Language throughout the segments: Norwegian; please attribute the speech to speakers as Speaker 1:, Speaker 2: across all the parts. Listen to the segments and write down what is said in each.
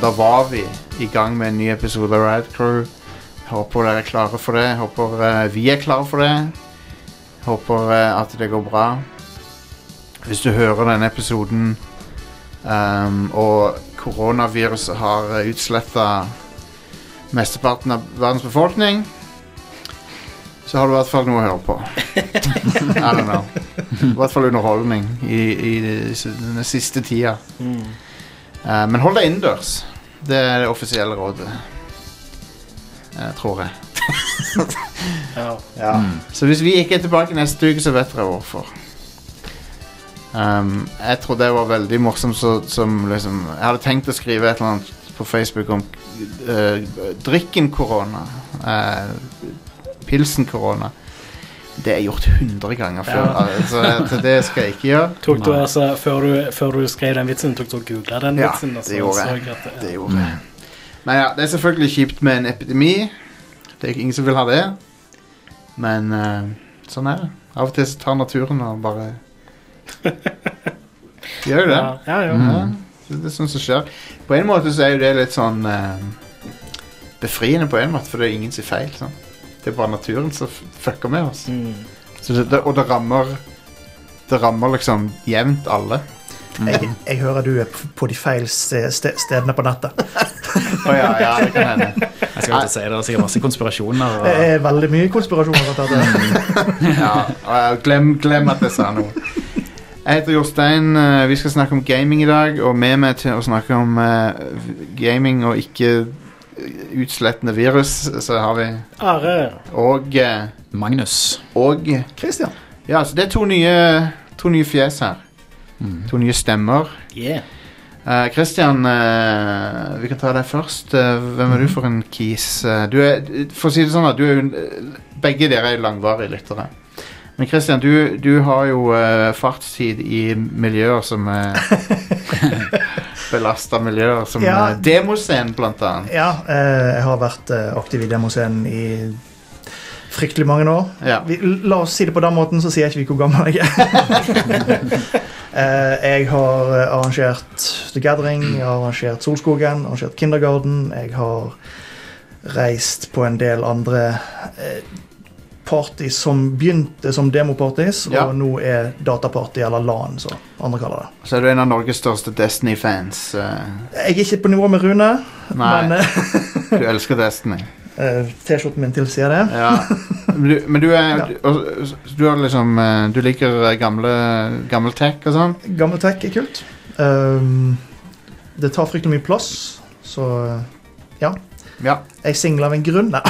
Speaker 1: da var vi i gang med en ny episode av Rad Crew. Håper dere er klare for det. Håper eh, vi er klare for det. Håper eh, at det går bra. Hvis du hører denne episoden ehm, og koronaviruset har utsletta mesteparten av verdens befolkning, så har du i hvert fall noe å høre på. I don't know. I hvert fall underholdning i, i den siste tida. Eh, men hold deg innendørs. Det er det offisielle rådet. Eh, tror jeg.
Speaker 2: Ja.
Speaker 3: Mm.
Speaker 1: Så hvis vi ikke er tilbake neste uke, så vet dere hvorfor. Um, jeg tror det var veldig morsomt så, som liksom Jeg hadde tenkt å skrive et eller annet på Facebook om eh, drikken korona. eh, pilsen korona. Det er gjort 100 ganger før,
Speaker 2: Ja.
Speaker 1: så altså, det skal jeg ikke gjøre.
Speaker 2: Tok du altså, før du, før du skrev den vitsen, tok du og googla den
Speaker 1: Ja,
Speaker 2: vitsen? og
Speaker 1: det
Speaker 2: så
Speaker 1: gjorde
Speaker 2: så
Speaker 1: jeg.
Speaker 2: at det-
Speaker 1: Det gjorde jeg. Men ja, det er selvfølgelig kjipt med en epidemi. Det er ikke ingen som vil ha det. Men eh, sånn er det. Av og til så tar naturen og bare Gjør jo det.
Speaker 2: Ja, ja, ja.
Speaker 1: Ja, det det er sånt som skjer. På en måte så er jo det litt sånn eh, befriende, på en måte, for det er ingen sin feil. Sånn. Det er bare naturen som f- fucker med oss.
Speaker 2: Mm.
Speaker 1: Så det, det, og det rammer Det rammer liksom jevnt alle.
Speaker 4: Jeg, jeg hører du er på- på de feil ste- ste- stedene på nettet.
Speaker 1: Å ja, ja, det kan hende.
Speaker 3: Jeg skal ikke si det, det er sikkert masse konspirasjoner.
Speaker 4: Det
Speaker 3: Og...
Speaker 4: er veldig mye konspirasjoner rundt dette.
Speaker 1: Ja, og, eh, glem, glem at jeg sa noe. Jeg heter Jostein. eh, Vi skal snakke om gaming i dag. Og med meg til å snakke om eh, gaming og ikke utslettende virus, så har vi
Speaker 2: Are.
Speaker 1: Og eh,
Speaker 3: Magnus.
Speaker 1: Og
Speaker 4: Christian,
Speaker 1: Ja, så det er to nye, to nye fjes her.
Speaker 3: Mm.
Speaker 1: To nye stemmer.
Speaker 2: Yeah.
Speaker 1: Eh, Christian, eh, vi kan ta deg først. Eh, hvem er du
Speaker 4: Mhm.
Speaker 1: for en kis? Eh, du er, for å si det sånn, at du er jo en- begge dere er langvarige lyttere. Men Christian, du, du har jo eh, fartstid i miljøer som er Belasta miljøer som
Speaker 4: Ja.
Speaker 1: eh, demoscenen, blant annet.
Speaker 4: ja, eh, jeg har vært eh, aktiv i demoscenen i fryktelig mange år.
Speaker 1: Ja.
Speaker 4: Vi, la oss si det på den måten, så sier jeg ikke hvor gammel jeg er. Eh, jeg har eh, arrangert The Gathering, jeg har arrangert Solskogen, arrangert Kindergarten. Jeg har reist på en del andre eh, parties som begynte som demoparties,
Speaker 1: Ja.
Speaker 4: og nå er dataparty, eller LAN, som andre kaller det.
Speaker 1: Så er du en av Norges største Destiny-fans. eh.
Speaker 4: Jeg er ikke på nivå med Rune,
Speaker 1: nei,
Speaker 4: men eh,
Speaker 1: du elsker Destiny.
Speaker 4: eh, T-skjorten min tilsier det.
Speaker 1: Ja. Men du, men du er
Speaker 4: Ja.
Speaker 1: du, og- så du har liksom eh, Du liker eh, gamle, gammel tech og sånn?
Speaker 4: Gammel tech er kult. Ehm, det tar fryktelig mye plass, så eh, ja.
Speaker 1: Ja.
Speaker 4: Jeg er singel av en grunn. Nei.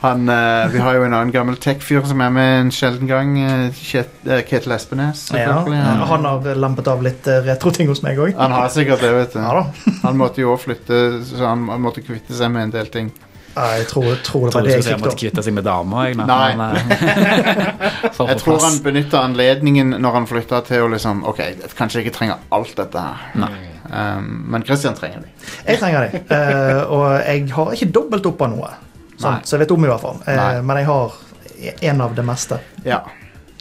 Speaker 1: Han, eh, vi har jo en annen gammel tech-fyr som er med en sjelden gang. eh, Kjet- eh, Ketil Espenes.
Speaker 4: Ja,
Speaker 1: selvfølgelig. Han-
Speaker 4: han har lampet av litt eh, retroting hos meg òg.
Speaker 1: Han har sikkert det, vet du.
Speaker 4: Ja da.
Speaker 1: Han måtte jo også flytte, så han han måtte kvitte seg med en del ting.
Speaker 4: Ja, Jeg tror, tror det var
Speaker 3: Trodde
Speaker 4: det
Speaker 3: ikke
Speaker 4: jeg
Speaker 3: jeg
Speaker 4: fikk
Speaker 3: måtte
Speaker 4: da.
Speaker 3: kvitte seg med damer. Jeg, men
Speaker 1: Nei.
Speaker 3: han, eh, for å
Speaker 1: Jeg
Speaker 3: få
Speaker 1: tror
Speaker 3: plass.
Speaker 1: han benytta anledningen når han flytta til å liksom OK, kanskje jeg ikke trenger alt dette her,
Speaker 3: Nei.
Speaker 1: um, men Christian trenger det.
Speaker 4: Jeg trenger det. Eh, og jeg har ikke dobbelt opp av noe,
Speaker 1: Nei.
Speaker 4: sånt, så jeg vet om i hvert fall. Eh,
Speaker 1: Nei.
Speaker 4: men jeg har en av det meste.
Speaker 1: Ja.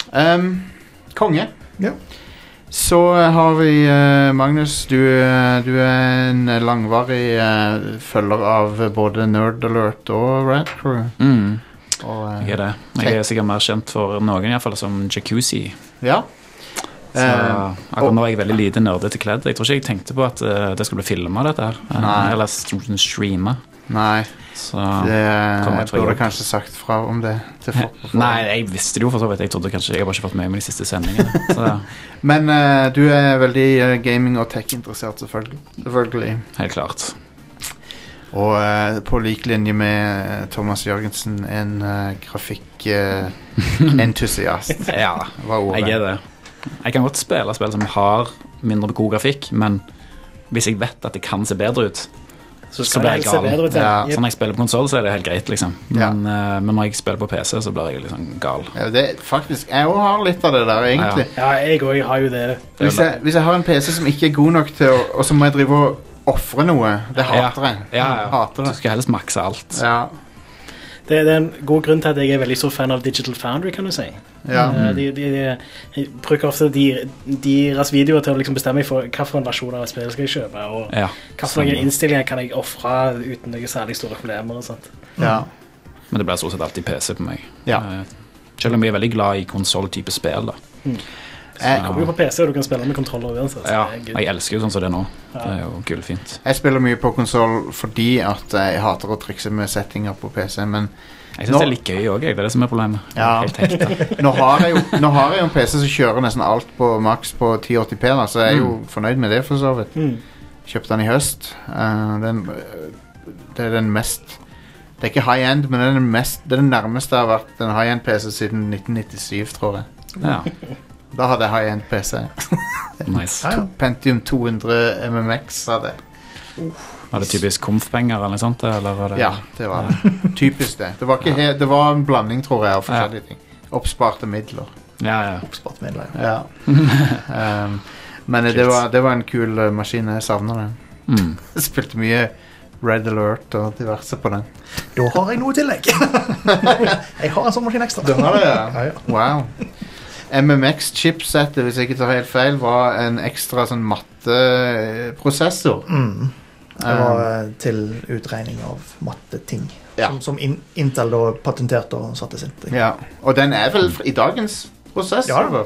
Speaker 1: Ehm, konge.
Speaker 4: Ja.
Speaker 1: Så eh, har vi eh, Magnus. Du, eh, du er en langvarig eh, følger av både Nerd Alert og Rat Crew.
Speaker 3: Mm,
Speaker 1: Og, eh,
Speaker 3: jeg er det. Jeg er sikkert mer kjent for noen, iallfall, som jacuzzi.
Speaker 1: Ja.
Speaker 3: Så
Speaker 1: Eh,
Speaker 3: akkurat nå er jeg veldig lite nerdete kledd. Jeg tror ikke jeg tenkte på at eh, det skulle bli filma, dette her. Eh,
Speaker 1: Nei.
Speaker 3: Eller st- streama.
Speaker 1: nei,
Speaker 3: Så
Speaker 1: det,
Speaker 3: Kommer
Speaker 1: jeg
Speaker 3: til å
Speaker 1: burde
Speaker 3: gjøre.
Speaker 1: kanskje sagt fra om det. Til folk på forhånd.
Speaker 3: Nei, jeg visste det jo for så vidt. Jeg trodde kanskje Jeg har bare ikke fått med meg de siste sendingene. Så
Speaker 1: Men eh, du er veldig eh, gaming- og tech-interessert, selvfølgelig. selvfølgelig.
Speaker 3: helt klart.
Speaker 1: Og eh, på lik linje med eh, Thomas Jørgensen, en eh, grafikkentusiast,
Speaker 3: Ja,
Speaker 1: var ordet.
Speaker 3: jeg er det. Jeg kan godt spille spill som har mindre god grafikk, men hvis jeg vet at det kan se bedre ut
Speaker 2: Så
Speaker 3: Så
Speaker 2: skal
Speaker 3: ble
Speaker 2: det
Speaker 3: jeg sånn.
Speaker 2: helst se
Speaker 3: gal.
Speaker 2: bedre ut.
Speaker 1: Ja,
Speaker 2: Ja.
Speaker 3: Så
Speaker 2: Yep.
Speaker 3: når jeg spiller på konsoll, så er det helt greit, liksom.
Speaker 1: Ja.
Speaker 3: Men, eh, men når jeg spiller på PC, så blir jeg liksom gal.
Speaker 1: Ja, det, faktisk, jeg òg har litt av det der, egentlig.
Speaker 2: ja, jeg òg har jo det.
Speaker 1: Hvis, jeg, hvis jeg har en PC som ikke er god nok til å Og så må jeg drive og ofre noe. Det hater jeg.
Speaker 3: Ja, ja.
Speaker 1: Hater
Speaker 3: Du
Speaker 1: det.
Speaker 3: skal helst makse alt.
Speaker 1: Ja.
Speaker 2: Det er det er en god grunn til at jeg er veldig stor fan av Digital Foundry, kan du si.
Speaker 1: Ja.
Speaker 2: Eh, De, de, de, jeg bruker ofte de- deres videoer til å liksom bestemme meg for hvilken versjon av et spill skal jeg kjøpe, og
Speaker 3: Ja,
Speaker 2: hvilke
Speaker 3: stemmer.
Speaker 2: innstillinger kan jeg ofre uten noen særlig store problemer. og sånt.
Speaker 1: ja.
Speaker 3: Men det blir stort sett alltid PC på meg.
Speaker 1: Ja.
Speaker 3: Eh, Selv om jeg er veldig glad i konsoll-type spill. da.
Speaker 1: Jeg,
Speaker 2: Kommer jo på PC, og du kan spille med kontroller uansett. så
Speaker 3: Ja,
Speaker 2: det er good.
Speaker 3: jeg elsker jo sånn som det er nå. Det
Speaker 2: Ja.
Speaker 3: er jo gullfint.
Speaker 1: jeg spiller mye på konsoll fordi at jeg hater å trikse med settinger på PC, men
Speaker 3: Jeg
Speaker 1: Nå-
Speaker 3: syns det er litt gøy òg, det er det som er problemet.
Speaker 1: Ja.
Speaker 3: Helt hekta.
Speaker 1: nå har jeg jo, nå har jeg jo en PC som kjører nesten alt på maks på 1080p, da, så jeg er jo fornøyd med det, for så vidt.
Speaker 2: Mm.
Speaker 1: Kjøpte den i høst. Eh, den, eh, det er den mest Det er ikke high end, men det er den, mest, det er den nærmeste jeg har vært en high end PC siden 1997, tror jeg.
Speaker 3: Ja,
Speaker 1: Da hadde jeg high end PC.
Speaker 3: nice.
Speaker 4: Ja, ja.
Speaker 1: Pentium 200 MMX hadde jeg.
Speaker 3: Var det typisk komfpenger eller noe sånt? Eller var det...
Speaker 1: Ja, det var det. Typisk det. Det var, ikke he det var en blanding, tror jeg, av forskjellige ting. Oppsparte midler.
Speaker 3: ja, ja.
Speaker 4: Oppspart midler. ja.
Speaker 1: Ja. um, men det
Speaker 3: Kult.
Speaker 1: var, det var en kul eh, maskin. Jeg savner den.
Speaker 3: Mm.
Speaker 1: Jeg spilte mye Red Alert og diverse på den.
Speaker 4: Da har jeg noe i tillegg. jeg har en sånn maskin ekstra.
Speaker 1: Du har det, ja.
Speaker 4: Ja, ja.
Speaker 1: Wow. MMX-chipsettet, hvis jeg ikke tar helt feil, var en ekstra sånn matteprosessor.
Speaker 4: Mm. Det var
Speaker 1: Um,
Speaker 4: eh, til utregning av matteting.
Speaker 1: Ja.
Speaker 4: Som, som in Intel da patenterte og satte sitt.
Speaker 1: ja. Og den er vel fr- i dagens prosessor?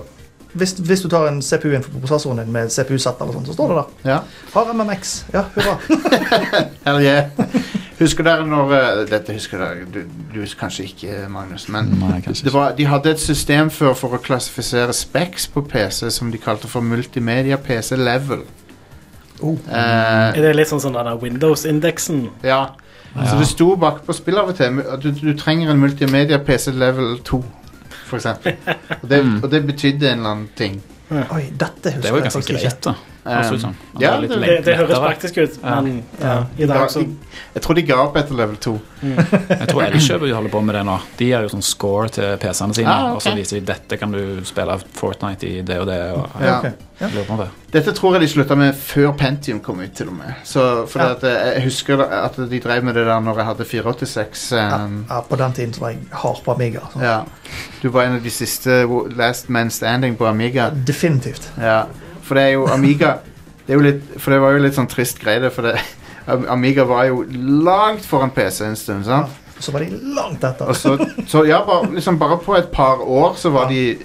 Speaker 4: Hvis, hvis du tar en CPU inn på prosessoren din med CPU-sett, eller sånt, så står det der.
Speaker 1: Ja.
Speaker 4: Har MMX. Ja, hurra.
Speaker 1: Hell yeah. Husker dere når eh, Dette husker dere du, du husker kanskje ikke, Magnus. Men
Speaker 3: Nei, kanskje
Speaker 1: det
Speaker 3: ikke.
Speaker 1: var, de hadde et system før for å klassifisere specs på PC som de kalte for multimedia PC level.
Speaker 4: Oh.
Speaker 1: Eh,
Speaker 2: Er det litt sånn som den der Windows-indeksen?
Speaker 1: ja. Så
Speaker 3: Ja.
Speaker 1: det sto bakpå spillet av og til at du, du trenger en multimedia PC level 2, for eksempel. Og det,
Speaker 3: Mm.
Speaker 1: og det betydde en eller annen ting.
Speaker 4: Oi, dette husker
Speaker 3: Det var jo
Speaker 4: jeg
Speaker 3: ganske
Speaker 4: faktisk ikke.
Speaker 3: greit, da.
Speaker 1: Eh,
Speaker 3: Høres ut som. At
Speaker 1: ja,
Speaker 3: sånn. var litt
Speaker 1: det-
Speaker 2: Det, det høres
Speaker 3: lettere.
Speaker 2: praktisk ut,
Speaker 3: Ja.
Speaker 2: men ja. i
Speaker 1: de ga-
Speaker 2: dag så
Speaker 1: de- jeg tror de ga opp etter level 2.
Speaker 3: Jeg tror Elkjøp holder på med det nå. De gjør jo sånn score til PC-ene sine.
Speaker 1: Ah, ok.
Speaker 3: Og så viser de dette kan du spille Fortnite i det og det. Og
Speaker 1: Ja.
Speaker 4: ok.
Speaker 3: jeg lurer på om det.
Speaker 1: Dette tror jeg de slutta med før Pentium kom ut, til og med. Så for
Speaker 4: Ja.
Speaker 1: at, eh, jeg husker at de drev med det der når jeg hadde 486. Um,
Speaker 4: Ja, på den tiden så var jeg hard på Amiga. Så.
Speaker 1: ja. Du var en av de siste wo- Last Man Standing på Amiga.
Speaker 4: Definitivt.
Speaker 1: Ja. For det er jo Amiga det er jo litt, For det var jo litt sånn trist greie, det. For det, Am- Amiga var jo langt foran PC en stund. sant?
Speaker 4: Så var de langt etter.
Speaker 1: Og så, så ja, bare, liksom bare på et par år så var
Speaker 4: Ja.
Speaker 1: de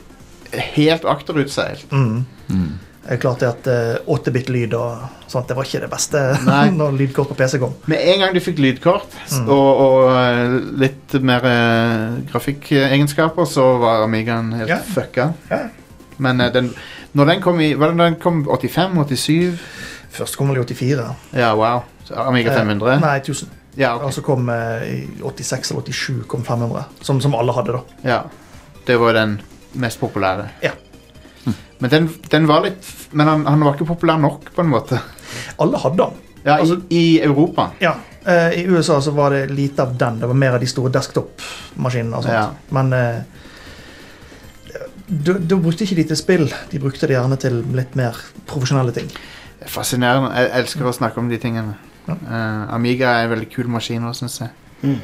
Speaker 1: helt akterutseilt.
Speaker 4: Mm.
Speaker 3: Mm.
Speaker 4: Det er klart det at eh, 8-bit-lyd og sånt, det var ikke det beste
Speaker 1: Nei.
Speaker 4: når lydkort på PC kom.
Speaker 1: Med en gang de fikk lydkort s-
Speaker 4: Mm.
Speaker 1: og, og eh, litt mer eh, grafikkegenskaper, så var Amigaen helt
Speaker 4: Ja.
Speaker 1: fucka.
Speaker 4: Ja.
Speaker 1: Men eh, den, når den kom i Var det når den kom 85-87?
Speaker 4: Først kom vel i 84.
Speaker 1: Ja, wow. Så Amiga
Speaker 4: Eh,
Speaker 1: 500?
Speaker 4: Nei, 1000.
Speaker 1: Ja, ok.
Speaker 4: Og så kom eh, i 86 eller 87 kom 500, som, som alle hadde da.
Speaker 1: ja. Det var den mest populære. Hm.
Speaker 4: Ja.
Speaker 1: Men den, den var litt Men han, han var ikke populær nok, på en måte.
Speaker 4: Alle hadde den.
Speaker 1: Ja,
Speaker 4: Altså-
Speaker 1: i, I Europa.
Speaker 4: Ja. eh, I USA så var det lite av den. Det var mer av de store desktop-maskinene og sånt.
Speaker 1: Ja.
Speaker 4: Men eh, da da brukte ikke de til spill. De brukte det gjerne til litt mer profesjonelle ting.
Speaker 1: Fascinerende. Jeg elsker å snakke om de tingene.
Speaker 4: Ja.
Speaker 1: Eh, Amiga er en veldig kul maskin òg, syns jeg.
Speaker 2: Mm.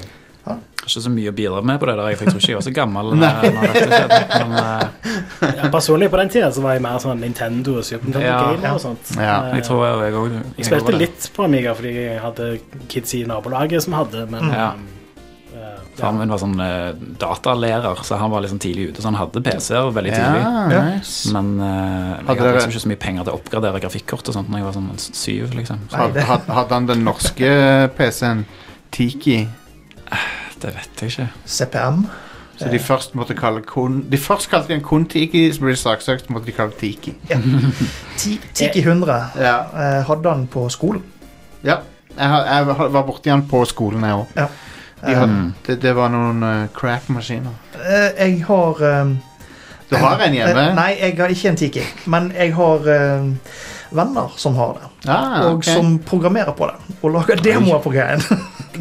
Speaker 3: Ikke så mye å bidra med på det der. Jeg tror ikke jeg var så gammel eh,
Speaker 1: Nei.
Speaker 3: når dette skjedde. Men eh,
Speaker 2: ja, Personlig på den tida så var jeg mer sånn Nintendo og Super Nintendo
Speaker 3: Ja.
Speaker 2: gamer og sånt.
Speaker 1: Ja.
Speaker 2: Eh,
Speaker 3: jeg tror jeg, jeg, også- jeg,
Speaker 2: Jeg spilte
Speaker 3: også-
Speaker 2: litt på Amiga fordi jeg hadde kids i nabolaget som hadde, men
Speaker 3: Ja.
Speaker 2: um, eh, ja.
Speaker 3: Faren min var sånn eh, datalærer, så han var liksom tidlig ute. Så han hadde PC-er veldig tidlig.
Speaker 1: Ja,
Speaker 4: Ja.
Speaker 1: nice.
Speaker 3: Men eh, jeg
Speaker 1: Hadde
Speaker 3: hadde
Speaker 1: dere-
Speaker 3: liksom ikke så mye penger til å oppgradere grafikkort og sånt når jeg var sånn s- syv, liksom. Så
Speaker 1: Had,
Speaker 4: det-
Speaker 1: had, hadde han den norske PC-en Tiki,
Speaker 3: det vet jeg ikke.
Speaker 4: CPM.
Speaker 1: så de først måtte kalle kun De først kalte den kun Tiki, så ble de saksøkt, så måtte de kalle det Tiki.
Speaker 4: Ti- Tiki 100.
Speaker 1: Ja.
Speaker 4: Eh, hadde han på skolen.
Speaker 1: ja. Jeg, har- jeg har- var borti han på skolen, jeg òg.
Speaker 4: Ja.
Speaker 1: De hadde-
Speaker 3: Mm.
Speaker 1: det, det var noen eh, crap-maskiner.
Speaker 4: Eh, jeg har eh,
Speaker 1: Du har en hjemme?
Speaker 4: eh, Nei, jeg har ikke en Tiki. Men jeg har eh, venner som har det.
Speaker 1: Ah,
Speaker 4: Og
Speaker 1: ok.
Speaker 4: som programmerer på det. Og lager demoer på greien.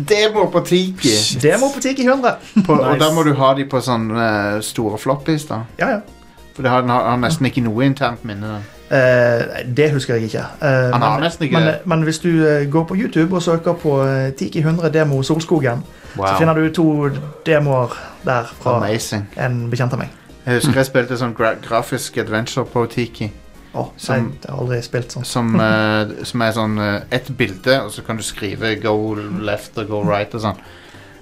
Speaker 1: Demo på Tiki.
Speaker 4: Demo på Tiki 100.
Speaker 1: På, Og
Speaker 2: Nice.
Speaker 1: da må du ha de på sånne eh, store floppies, da.
Speaker 4: Ja, ja.
Speaker 1: For det har, den har, har nesten ikke noe internt minne. den.
Speaker 4: Eh, det husker jeg ikke. Eh,
Speaker 1: Han har
Speaker 4: men-
Speaker 1: nesten ikke
Speaker 4: men,
Speaker 1: det.
Speaker 4: men hvis du eh, går på YouTube og søker på eh, Tiki 100 demo Solskogen, så
Speaker 1: Wow.
Speaker 4: finner du to demoer der fra
Speaker 1: Amazing.
Speaker 4: en bekjent av meg.
Speaker 1: Jeg husker jeg spilte sånn gra grafisk adventure på Tiki.
Speaker 4: Å, nei,
Speaker 1: Som-
Speaker 4: jeg har aldri spilt sånn.
Speaker 1: Som, eh, som er sånn uh, ett bilde, og så kan du skrive 'go left' og 'go right' og sånn.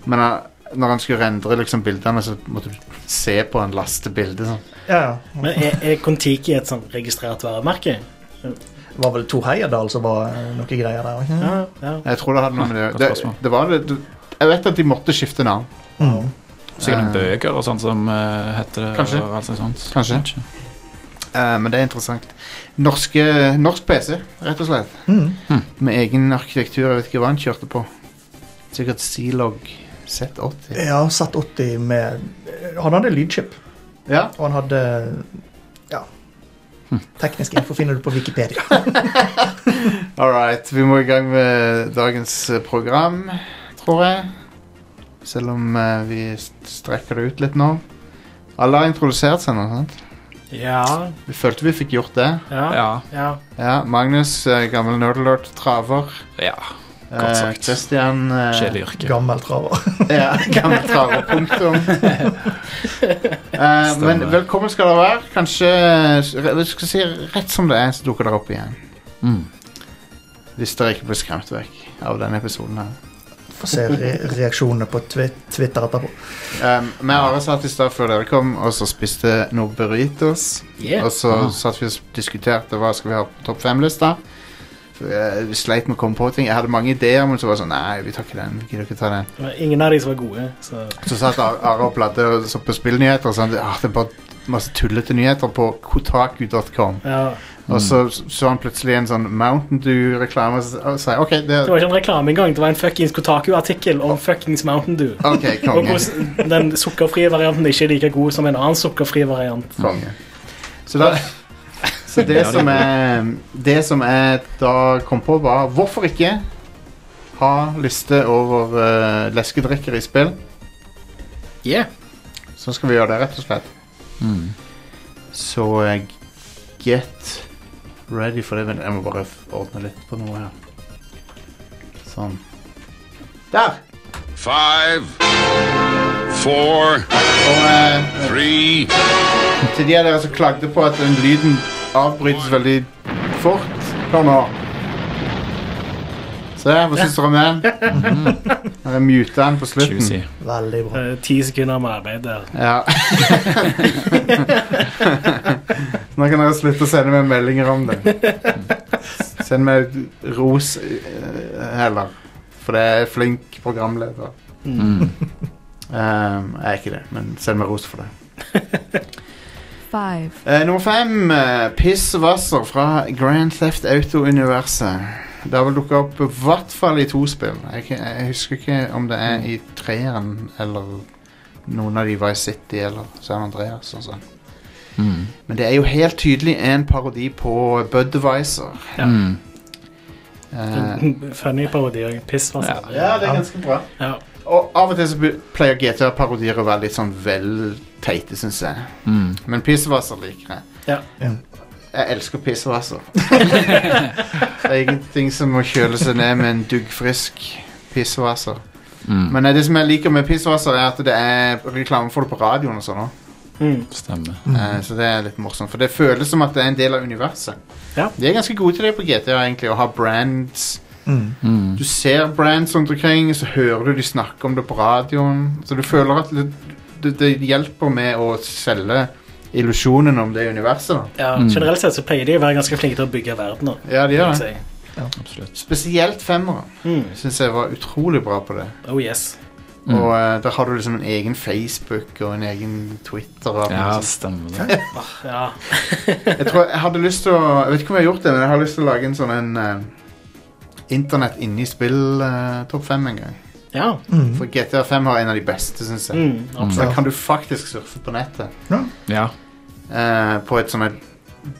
Speaker 1: Men eh, når han skulle rendre liksom, bildene, så måtte du se på en lastebilde. Sånn.
Speaker 4: Ja, ja.
Speaker 2: Men er, er Kon-Tiki et sånn registrert varemerke?
Speaker 4: Det var vel Tor Heyerdahl som var eh, noe greier der? ikke?
Speaker 2: Ja,
Speaker 3: Mm.
Speaker 2: ja.
Speaker 1: Jeg tror det hadde noe med det
Speaker 3: Godt
Speaker 1: det,
Speaker 3: spørsmål.
Speaker 1: det, var det, du- Jeg vet at de måtte skifte navn,
Speaker 4: Mm.
Speaker 3: Sikkert noen
Speaker 1: Eh.
Speaker 3: bøker og sånt som eh, heter det.
Speaker 1: Kanskje.
Speaker 3: Og alt sånt.
Speaker 1: Kanskje. eh, men det er interessant. Norske, norsk PC, rett og slett.
Speaker 4: Mm.
Speaker 1: Med egen arkitektur. Jeg vet ikke hva han kjørte på. Sikkert Zilog Z80.
Speaker 4: Ja, satt 80 med eh, Han hadde lydchip,
Speaker 1: Ja. Hm.
Speaker 4: og han hadde Ja. Teknisk info finner du på Wikipedia.
Speaker 1: All right. Vi må i gang med dagens eh, program, tror jeg. Selv om eh, vi st- strekker det ut litt nå. Alle har introdusert seg nå, sant?
Speaker 2: ja,
Speaker 1: Vi følte vi fikk gjort det.
Speaker 2: ja,
Speaker 3: Ja.
Speaker 2: ja.
Speaker 1: Ja, Magnus, eh, gammel nerdalert traver.
Speaker 3: ja. Godt
Speaker 1: Eh,
Speaker 3: sagt.
Speaker 1: Christian eh,
Speaker 3: Kjedelig yrke.
Speaker 4: Gammel traver.
Speaker 1: Ja, gammel traver, punktum. Eh, men
Speaker 3: Stemmer.
Speaker 1: velkommen skal dere være. Kanskje eh, vi skal si rett som det er, så dukker dere opp igjen.
Speaker 3: Mm.
Speaker 1: Hvis dere ikke blir skremt vekk av denne episoden her.
Speaker 4: Få se re reaksjonene på twi Twitter etterpå.
Speaker 1: Um, Vi og Are satt i stad før dere kom, og så spiste noe burritos.
Speaker 2: Yeah.
Speaker 1: Og så
Speaker 3: Ah.
Speaker 1: satt vi og diskuterte hva skal vi ha på topp fem-lista. Eh, Vi sleit med å komme på ting. Jeg hadde mange ideer, men så var det sånn Nei, vi tar ikke den. Vi gidder ikke ta den.
Speaker 2: Det var Ingen av de som var gode, så
Speaker 1: Så satt Are- Are og bladde og så på spillnyheter. Og sånn, ah, det er bare masse tullete nyheter på kotaku.com.
Speaker 2: ja.
Speaker 1: Og så så han plutselig en sånn Mountain Dew-reklame og så- og sa OK, det
Speaker 2: Det var ikke en reklame engang. Det var en fuckings Kotaku-artikkel om fuckings Mountain Dew.
Speaker 1: OK,
Speaker 2: Og
Speaker 1: konge.
Speaker 2: hvordan den sukkerfrie varianten ikke er like god som en annen sukkerfri variant.
Speaker 1: Konge. Så, da, så det som er Det som jeg da kom på, var hvorfor ikke ha liste over eh, leskedrikker i spill.
Speaker 2: Yeah.
Speaker 1: Så skal vi gjøre det, rett og slett.
Speaker 3: Mm.
Speaker 1: Så eh, get ready for det. Vent, Jeg må bare f- ordne litt på noe her. Sånn. Der!
Speaker 5: Five, four,
Speaker 1: Og eh,
Speaker 5: three,
Speaker 1: til de av dere som klagde på at den lyden avbrytes veldig fort. Hør nå. Se, hva syns dere om den?
Speaker 3: Mhm.
Speaker 1: Jeg muta den på slutten.
Speaker 3: Juicy.
Speaker 4: Veldig bra.
Speaker 2: Eh, Ti sekunder med arbeid der.
Speaker 1: Ja. Nå kan dere slutte å sende meg meldinger om det. Send meg ros eh, heller, for det er flink programleder.
Speaker 3: Mm.
Speaker 1: Um, jeg er ikke det, men send meg ros for det.
Speaker 6: Five,
Speaker 1: Eh, nummer fem. eh, Piss og Vasser fra Grand Theft Auto-universet. Det har vel dukka opp i hvert fall i to spill. Jeg, kan- jeg husker ikke om det er i treeren eller noen av de Vice City eller San Andreas og sånn.
Speaker 3: Mm.
Speaker 1: Men det er jo helt tydelig en parodi på Budwiser.
Speaker 2: Ja.
Speaker 3: Mm.
Speaker 1: Eh,
Speaker 2: Funny parodi og piss, altså.
Speaker 1: ja, det er ganske bra.
Speaker 2: Ja.
Speaker 1: Og av og til så be- pleier GTA-parodier å være litt sånn vel teite, syns jeg.
Speaker 3: Mm.
Speaker 1: Men Pissevasser liker jeg.
Speaker 2: Ja.
Speaker 4: Ja.
Speaker 1: Jeg elsker pissevasser. det er ingenting som å kjøle seg ned med en duggfrisk pissevasser.
Speaker 3: Mm.
Speaker 1: Men eh, det som jeg liker med pissevasser, er at det er reklame for det på radioen. og sånn også.
Speaker 2: Mm.
Speaker 3: Stemmer.
Speaker 1: Eh, Så det er litt morsomt. For det føles som at det er en del av universet.
Speaker 2: Ja.
Speaker 1: De er ganske gode til det på GTA, egentlig, å ha brands.
Speaker 4: Mm.
Speaker 3: Mm.
Speaker 1: Du ser brands rundt omkring, så hører du de snakke om det på radioen. Så du føler at det, det, det hjelper med å selge illusjonen om det universet. da.
Speaker 2: Ja,
Speaker 3: Mm.
Speaker 2: generelt sett så pleier de å være ganske flinke til å bygge verdener.
Speaker 1: Ja, de
Speaker 2: vil jeg
Speaker 1: gjør det.
Speaker 2: si.
Speaker 3: Absolutt.
Speaker 1: Spesielt femmeren.
Speaker 2: Mm.
Speaker 1: syns jeg var utrolig bra på det.
Speaker 2: Oh yes.
Speaker 3: Mm.
Speaker 1: Og eh, der har du liksom en egen Facebook og en egen Twitter. Og alt
Speaker 3: Ja,
Speaker 1: mulig sånt.
Speaker 3: stemmer det.
Speaker 2: Ah, Ja.
Speaker 1: Jeg tror jeg hadde lyst til å Jeg vet ikke om jeg har gjort det, men jeg har lyst til å lage en sånn en eh, Internett inni spill-topp fem en gang.
Speaker 2: ja.
Speaker 4: Mm.
Speaker 1: For GTR5 har en av de beste, syns
Speaker 3: Mm.
Speaker 1: jeg.
Speaker 2: Mm. Absolutt.
Speaker 1: Da kan du faktisk surfe på nettet.
Speaker 3: Ja.
Speaker 1: eh, på et sånn et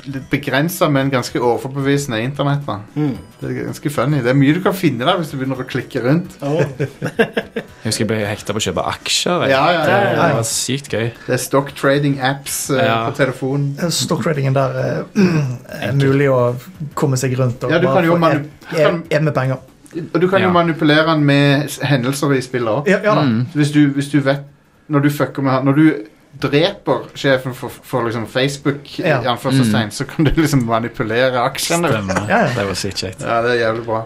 Speaker 1: litt begrensa, men ganske overbevisende internett. da.
Speaker 2: Mm.
Speaker 1: Det er ganske funny. Det er mye du kan finne der hvis du begynner å klikke rundt.
Speaker 2: Åh.
Speaker 3: Jeg husker jeg ble hekta på å kjøpe aksjer. jeg.
Speaker 1: Ja, ja, ja,
Speaker 3: Det
Speaker 1: ja.
Speaker 3: var sykt gøy.
Speaker 1: Det er stock trading apps eh,
Speaker 3: Ja.
Speaker 1: på telefonen.
Speaker 4: Stockradingen der er, er mulig å komme seg rundt og
Speaker 1: Ja, du
Speaker 4: bare
Speaker 1: kan jo
Speaker 4: få
Speaker 1: manu-
Speaker 4: en-
Speaker 1: du kan-
Speaker 4: en- en med penger.
Speaker 1: Og du kan jo
Speaker 3: Ja.
Speaker 1: manipulere den med s- hendelser i spillet òg.
Speaker 4: Ja, ja da.
Speaker 3: Mm.
Speaker 1: Hvis, du- hvis du vet Når du fucker med han Når du dreper sjefen for, for liksom Facebook,
Speaker 4: Ja.
Speaker 1: i anførselstegn, så kan du liksom manipulere aksjene.
Speaker 3: Stemmer.
Speaker 4: Ja, ja.
Speaker 3: Det var sykt kjekt.
Speaker 1: Ja, det er jævlig bra.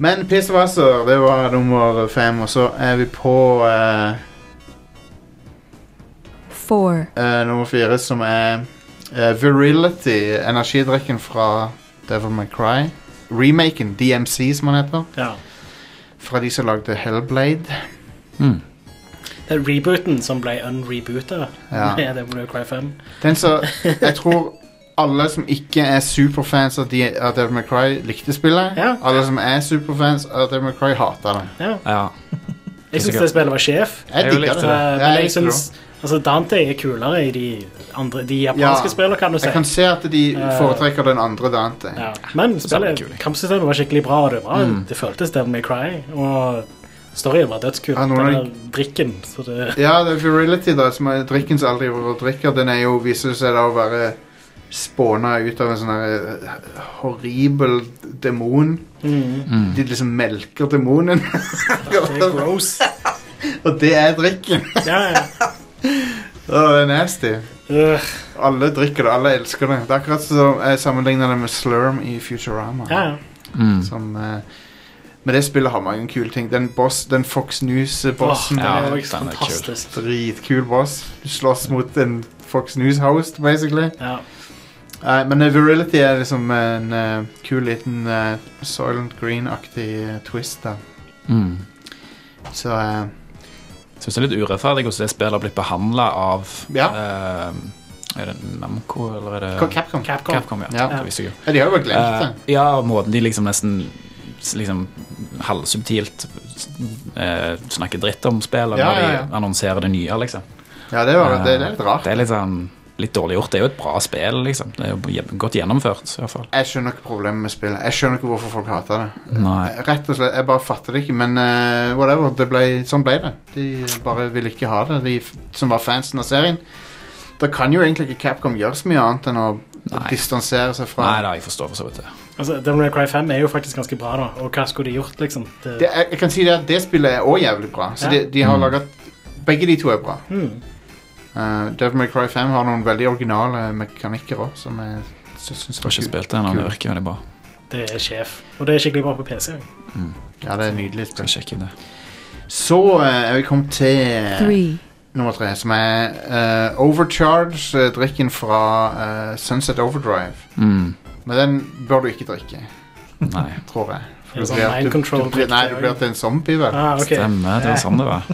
Speaker 1: Men piss og vasser, det var nummer fem, og så er vi på eh,
Speaker 6: four,
Speaker 1: eh, nummer fire, som er eh, Virility, energidrikken fra Devil May Cry. Remaken, DMC, som han heter.
Speaker 2: Ja.
Speaker 1: Fra de som lagde Hellblade.
Speaker 3: Mm.
Speaker 2: Det er rebooten som ble unrebootet
Speaker 1: Ja.
Speaker 2: med Devil May Cry 5.
Speaker 1: Den så, jeg tror alle som ikke er superfans av, de, av Devil May Cry, likte spillet.
Speaker 2: Ja.
Speaker 1: Alle som er superfans av Devil May Cry, hater det.
Speaker 2: Ja.
Speaker 3: Ja.
Speaker 2: Jeg syns det spillet var sjef.
Speaker 1: Jeg
Speaker 3: Jeg
Speaker 1: digger
Speaker 3: likte
Speaker 1: det.
Speaker 3: det.
Speaker 1: Ja,
Speaker 2: eh,
Speaker 1: jeg
Speaker 2: men jeg
Speaker 1: likte det
Speaker 2: syns altså Dante er kulere i de, andre, de japanske
Speaker 1: Ja.
Speaker 2: spillene, kan du
Speaker 1: også.
Speaker 2: si.
Speaker 1: Jeg kan se at de
Speaker 2: Eh,
Speaker 1: foretrekker den andre Dante.
Speaker 2: Ja. Men
Speaker 3: Så spillet er
Speaker 2: spillet,
Speaker 3: kult.
Speaker 2: kampsystemet var skikkelig bra. og Det, var,
Speaker 3: Mm.
Speaker 2: det føltes Devil May Cry. Og storyen var dødskul.
Speaker 1: Ja,
Speaker 2: Den
Speaker 1: noen av de-
Speaker 2: der drikken. Så det,
Speaker 1: Ja, det er virility, da, som er drikken som aldri var drikker. Den er jo, viser seg da å være spåna ut av en sånn her, eh, horribel demon.
Speaker 2: mm.
Speaker 3: Mm.
Speaker 1: De liksom melker demonen,
Speaker 2: det er gross.
Speaker 1: og det er drikken.
Speaker 2: Ja, ja.
Speaker 1: Åh, det er nasty.
Speaker 2: Øh,
Speaker 1: Alle drikker det, alle elsker det. Det er akkurat som jeg sammenligner det med Slurm i Futurama.
Speaker 2: ja, ja.
Speaker 3: Mm.
Speaker 1: Som, eh, men det spillet har mange kule ting. Den, boss, den Fox News-bossen
Speaker 2: Åh,
Speaker 3: ja.
Speaker 1: er
Speaker 2: det
Speaker 1: en
Speaker 2: var
Speaker 3: den er kul.
Speaker 2: fantastisk.
Speaker 1: dritkul boss. Du slåss mot en Fox News-host, basically.
Speaker 2: Ja.
Speaker 1: Nei, men eh, Virility er liksom en eh, kul liten eh, Soylent Green-aktig eh, twist, da.
Speaker 3: Mm.
Speaker 1: Så eh,
Speaker 3: Syns det er litt urettferdig hvordan det spillet har blitt behandla av
Speaker 1: Ja.
Speaker 3: eh, Er det Namco, eller er det
Speaker 1: Capcom.
Speaker 2: Capcom.
Speaker 3: Capcom, ja.
Speaker 1: Ja.
Speaker 3: Det visste jeg jo.
Speaker 1: Ja, de har jo bare glemt det.
Speaker 3: Eh, ja, og måten de liksom nesten s- liksom halvsubtilt eh, snakker dritt om spillet
Speaker 1: Ja,
Speaker 3: når
Speaker 1: ja, ja.
Speaker 3: de annonserer det nye, liksom.
Speaker 1: Ja, det, var, det, det er
Speaker 3: Eh,
Speaker 1: litt rart.
Speaker 3: Det er litt sånn litt dårlig gjort. Det er jo et bra spill, liksom. Det er jo gje- godt gjennomført, i hvert fall.
Speaker 1: Jeg skjønner ikke problemet med spillet. Jeg skjønner ikke hvorfor folk hater det. Eh,
Speaker 3: Nei.
Speaker 1: Rett og slett, jeg bare fatter det ikke, men eh, whatever, det ble, sånn ble det. De bare ville ikke ha det, de f- som var fansen av serien. Da kan jo egentlig ikke Capcom gjøre så mye annet enn å
Speaker 3: Nei.
Speaker 1: distansere seg fra
Speaker 3: Nei da, jeg forstår for så vidt det.
Speaker 2: Altså, Devil May Cry 5 er jo faktisk ganske bra, da. Og hva skulle de gjort, liksom? Det,
Speaker 1: det, jeg, jeg kan si det at det spillet er også jævlig bra, så
Speaker 2: Ja.
Speaker 1: de, de har
Speaker 3: Mm.
Speaker 1: laget Begge de to er bra.
Speaker 2: Hmm.
Speaker 1: Uh, Devil May Cry 5 har noen veldig originale mekanikker òg, som jeg sy- syns
Speaker 3: Jeg har ikke
Speaker 1: kult.
Speaker 3: spilt det ennå, men det
Speaker 1: Kult.
Speaker 3: virker veldig bra.
Speaker 2: det er sjef. Og det er skikkelig bra på PC. også.
Speaker 1: Ja, det er nydelig
Speaker 3: Skal
Speaker 1: spill.
Speaker 3: sjekke det.
Speaker 1: Så eh, er vi kommet til
Speaker 6: three,
Speaker 1: nummer tre, som er eh, Overcharge, eh, drikken fra eh, Sunset Overdrive.
Speaker 3: Mm.
Speaker 1: Men den bør du ikke drikke,
Speaker 3: Nei.
Speaker 1: tror jeg. For du
Speaker 2: Det er sånn
Speaker 1: blir,
Speaker 2: mind
Speaker 1: du,
Speaker 2: control
Speaker 1: du blir, nei, du
Speaker 2: drikk,
Speaker 1: blir til en zombie, vel.
Speaker 2: Ah, ok.
Speaker 3: Stemmer, det var sånn det var.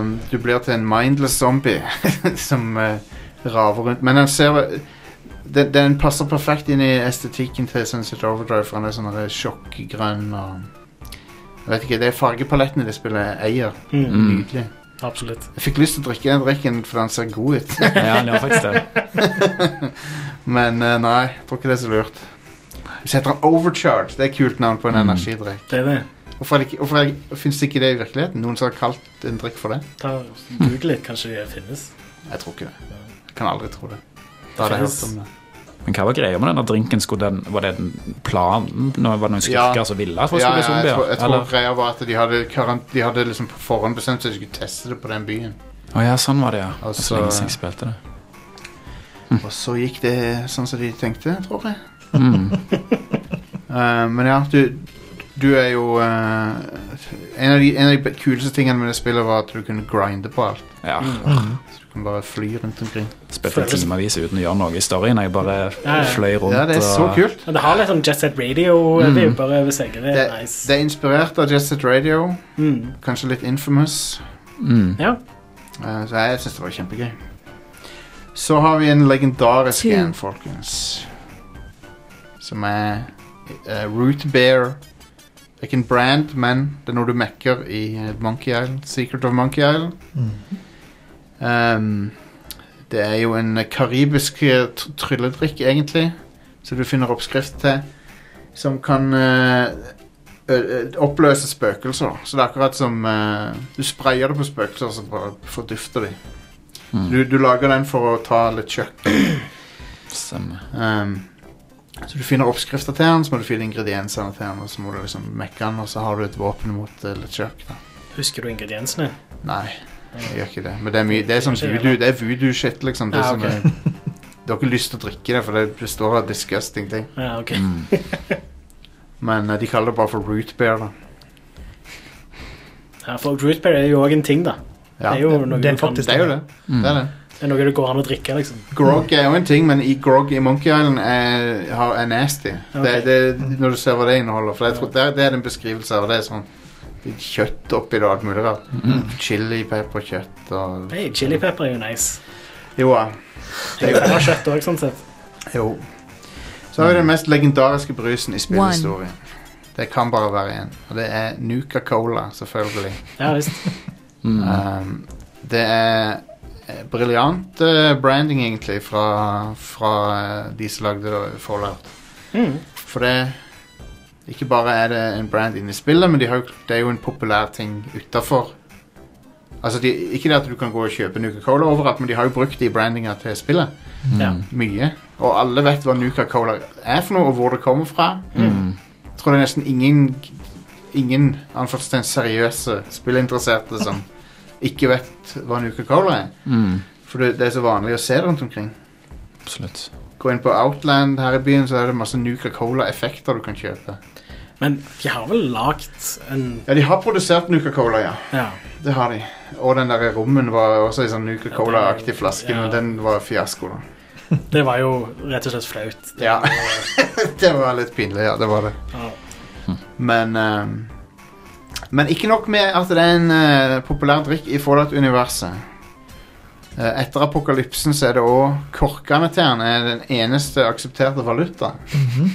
Speaker 1: Um, du blir til en mindless zombie som eh, raver rundt. Men den ser den, den passer perfekt inn i estetikken til Sunset Overdrive, for den er sånn der sjokkgrønn og Jeg vet ikke, Det er fargepaletten i det spillet jeg eier.
Speaker 2: Mm,
Speaker 3: Mm.
Speaker 1: Nydelig.
Speaker 2: absolutt.
Speaker 1: Jeg fikk lyst til å drikke den drikken, for den ser god ut.
Speaker 3: Ja, det var faktisk det.
Speaker 1: Men eh, nei, jeg tror ikke det er så lurt. Så heter han Overcharge. Det er et kult navn på en
Speaker 3: Mm.
Speaker 1: energidrikk.
Speaker 2: Det er det.
Speaker 1: Hvorfor, er det ikke- hvorfor er det- finnes det ikke det i virkeligheten? Noen som har kalt en drikk for det?
Speaker 2: Ta Google litt, kanskje det finnes.
Speaker 1: Jeg tror ikke det. Jeg kan aldri tro det. Da
Speaker 2: Det
Speaker 1: hadde jeg
Speaker 2: finnes-
Speaker 1: hørt om det.
Speaker 3: Men hva var greia med den der drinken? Skulle den, var det den planen? Nå var det noen skurker
Speaker 1: Ja.
Speaker 3: som ville at
Speaker 1: Ja,
Speaker 3: folk
Speaker 1: ja,
Speaker 3: skulle bli
Speaker 1: jeg
Speaker 3: zombier?
Speaker 1: tror, jeg tror
Speaker 3: eller?
Speaker 1: greia var at de hadde, karan- de hadde liksom på forhånd bestemt seg de skulle teste det på den byen.
Speaker 3: Å ja, sånn var det, ja. Det var
Speaker 1: Altså-
Speaker 3: så lenge siden jeg spilte det.
Speaker 1: Og så gikk det sånn som de tenkte, tror jeg.
Speaker 3: Mm.
Speaker 1: Eh, men ja, du, du er jo eh, en, av de, en av de kuleste tingene med det spillet var at du kunne grinde på alt.
Speaker 3: Ja.
Speaker 2: Hmm.
Speaker 4: Mm.
Speaker 1: Du kunne bare fly rundt omkring.
Speaker 3: Spilte
Speaker 2: Føles-
Speaker 3: timevis uten å gjøre noe i storyen. Jeg bare
Speaker 2: Ja, ja.
Speaker 3: fløy rundt.
Speaker 1: Ja, det er så
Speaker 3: og-
Speaker 1: kult.
Speaker 2: Men det har litt sånn Jet Set Radio-vibber over seg. Det
Speaker 1: Mm. Det,
Speaker 2: er nice.
Speaker 1: det er inspirert av Jet Set Radio,
Speaker 2: Mm.
Speaker 1: kanskje litt Infamous.
Speaker 3: Mm.
Speaker 2: Ja.
Speaker 1: Eh, så jeg syns det var kjempegøy. Så har vi en legendarisk
Speaker 6: Two.
Speaker 1: en, folkens. Som er eh, Root Bear. Det er ikke en brand, men det er noe du mekker i eh, Monkey Island. Secret of Monkey Island.
Speaker 4: Mm.
Speaker 1: Ehm, Det er jo en eh, karibisk eh, tr- trylledrikk, egentlig, som du finner oppskrift til, som kan eh, ø- ø- oppløse spøkelser. Så det er akkurat som eh, Du sprayer det på spøkelser, så bare fordufter de.
Speaker 3: Mm.
Speaker 1: Du, du lager den for å ta litt kjøkk.
Speaker 3: Stemmer.
Speaker 1: Ehm, så du finner oppskrifter til den, så må du finne ingrediensene til den, og så må du liksom mekke den, og så har du et våpen mot uh, LeChuck. da.
Speaker 2: Husker du ingrediensene?
Speaker 1: Nei, jeg gjør ikke det. Men det er, mye, det er sånn
Speaker 2: Ikke
Speaker 1: voodoo- det er voodoo-shit, liksom. Det
Speaker 2: Ja,
Speaker 1: som
Speaker 2: ok.
Speaker 1: er, eh, du har ikke lyst til å drikke det, for det består av disgusting ting.
Speaker 2: Ja, ok.
Speaker 3: Mm.
Speaker 1: Men eh, de kaller det bare for root beer, da.
Speaker 2: Ja, for root beer er jo òg en ting, da.
Speaker 1: Ja,
Speaker 2: det er jo
Speaker 4: det-
Speaker 2: noe
Speaker 4: det
Speaker 2: du
Speaker 4: er
Speaker 2: kan-
Speaker 4: faktisk-
Speaker 1: det er jo det.
Speaker 3: Mm.
Speaker 1: det, er det.
Speaker 2: det er noe det går an å drikke, liksom.
Speaker 1: Grog er jo en ting, men i grog i Monkey Island er, har- er nasty. Det, det, når du ser hva det inneholder. For jeg tror, det, det er en beskrivelse av det. er sånn litt Kjøtt oppi det og alt mulig rart.
Speaker 3: Mm.
Speaker 1: Chili, pepperkjøtt og
Speaker 2: Hey, chili pepper er jo nice.
Speaker 1: Jo ja.
Speaker 2: Det er jo bra kjøtt òg, sånn sett.
Speaker 1: Jo. Så har vi den mest legendariske brusen i spillhistorien. Det kan bare være én. Og det er Nuka Cola, selvfølgelig.
Speaker 2: Ja visst.
Speaker 3: Mm.
Speaker 1: Um, det er eh, briljant eh, branding, egentlig, fra, fra eh, de som lagde Fallout.
Speaker 2: Mm.
Speaker 1: For det Ikke bare er det en brand inne i spillet, men de har, jo- det er jo en populær ting utafor. Altså, de, ikke det at du kan gå og kjøpe Nuka Cola overalt, men de har jo brukt det i brandinga til spillet.
Speaker 3: Mm.
Speaker 2: Ja.
Speaker 1: Mye. Og alle vet hva Nuka Cola er for noe, og hvor det kommer fra.
Speaker 3: Mm.
Speaker 1: Jeg tror det er nesten ingen Ingen anførselstegn seriøse spillinteresserte som ikke vet hva Nuka Cola er.
Speaker 3: Mm.
Speaker 1: For det, det er så vanlig å se det rundt omkring.
Speaker 3: Absolutt.
Speaker 1: Gå inn på Outland her i byen, så er det masse Nuka Cola-effekter du kan kjøpe.
Speaker 2: Men de har vel lagd en
Speaker 1: Ja, de har produsert Nuka Cola, ja.
Speaker 2: Ja.
Speaker 1: Det har de. Og den der rommen var også en sånn Nuka Cola-aktig flaske,
Speaker 2: Ja.
Speaker 1: men den var fiasko, da.
Speaker 2: Det var jo rett og slett flaut.
Speaker 1: Ja. det var litt pinlig, ja. Det var det.
Speaker 2: Ja.
Speaker 1: Men ehm, Men ikke nok med at det er en eh, populær drikk i Fallout-universet. Eh, etter apokalypsen så er det òg korkene til den er den eneste aksepterte valuta.
Speaker 4: Mhm.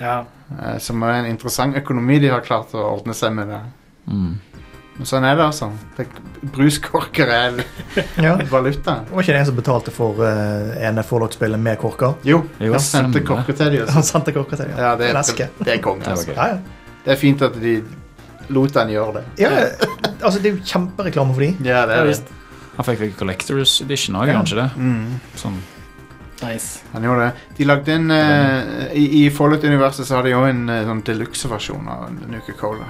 Speaker 2: ja.
Speaker 1: eh, som er en interessant økonomi de har klart å ordne seg med det.
Speaker 3: Mm.
Speaker 1: Men sånn er det, altså. Det, bruskorker er
Speaker 4: Ja.
Speaker 1: en valuta.
Speaker 4: Det var ikke det en som betalte for eh, ene Fallout-spillet med korker.
Speaker 1: Jo,
Speaker 3: Jo,
Speaker 1: jeg sendte
Speaker 3: stemmer.
Speaker 1: korker til dem.
Speaker 4: Han sendte korker til
Speaker 1: Ja, det,
Speaker 4: Flaske.
Speaker 1: det, det er konge.
Speaker 3: Det var
Speaker 1: Altså.
Speaker 3: gøy.
Speaker 4: Ja, ja.
Speaker 1: Det er fint at de lot han gjøre det.
Speaker 4: ja, altså, det er jo kjempereklame for de.
Speaker 1: Ja, det
Speaker 2: Ja,
Speaker 1: er det.
Speaker 2: visst.
Speaker 3: Han fikk vel Collectors Edition òg,
Speaker 4: Ja.
Speaker 3: kanskje det?
Speaker 1: Mm,
Speaker 3: Sånn.
Speaker 2: Nice.
Speaker 1: han gjorde det. De lagde en eh, I, i Fallout-universet så har de òg en eh, sånn deluxe-versjon av Nuka Cola.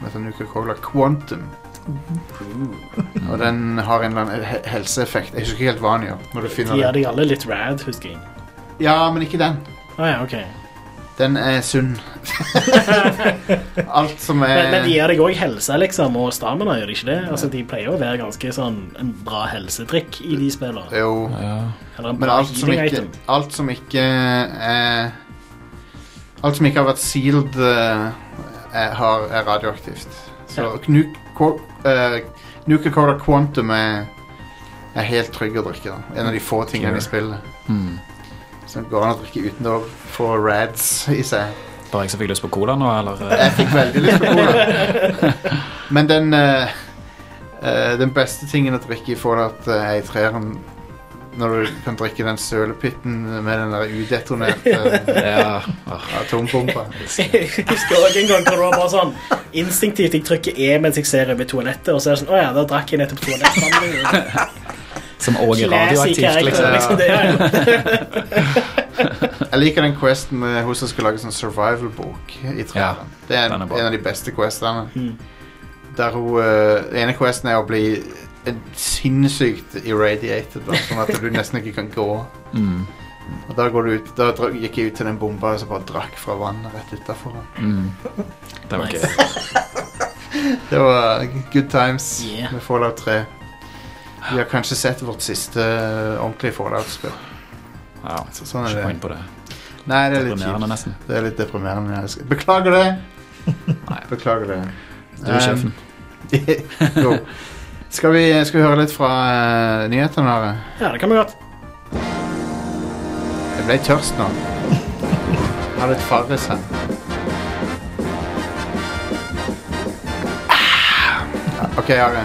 Speaker 1: Som heter Nuka Cola Quantum.
Speaker 2: Mm.
Speaker 3: Mm.
Speaker 1: Og den har en eller annen he- helseeffekt. Jeg husker ikke helt hva den gjør. Når du
Speaker 2: De gjør
Speaker 1: finner den.
Speaker 2: de alle litt rad, husker jeg.
Speaker 1: Ja, men ikke den.
Speaker 2: Å ja, ok.
Speaker 1: Den er sunn. Alt som
Speaker 2: Men, men de
Speaker 1: er
Speaker 2: gir deg òg helse, liksom, og stamina, gjør de ikke det? Altså, De pleier å være ganske sånn en bra helsetrikk i de spillene.
Speaker 1: Jo.
Speaker 3: Ja.
Speaker 2: Eller en
Speaker 1: Men
Speaker 2: bra
Speaker 1: alt som
Speaker 2: healing
Speaker 1: ikke
Speaker 2: item.
Speaker 1: Alt som ikke er Alt som ikke har vært sealed eh, er, har, er radioaktivt. Så
Speaker 2: Ja.
Speaker 1: nu- ko- eh, Nuka Cola Quantum er, er helt trygg å drikke. Da. En av de få tingene i spillet
Speaker 3: Mm.
Speaker 1: som går an å drikke uten å få rads i seg.
Speaker 3: Bare jeg som fikk lyst på cola nå, eller? eh,
Speaker 1: Jeg fikk veldig lyst på cola. Men den eh, eh, Den beste tingen å drikke i Fallout eh, er i treeren når du kan drikke den sølepytten med den der udetonerte
Speaker 3: Ja. Ah,
Speaker 1: atombomba.
Speaker 2: Jeg husker også en gang hvor det var bare sånn instinktivt jeg trykker E mens jeg ser over toalettet, og så er det sånn Å ja, da drakk jeg nettopp toalettvannet.
Speaker 3: Som òg er
Speaker 2: Classy
Speaker 3: radioaktivt,
Speaker 2: character,
Speaker 3: liksom.
Speaker 2: liksom. Det er jo
Speaker 1: Jeg liker den questen med hun som skulle lage sånn survival-bok i treeren. det er, en,
Speaker 3: den er bra.
Speaker 1: en av de beste questene.
Speaker 2: Mm.
Speaker 1: Der hun eh, Den ene questen er å bli en sinnssykt irradiated, da, sånn at du nesten ikke kan gå.
Speaker 3: Mm.
Speaker 1: Og da, går du ut, da dra- gikk jeg ut til den bomba og så bare drakk fra vannet rett utafor.
Speaker 3: Mm. Det var gøy.
Speaker 1: Det var good times
Speaker 2: Yeah.
Speaker 1: med Fallout 3. Vi har kanskje sett vårt siste eh, ordentlige Fallout-spill.
Speaker 3: Ja,
Speaker 1: Så sånn
Speaker 3: ikke
Speaker 1: er
Speaker 3: poeng
Speaker 1: det.
Speaker 3: på det.
Speaker 1: Nei, det er litt
Speaker 3: Deprimerende,
Speaker 1: kjipt.
Speaker 3: nesten.
Speaker 1: Det er litt deprimerende. jeg skal- Beklager det!
Speaker 3: Nei.
Speaker 1: Beklager det.
Speaker 3: Du er sjefen.
Speaker 1: Um, jo. skal, vi, skal vi høre litt fra eh, nyhetene? Are?
Speaker 2: Ja, det kan vi godt.
Speaker 1: Jeg ble tørst nå. Jeg har litt farris her. Ah! Ja, OK, Are.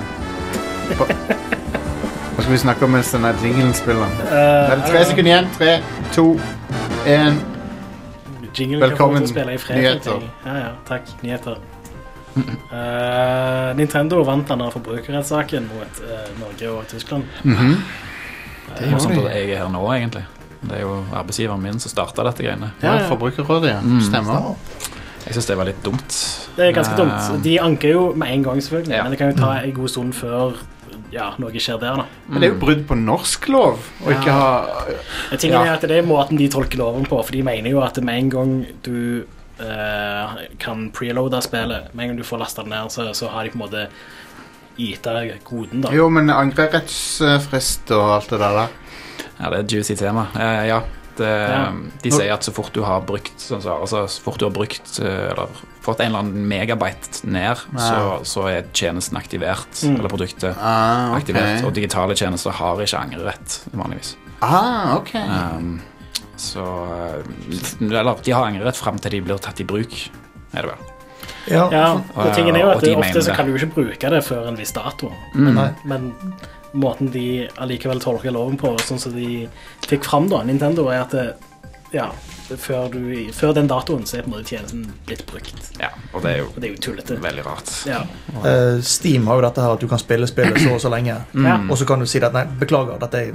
Speaker 1: På, Hva skal vi snakke om mens denne jinglen spiller? Det
Speaker 2: Eh,
Speaker 1: er tre sekunder igjen. Tre, to, én.
Speaker 2: Jingle
Speaker 1: Velkommen,
Speaker 2: Velkommen. Til å spille i fred,
Speaker 1: nyheter.
Speaker 2: tenker jeg. Ja, ja, takk. Nyheter. Eh, Nintendo vant denne forbrukerrettssaken mot eh, Norge og Tyskland.
Speaker 1: Mhm.
Speaker 3: Det er jo sånn at jeg er her nå, egentlig. Det er jo arbeidsgiveren min som starta dette greiene.
Speaker 1: Ja,
Speaker 2: Ja, ja.
Speaker 1: Forbrukerrådet, ja.
Speaker 3: Mm.
Speaker 1: Stemmer.
Speaker 4: Ja.
Speaker 3: Jeg syns det var litt dumt.
Speaker 2: Det er ganske dumt.
Speaker 3: Eh,
Speaker 2: De anker jo med en gang, selvfølgelig,
Speaker 3: Ja.
Speaker 2: men det kan jo ta en god stund før ja, noe skjer der. da.
Speaker 1: Men det er jo brudd på norsk lov å ikke ha
Speaker 2: Jeg tenker
Speaker 1: Ja.
Speaker 2: at Det er måten de tolker loven på, for de mener jo at med en gang du eh, kan preloade spillet, med en gang du får lasta det ned, så, så har de på en måte gitt deg koden, da.
Speaker 1: Jo, men angrerettsfrist og alt det der. da.
Speaker 3: Mm. Ja, det er et juicy tema. Eh, ja, det,
Speaker 2: Ja.
Speaker 3: De sier at så fort du har brukt sånn som Are sa, så fort du har brukt eh, eller fått en eller annen megabyte ned,
Speaker 1: Ja.
Speaker 3: så, så er tjenesten aktivert,
Speaker 2: Mm.
Speaker 3: eller produktet
Speaker 1: Ah, ok.
Speaker 3: aktivert. Og digitale tjenester har ikke angrerett, vanligvis.
Speaker 1: Ah, ok.
Speaker 3: Um, så eh, Eller de har angrerett fram til de blir tatt i bruk, er det vel.
Speaker 4: Ja.
Speaker 2: Ja, og tingen er jo
Speaker 3: Og
Speaker 2: at
Speaker 3: de mener
Speaker 2: ofte så
Speaker 3: det.
Speaker 2: kan du jo ikke bruke det før en viss dato.
Speaker 3: Mm.
Speaker 4: Nei.
Speaker 2: Men måten de allikevel tolker loven på, sånn som de fikk fram da, Nintendo, er at det, ja, før, du, før den datoen så er på en måte tjenesten blitt brukt.
Speaker 3: Ja, og det er jo
Speaker 2: Og det er jo tullete.
Speaker 3: veldig rart.
Speaker 2: Ja.
Speaker 3: Mm.
Speaker 4: Eh, Steam har jo dette her at du kan spille spillet så og så lenge,
Speaker 2: Ja.
Speaker 3: Mm.
Speaker 4: og så kan du si at nei, beklager, dette er-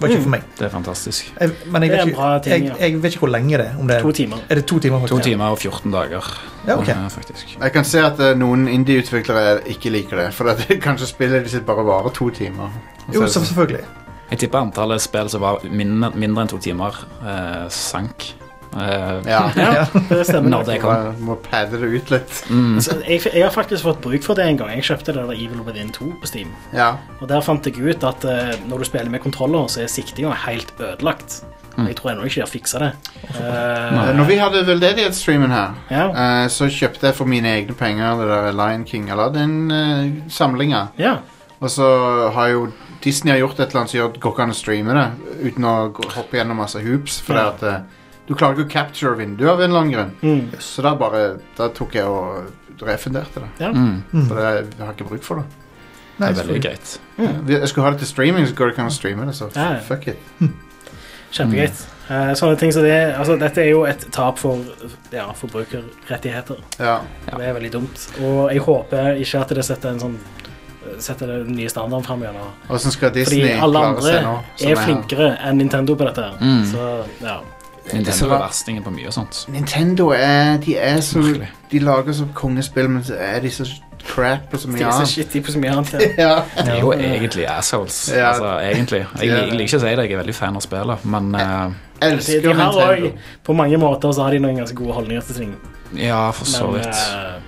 Speaker 4: var
Speaker 1: Mm.
Speaker 4: ikke for meg.
Speaker 3: Det er fantastisk.
Speaker 4: Jeg, men jeg
Speaker 2: Det er
Speaker 4: vet,
Speaker 2: en bra
Speaker 4: ikke,
Speaker 2: ting,
Speaker 4: jeg, jeg vet ikke hvor lenge det er. Om det
Speaker 2: To
Speaker 4: er,
Speaker 2: timer.
Speaker 4: er det to timer?
Speaker 3: To
Speaker 4: faktisk?
Speaker 3: timer og 14 dager,
Speaker 4: Ja, ok.
Speaker 1: Mm-hmm.
Speaker 3: eh, faktisk.
Speaker 1: Jeg kan se at eh, noen indie-utviklere ikke liker det. For at kanskje spillet de sitt bare varer to timer. Og så
Speaker 4: Jo,
Speaker 1: er det
Speaker 4: så-
Speaker 1: sånn,
Speaker 4: selvfølgelig.
Speaker 3: Jeg tipper antallet spill som var mindre, mindre enn to timer, eh, sank. Eh,
Speaker 1: ja,
Speaker 2: Ja, det
Speaker 3: Når
Speaker 2: stemmer.
Speaker 3: det kom.
Speaker 1: bare må padde det ut litt.
Speaker 3: mm.
Speaker 2: Så jeg, jeg har faktisk fått bruk for det en gang. Jeg kjøpte det der Evil Within 2 på Steam.
Speaker 1: Ja.
Speaker 2: Og Der fant jeg ut at eh, når du spiller med kontroller, så er siktinga helt ødelagt. Jeg tror ennå ikke de har fiksa det.
Speaker 1: Eh,
Speaker 2: Eh,
Speaker 1: Når vi hadde veldedighetsstreamen her,
Speaker 2: ja.
Speaker 1: eh, så kjøpte jeg for mine egne penger det der Lion King eh, Aladdin-samlinga.
Speaker 2: ja.
Speaker 1: Og så har jo Disney har gjort et eller annet som gjør at det går ikke an å streame det uten å gå- hoppe gjennom masse hoops. For
Speaker 2: Ja.
Speaker 1: at, eh, du klarer ikke å capture vinduet av en eller annen grunn.
Speaker 2: Mm.
Speaker 1: Så da bare Da tok jeg og refunderte det.
Speaker 3: Mm,
Speaker 4: Mm.
Speaker 1: For jeg, jeg har ikke bruk for det.
Speaker 3: det
Speaker 4: Nei,
Speaker 3: er
Speaker 4: selvfølgelig.
Speaker 3: veldig greit.
Speaker 1: Vi- Jeg skulle ha det til streaming, så går det ikke an å streame det. Så f-
Speaker 2: Ja, ja.
Speaker 1: fuck it.
Speaker 2: Kjempegøy. Eh, sånne ting som det altså, Dette er jo et tap for ja, forbrukerrettigheter.
Speaker 1: Ja.
Speaker 3: Ja.
Speaker 2: Det er veldig dumt. Og jeg håper ikke at det setter en sånn Setter den nye standarden fram igjen. da.
Speaker 1: Åssen skal
Speaker 2: Fordi
Speaker 1: Disney
Speaker 2: alle
Speaker 1: klare
Speaker 2: andre
Speaker 1: seg nå? som
Speaker 2: er
Speaker 1: her?
Speaker 2: flinkere enn Nintendo på dette. her.
Speaker 3: Mm.
Speaker 2: Så ja.
Speaker 1: Disse
Speaker 3: Nintendo
Speaker 1: var-
Speaker 3: er verstingen på mye og sånt.
Speaker 1: Nintendo er De er så
Speaker 3: Merkelig.
Speaker 1: De lager så kongespill, men så er de så crap og så
Speaker 2: De
Speaker 1: mye
Speaker 2: er så
Speaker 1: annet.
Speaker 2: shitty på så mye annet. ja.
Speaker 1: Ja.
Speaker 3: De er jo egentlig assholes.
Speaker 1: Ja.
Speaker 3: Altså, egentlig. Jeg,
Speaker 1: Ja.
Speaker 3: jeg liker ikke å si det, jeg er veldig fan av spillet, men eh,
Speaker 2: De,
Speaker 1: Elsker
Speaker 2: de har
Speaker 1: Nintendo.
Speaker 2: også- på mange måter så har de noen ganske gode holdninger til ting.
Speaker 3: ja, for så
Speaker 2: Men
Speaker 3: vidt.
Speaker 2: eh,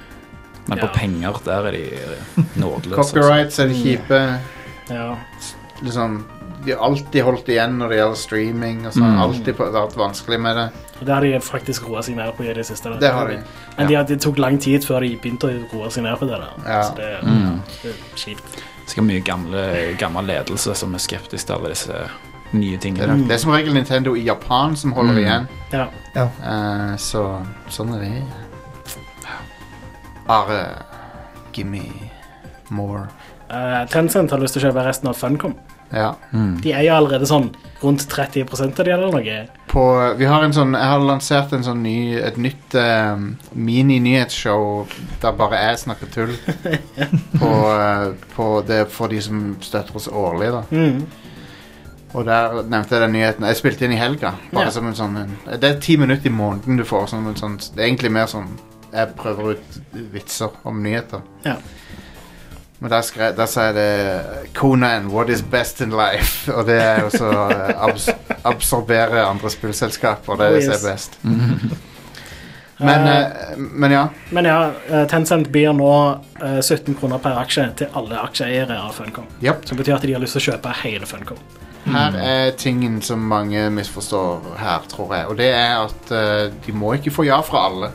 Speaker 3: Men på
Speaker 2: ja.
Speaker 3: penger, der er de nådeløse. altså.
Speaker 1: Copyrights er det kjipe.
Speaker 2: ja.
Speaker 1: Liksom, de har alltid holdt igjen når det gjelder streaming. Og sånn.
Speaker 3: Mm.
Speaker 1: Alltid på- det har vært vanskelig med det.
Speaker 2: Og det har de faktisk roa seg ned på i det siste. da.
Speaker 1: Det har de.
Speaker 2: Men de, har- det tok lang tid før de begynte å roe seg ned på det. der.
Speaker 1: Ja.
Speaker 2: Så det,
Speaker 3: Mm.
Speaker 2: det er kjipt.
Speaker 3: Sikkert mye gamle, gammel ledelse som er skeptisk til alle disse nye
Speaker 1: Det er,
Speaker 3: tingene.
Speaker 1: nok, det er som regel Nintendo i Japan som holder
Speaker 3: Mm.
Speaker 1: igjen.
Speaker 2: Ja.
Speaker 1: Eh, så sånn er det. Are, gimme more.
Speaker 2: Eh, Tencent har lyst til å kjøpe resten av Funcom.
Speaker 1: Ja.
Speaker 3: Mm.
Speaker 2: De eier allerede sånn rundt 30 av de eller noe.
Speaker 1: På, vi har en sånn, jeg har lansert en sånn ny, et nytt eh, mini-nyhetsshow der bare jeg snakker tull. på, eh, på det for de som støtter oss årlig, da.
Speaker 2: Mm.
Speaker 1: Og der nevnte jeg den nyheten. Jeg spilte inn i helga. Bare
Speaker 2: Ja.
Speaker 1: som en sånn en, Det er ti minutter i måneden du får. Som en sånn, det er egentlig mer sånn Jeg prøver ut vitser om nyheter.
Speaker 2: Ja.
Speaker 1: Men der, skre, der sa jeg det Conan, what is best in life? Og det er jo så eh, abs absorbere andre spillselskaper. Det er
Speaker 2: Oh,
Speaker 1: det som
Speaker 2: yes.
Speaker 1: er best. Men, eh, men ja.
Speaker 2: Men ja, eh, Tencent byr nå eh, 17 kroner per aksje til alle aksjeeiere av Funcom.
Speaker 1: Japp.
Speaker 2: Som betyr at de har lyst til å kjøpe hele Funcom.
Speaker 1: Her er tingen som mange misforstår her, tror jeg. Og det er at eh, de må ikke få ja fra alle.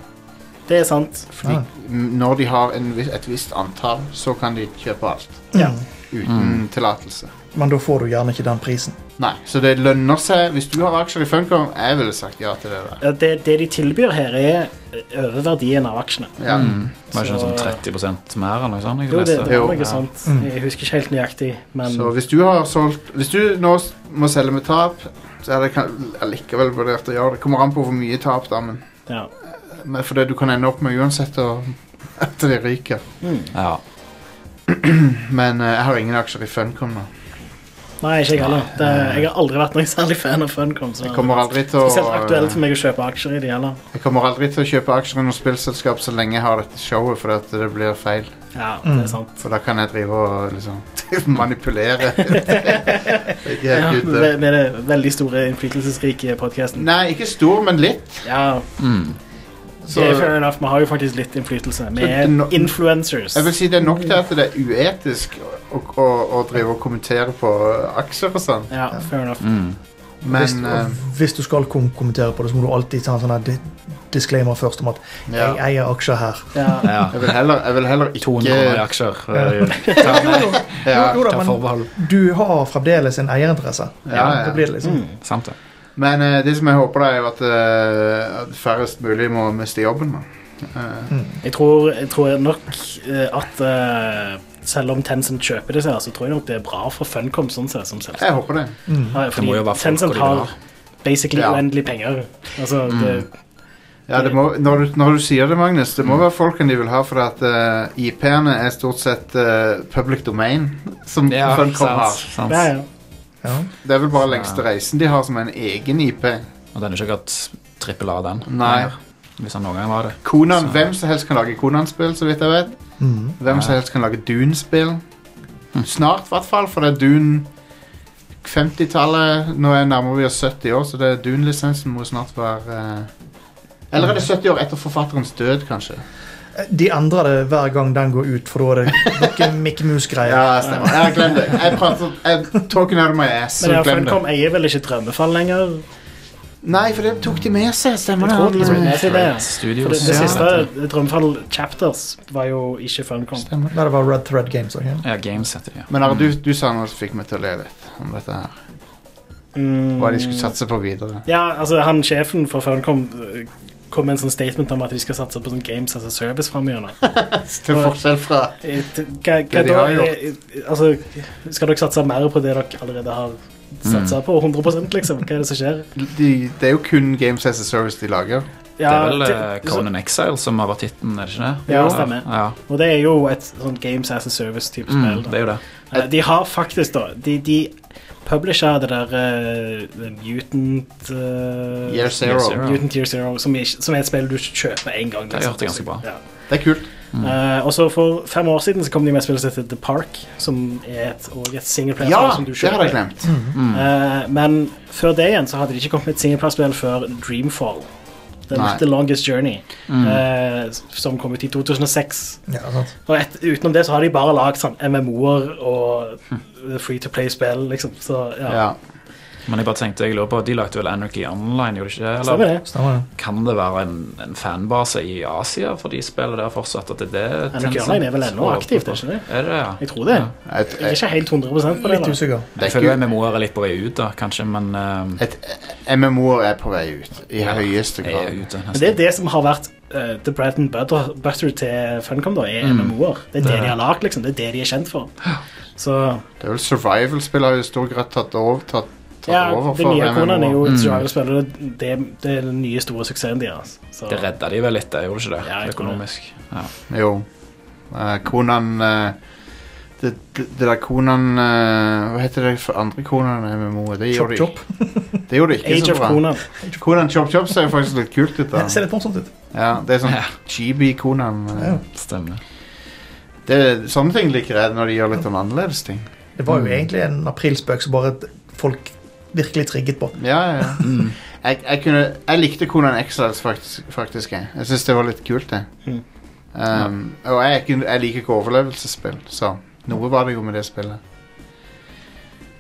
Speaker 2: Det er sant.
Speaker 1: Fordi
Speaker 4: Ah.
Speaker 1: m- når de har en, vis- et visst antall, så kan de kjøpe alt
Speaker 4: Ja.
Speaker 1: uten tillatelse.
Speaker 4: Mm. Men da får du gjerne ikke den prisen.
Speaker 1: Nei, så det lønner seg. Hvis du har aksjer i Funcom, jeg ville sagt ja til det der.
Speaker 2: Ja, Det, det de tilbyr her, er over verdien av aksjene.
Speaker 1: Ja.
Speaker 3: Mm. Var det ikke
Speaker 2: Så-
Speaker 3: noe sånn 30 mer eller noe sånt? jeg
Speaker 2: Jo, det,
Speaker 3: leste?
Speaker 2: det var
Speaker 1: Jo.
Speaker 2: noe sånt.
Speaker 4: Mm.
Speaker 2: Jeg husker ikke helt nøyaktig, men
Speaker 1: Så hvis du har solgt Hvis du nå s- må selge med tap, så er det kan- allikevel vurdert å gjøre det. Kommer an på hvor mye tap, da, men,
Speaker 2: ja.
Speaker 1: men for det du kan ende opp med uansett å, at de ryker.
Speaker 3: Ja.
Speaker 1: Men eh, jeg har ingen aksjer i Funcom nå.
Speaker 2: Nei, ikke jeg heller. Det, jeg har aldri vært noen særlig fan av Funcom. Så
Speaker 1: Jeg kommer aldri til å eh,
Speaker 2: Spesielt aktuelt for meg å kjøpe aksjer i de heller.
Speaker 1: Jeg kommer aldri til å kjøpe aksjer i noe spillselskap så lenge jeg har dette showet, for at det blir feil.
Speaker 2: Ja, det
Speaker 4: Mm.
Speaker 2: er sant.
Speaker 1: For da kan jeg drive og liksom manipulere. det er ikke
Speaker 2: Ja,
Speaker 1: helt ute.
Speaker 2: med, med det veldig store, innflytelsesrike podkasten.
Speaker 1: Nei, ikke stor, men litt.
Speaker 2: Ja,
Speaker 3: Mm.
Speaker 1: Så
Speaker 2: det er fair enough. Vi har jo faktisk litt innflytelse. Vi
Speaker 1: Så
Speaker 2: er
Speaker 1: det no-
Speaker 2: influencers.
Speaker 1: jeg vil si det er nok til at det er uetisk å, å, å drive og kommentere på aksjer og sånn,
Speaker 2: Ja, fair enough.
Speaker 3: Mm.
Speaker 1: men
Speaker 4: hvis,
Speaker 1: eh,
Speaker 4: og hvis du skal kom kommentere på det, så må du alltid ta en sånn her di disclaimer først om at
Speaker 1: ja.
Speaker 4: jeg eier aksjer her.
Speaker 2: Ja.
Speaker 3: Ja.
Speaker 1: Jeg vil heller, jeg vil heller ikke
Speaker 3: 200 kroner i aksjer. eh,
Speaker 4: Jo, jo, jo,
Speaker 1: Ja,
Speaker 4: jo da,
Speaker 3: Ta
Speaker 4: men
Speaker 3: forbehold.
Speaker 4: du har fremdeles en eierinteresse.
Speaker 1: ja, ja.
Speaker 4: Det blir det liksom.
Speaker 2: Mm.
Speaker 3: Sant det.
Speaker 1: Men eh, det som jeg håper, da, er jo at, eh, at færrest mulig må miste jobben. Da. Eh,
Speaker 2: Jeg tror, jeg tror nok eh, at eh, selv om Tencent kjøper disse, her, så tror jeg nok det er bra for Funcom. sånn sett, som selskap.
Speaker 1: jeg håper det.
Speaker 4: Mm.
Speaker 2: Ja, fordi
Speaker 3: må jo være folk
Speaker 2: Tencent
Speaker 3: og de Mm, vil
Speaker 2: har basically
Speaker 1: Ja.
Speaker 2: uendelig penger. Altså, det,
Speaker 1: Ja, det må, når, du, når du sier det, Magnus, det må
Speaker 3: Mm.
Speaker 1: være folkene de vil ha, for at eh, IP-ene er stort sett eh, public domain. Som
Speaker 3: Ja,
Speaker 1: Funcom har.
Speaker 3: sant.
Speaker 2: ja, ja.
Speaker 4: Ja.
Speaker 1: Det er vel bare lengste reisen de har som en egen IP.
Speaker 3: Og den er ikke akkurat trippel A, den.
Speaker 1: Nei.
Speaker 3: Hvis han noen gang var det.
Speaker 1: Conan,
Speaker 3: Så-
Speaker 1: Hvem som helst kan lage Konan-spill, så vidt jeg vet.
Speaker 4: Mm.
Speaker 1: Hvem som
Speaker 3: Ja. Hm.
Speaker 1: helst kan lage Dune-spill. Snart, i hvert fall, for det er Dune 50-tallet Nå er nærmer vi oss 70 år, så det er Dune-lisensen må snart være eh, Eller er det 70 år etter forfatterens død, kanskje?
Speaker 4: De endrer det hver gang den går ut, for da er det noe Mikke Mus-greier.
Speaker 1: Ja, stemmer. Ja, glem det. Jeg prater jeg, Talking out of my ass.
Speaker 2: Men ja,
Speaker 1: Så glem det.
Speaker 2: Funcom eier vel ikke Drømmefall lenger?
Speaker 1: Nei, for det tok de med seg. Stemmer
Speaker 2: Jeg tror de
Speaker 1: det?
Speaker 2: tok det med
Speaker 1: Han-
Speaker 2: seg. det.
Speaker 3: Great Studios.
Speaker 2: For det, det
Speaker 1: Ja.
Speaker 2: siste, Drømmefall Chapters, var jo ikke Funcom.
Speaker 1: Stemmer.
Speaker 4: Nei, det var Red Thread Games. ok?
Speaker 3: Ja, Games heter de. ja. Mm.
Speaker 1: Men Are, du, du sa noe som fikk meg til å le litt om dette her.
Speaker 2: Mm.
Speaker 1: Hva de skulle satse på videre.
Speaker 2: Ja, altså han sjefen for Funcom eh, kom med en sånn statement om at de skal satse på sånn games as a service framover. Eh,
Speaker 1: Til forskjell fra
Speaker 2: Hva, hva
Speaker 1: Det de
Speaker 2: da?
Speaker 1: har gjort.
Speaker 2: Eh, eh, Altså, skal dere satse mer på det dere allerede har
Speaker 3: Mm.
Speaker 2: satsa på? 100 liksom? Hva er det som skjer?
Speaker 1: de, Det er jo kun Games as a Service de lager.
Speaker 3: Det er
Speaker 2: Ja,
Speaker 3: vel eh,
Speaker 2: det-
Speaker 3: Conan Exile som har vært hitten, er det ikke det?
Speaker 2: Ja, det stemmer.
Speaker 3: Ja,
Speaker 2: Og det er jo et sånn games as a service-type
Speaker 3: mm,
Speaker 2: spill.
Speaker 3: det er
Speaker 2: Da.
Speaker 3: jo det.
Speaker 2: Eh, De har faktisk, da De, de publisher det der eh, The Mutant eh,
Speaker 1: Year
Speaker 3: Year
Speaker 1: Zero.
Speaker 3: Zero.
Speaker 2: Mutant Year Zero, som, er, som er et spill du kjøper én gang. liksom.
Speaker 3: Det har gjort det ganske bra.
Speaker 2: Ja.
Speaker 1: Det er kult.
Speaker 2: Eh, og så For fem år siden så kom de med spillet sitt The Park, som er et, og et singleplayerspill
Speaker 1: Ja,
Speaker 2: som du
Speaker 1: det hadde jeg
Speaker 2: kjøper.
Speaker 1: glemt.
Speaker 4: Mm.
Speaker 3: Mm.
Speaker 1: Mm.
Speaker 2: Eh, men før det igjen så hadde de ikke kommet med et singleplayerspill før Dreamfall. The,
Speaker 1: Nei. Mm.
Speaker 2: the Longest Journey,
Speaker 3: Mm.
Speaker 2: eh, som kom ut i 2006.
Speaker 4: Ja, sant.
Speaker 2: Og et, utenom det så har de bare lagd sånn MMO-er og free to play-spill, liksom. Så ja.
Speaker 1: Ja.
Speaker 3: Men jeg bare tenkte, jeg lurer på, de lagde vel Anarchy Online, gjorde de ikke det?
Speaker 2: Stemmer
Speaker 3: Eller
Speaker 2: det.
Speaker 4: Stemmer det.
Speaker 3: kan det være en, en fanbase i Asia for de spiller der fortsatt? At det er det
Speaker 2: Anarchy Online er vel ennå aktivt, er ikke det?
Speaker 3: Er det det, ja?
Speaker 2: Jeg tror det.
Speaker 1: Jeg,
Speaker 2: Jeg er
Speaker 1: jeg,
Speaker 2: ikke helt 100 på det.
Speaker 4: Litt
Speaker 2: da.
Speaker 4: usikker.
Speaker 1: det
Speaker 3: Jeg
Speaker 1: er
Speaker 3: føler
Speaker 1: ikke,
Speaker 3: MMO-er er litt på vei ut, da, kanskje, men eh,
Speaker 1: et MMO-er er på vei ut. I høyeste
Speaker 3: jeg er
Speaker 1: grad.
Speaker 3: ute
Speaker 2: Men det
Speaker 3: nesten.
Speaker 2: er det som har vært eh, The Bread and Butter, butter til Funcom, da, er
Speaker 1: Mm.
Speaker 2: MMO'er. Det er det de har lagd, liksom. Det er det de er kjent for. Så
Speaker 1: Det er vel survival-spill har jo i stor grad tatt over, tatt, tatt
Speaker 2: ja,
Speaker 1: over
Speaker 2: det
Speaker 1: for
Speaker 2: nye konaen er
Speaker 1: MMO.
Speaker 2: jo et survival-spill, og det, det, det er den nye store suksessen deres. Så,
Speaker 3: Det redda de vel litt, det gjorde ikke det?
Speaker 2: Ja, jeg tror det.
Speaker 3: Økonomisk. Ja.
Speaker 1: Jo. Eh, Conan eh, det, det det der Conan eh, Hva heter det for andre Conan MMO? Det
Speaker 4: Chop
Speaker 1: gjorde de,
Speaker 4: Chop.
Speaker 1: det gjorde de ikke
Speaker 2: Age
Speaker 1: så
Speaker 2: of
Speaker 1: bra.
Speaker 2: Conan.
Speaker 1: Conan Chop Chop ser jo faktisk litt kult ut.
Speaker 4: Det ser
Speaker 1: da
Speaker 4: litt morsomt ut.
Speaker 1: ja, Det er sånn
Speaker 3: Ja.
Speaker 1: GB-Conan.
Speaker 4: Ja.
Speaker 3: Stemmer.
Speaker 1: Sånne ting liker jeg når de gjør litt sånn annerledes ting.
Speaker 4: Det var jo
Speaker 1: Mm.
Speaker 4: egentlig en aprilspøk som bare folk virkelig trigget på.
Speaker 1: Ja, ja, ja. Jeg, jeg, kunne, jeg likte Conan Exiles faktisk. faktisk jeg jeg syns det var litt kult, det.
Speaker 2: Mhm.
Speaker 1: Um, og jeg, er ikke- jeg liker ikke overlevelsesspill, så noe var det jo med det spillet.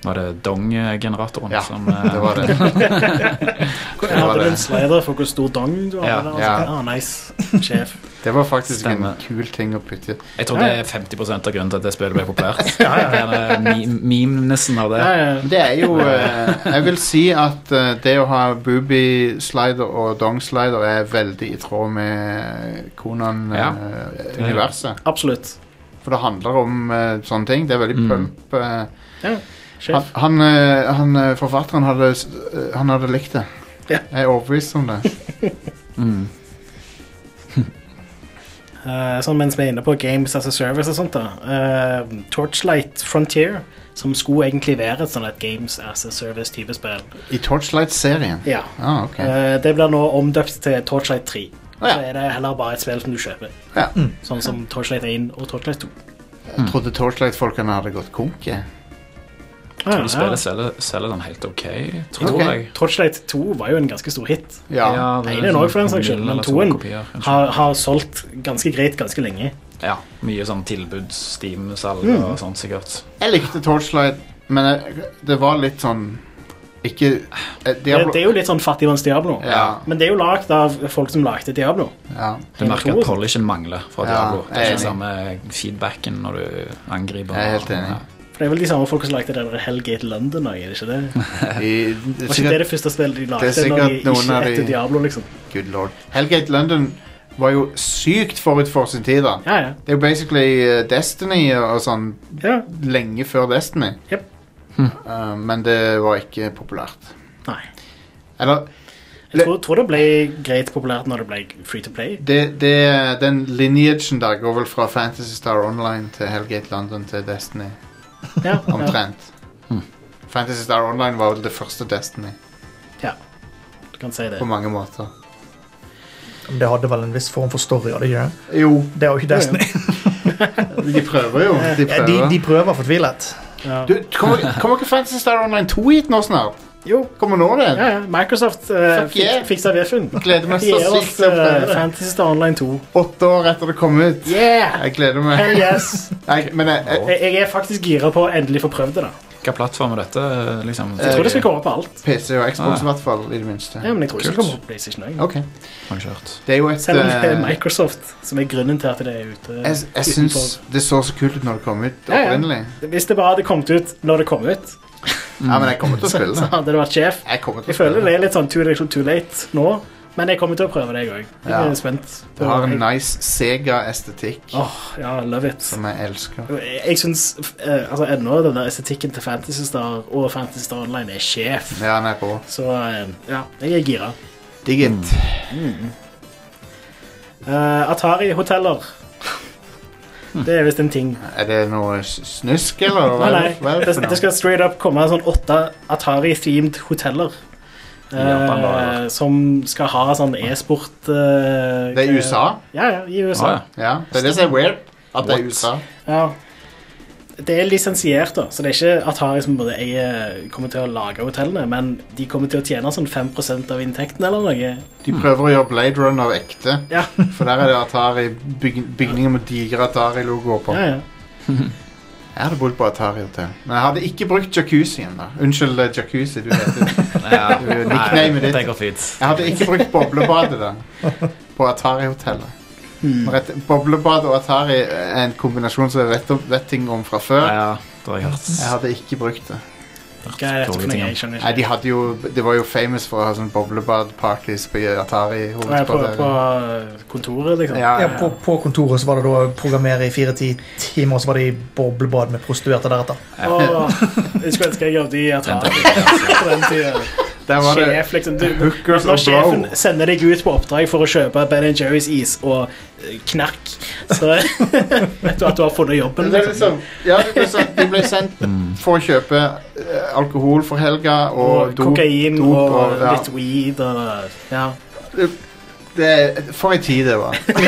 Speaker 3: Var det dong-generatoren
Speaker 1: Ja,
Speaker 3: som eh,
Speaker 1: Det var det.
Speaker 2: Jeg
Speaker 1: Det var
Speaker 2: hadde
Speaker 1: det.
Speaker 2: en slider for hvor stor dong du
Speaker 3: Ja,
Speaker 2: har. der, altså.
Speaker 1: ja.
Speaker 2: Ah, nice, sjef.
Speaker 1: Det var faktisk
Speaker 3: Stemmer.
Speaker 1: en kul ting å putte
Speaker 3: Jeg tror det er 50 av grunnen til at det spillet ble populært.
Speaker 4: Ja, ja.
Speaker 3: Det er den meme- Memesen av det.
Speaker 2: Ja, ja.
Speaker 1: Det er jo eh, Jeg vil si at eh, det å ha booby slider og dong slider er veldig i tråd med
Speaker 3: Ja.
Speaker 1: Konan-universet.
Speaker 2: Absolutt.
Speaker 1: For det handler om eh, sånne ting. Det er veldig
Speaker 3: Mm.
Speaker 1: pump. eh, han,
Speaker 2: Sjef.
Speaker 1: han, eh, han, eh, forfatteren hadde, s- eh, han hadde likt det.
Speaker 2: Ja.
Speaker 1: Jeg er overbevist om det.
Speaker 3: Mm.
Speaker 2: Eh, sånn mens vi er inne på Games as a Service og sånt, da. eh, Torchlight Frontier, som skulle egentlig være et sånn et Games as a Service-type spill.
Speaker 1: I Torchlight-serien.
Speaker 2: Ja.
Speaker 1: Ah, ok.
Speaker 2: Eh, det blir nå omdøpt til Torchlight 3.
Speaker 1: Ah,
Speaker 2: Så
Speaker 1: ja.
Speaker 2: er det heller bare et spill som du kjøper.
Speaker 1: Ja.
Speaker 3: Mm.
Speaker 2: Sånn som Torchlight 1 og Torchlight 2.
Speaker 1: Jeg trodde Torchlight-folkene hadde gått konk. jeg.
Speaker 2: Ah,
Speaker 3: Det spillet selger, selger den helt ok, tror
Speaker 1: Ok.
Speaker 3: jeg.
Speaker 2: Torchlight 2 var jo en ganske stor hit.
Speaker 1: Ja.
Speaker 3: er
Speaker 2: Ene
Speaker 3: sånn
Speaker 2: også for den saks skyld,
Speaker 3: mil
Speaker 2: men
Speaker 3: eller to
Speaker 2: toen
Speaker 3: kopier, kanskje.
Speaker 2: Har, har solgt ganske greit ganske lenge.
Speaker 3: Ja, mye sånn tilbud, Steam-salg
Speaker 2: Mm.
Speaker 3: og sånt sikkert.
Speaker 1: Jeg likte Torchlight, men jeg, det var litt sånn Ikke eh,
Speaker 2: Det,
Speaker 1: Diablo,
Speaker 2: det er jo litt sånn Fattigmanns Diablo.
Speaker 1: Ja.
Speaker 2: Men det er jo lagd av folk som lagde Diablo.
Speaker 1: ja.
Speaker 3: Du merker
Speaker 2: tror-
Speaker 3: at polishen mangler fra
Speaker 1: Ja,
Speaker 3: Diablo. Det er
Speaker 1: jeg er
Speaker 3: ikke samme feedbacken når du angriper.
Speaker 1: Jeg er helt enig.
Speaker 2: For det er vel de samme folk som lagde det der Hellgate London òg, er det ikke det?
Speaker 1: I,
Speaker 2: Var ikke det
Speaker 1: sikkert,
Speaker 2: det første spillet de lagde
Speaker 1: Det er
Speaker 2: når de
Speaker 1: sikkert noen
Speaker 2: ikke
Speaker 1: av de-
Speaker 2: etter Diablo, liksom?
Speaker 1: good lord. Hellgate London var jo sykt forut for sin tid. da
Speaker 2: Ja, ja.
Speaker 1: Det er jo basically eh, Destiny og og sånn
Speaker 2: ja.
Speaker 1: lenge før Destiny.
Speaker 2: Jep.
Speaker 3: Hm.
Speaker 1: Eh, men det var ikke populært.
Speaker 2: Nei.
Speaker 1: Eller
Speaker 2: Jeg tror, tror det ble greit populært når det ble free to play.
Speaker 1: det, det, den lineagen der går vel fra Fantasy Star Online til Hellgate London til Destiny.
Speaker 2: Ja, ja.
Speaker 1: Omtrent. Fantasy Star Online var vel det første Destiny
Speaker 2: Du kan si det.
Speaker 1: på mange måter.
Speaker 4: Det hadde vel en viss form for story, hadde ikke det?
Speaker 1: Jo,
Speaker 4: Det er jo ikke Destiny.
Speaker 1: de prøver jo. De
Speaker 4: Ja, de,
Speaker 1: prøver.
Speaker 4: de prøver fortvilet.
Speaker 2: Ja.
Speaker 1: Du, kommer, kommer ikke Fantasy Star Online 2 hit nå snart?
Speaker 2: Jo.
Speaker 1: Kommer nå det?
Speaker 2: Ja, ja. Microsoft uh,
Speaker 1: Fuck yeah.
Speaker 2: fiksa VF-en.
Speaker 1: Gleder meg
Speaker 2: De
Speaker 1: så
Speaker 2: gir
Speaker 1: sykt
Speaker 2: oss
Speaker 1: til å
Speaker 2: eh,
Speaker 1: prøve det.
Speaker 2: Fantasy Star Online 2.
Speaker 1: Åtte år etter det kom ut.
Speaker 2: Yeah!
Speaker 1: Jeg gleder meg.
Speaker 2: Hell yes!
Speaker 1: Jeg, men jeg, jeg,
Speaker 2: Jeg, jeg er faktisk gira på å endelig få prøvd det. da
Speaker 3: Hva plattform er dette? liksom?
Speaker 2: Jeg tror det skal komme på alt.
Speaker 1: PC og Xbox
Speaker 3: Ah, ja.
Speaker 1: i hvert fall, i det minste.
Speaker 2: Ja, men jeg tror ikke det
Speaker 3: Kult.
Speaker 2: kommer på PlayStation også.
Speaker 1: Ok.
Speaker 3: Har jeg ikke hørt.
Speaker 1: Det er jo et
Speaker 2: Selv om det er
Speaker 1: eh,
Speaker 2: Microsoft som er grunnen til at det er ute.
Speaker 1: Jeg, jeg
Speaker 2: utenfor.
Speaker 1: syns det så så kult ut når det kom ut
Speaker 2: Ja, ja.
Speaker 1: opprinnelig.
Speaker 2: Hvis det bare hadde kommet ut når det kom ut,
Speaker 1: Ja, men jeg kommer til å spille
Speaker 2: så
Speaker 1: det.
Speaker 2: hadde det vært sjef.
Speaker 1: Jeg kommer til å
Speaker 2: Jeg føler
Speaker 1: spille
Speaker 2: det
Speaker 1: det.
Speaker 2: er litt sånn too little too late nå, men jeg kommer til å prøve det, jeg òg. Jeg
Speaker 1: Ja.
Speaker 2: er spent.
Speaker 1: Det har en nice Sega-estetikk
Speaker 2: Åh, ja, love it.
Speaker 1: som jeg elsker.
Speaker 2: Jeg jeg syns eh, altså, ennå den der estetikken til Fantasy Star og Fantasy Star Online er sjef.
Speaker 1: Ja, han er rå.
Speaker 2: Så eh, ja, jeg er gira.
Speaker 1: Digg it.
Speaker 2: Mm. Eh, Atari-hoteller. Det er visst en ting.
Speaker 1: Er det noe s- snusk, eller?
Speaker 2: Nei,
Speaker 1: Hva er
Speaker 2: nei.
Speaker 1: det- hva er
Speaker 2: Det,
Speaker 1: det for
Speaker 2: det
Speaker 1: noe?
Speaker 2: skal straight up komme sånn åtte Atari-themed hoteller.
Speaker 3: I Japan da,
Speaker 2: Eh,
Speaker 3: eller?
Speaker 2: som skal ha sånn e-sport eh,
Speaker 1: Det er USA?
Speaker 2: Ja, ja, i USA.
Speaker 3: Ah, ja.
Speaker 1: Ja, det er det som er weird. At det er USA.
Speaker 2: Ja. Det er lisensiert, da, så det er ikke Atari som både eier, kommer til å lage hotellene, men de kommer til å tjene sånn 5 av inntekten eller noe.
Speaker 1: De prøver å gjøre Blade Runner ekte,
Speaker 2: Ja,
Speaker 1: for der er det Atari byg bygninger med digre Atari-logoer på.
Speaker 2: ja, ja.
Speaker 1: Jeg hadde bodd på Atari Hotel, men jeg hadde ikke brukt jacuzzien. da Unnskyld, eh, jacuzzi. Du heter det.
Speaker 3: Ja,
Speaker 1: jo nicknamet ditt.
Speaker 3: Det går fint.
Speaker 1: Jeg hadde ikke brukt boblebadet da På Atari-hotellet Når et- Boblebad og Atari er en kombinasjon Som jeg vet, om- vet ting om fra
Speaker 3: Ja,
Speaker 1: før
Speaker 3: ja, det har jeg hørt.
Speaker 1: Jeg hadde ikke brukt det
Speaker 2: Hva er dette for noe? Jeg skjønner
Speaker 1: Nei, de
Speaker 2: ikke.
Speaker 1: hadde jo Det var jo famous for å ha sånne boblebad-parties På
Speaker 2: Nå er jeg På, på
Speaker 1: Atari-hovedbadet
Speaker 2: kontoret, liksom.
Speaker 1: ja,
Speaker 4: Ja,
Speaker 1: ja.
Speaker 4: på, på kontoret så var det da programmere i fire-ti timer, og så var det i boblebad med prostituerte deretter.
Speaker 2: Åh, jeg skulle ønske jeg jobbet i Atari på den tiden.
Speaker 1: Der var det
Speaker 2: Sjef, liksom. Du,
Speaker 1: hookers
Speaker 2: Når
Speaker 1: og
Speaker 2: sjefen
Speaker 1: blow
Speaker 2: sender deg ut på oppdrag for å kjøpe Ben Jerry's is og eh, knark, så vet du at du har funnet jobben.
Speaker 1: det er
Speaker 2: Liksom.
Speaker 1: liksom, ja, det ble sendt, de ble sendt
Speaker 3: Mm.
Speaker 1: for å kjøpe eh, alkohol for helga og,
Speaker 2: Og
Speaker 1: dop-
Speaker 2: kokain
Speaker 1: dop
Speaker 2: og
Speaker 1: ja.
Speaker 2: litt weed og ja.
Speaker 1: det, er- For en tid det var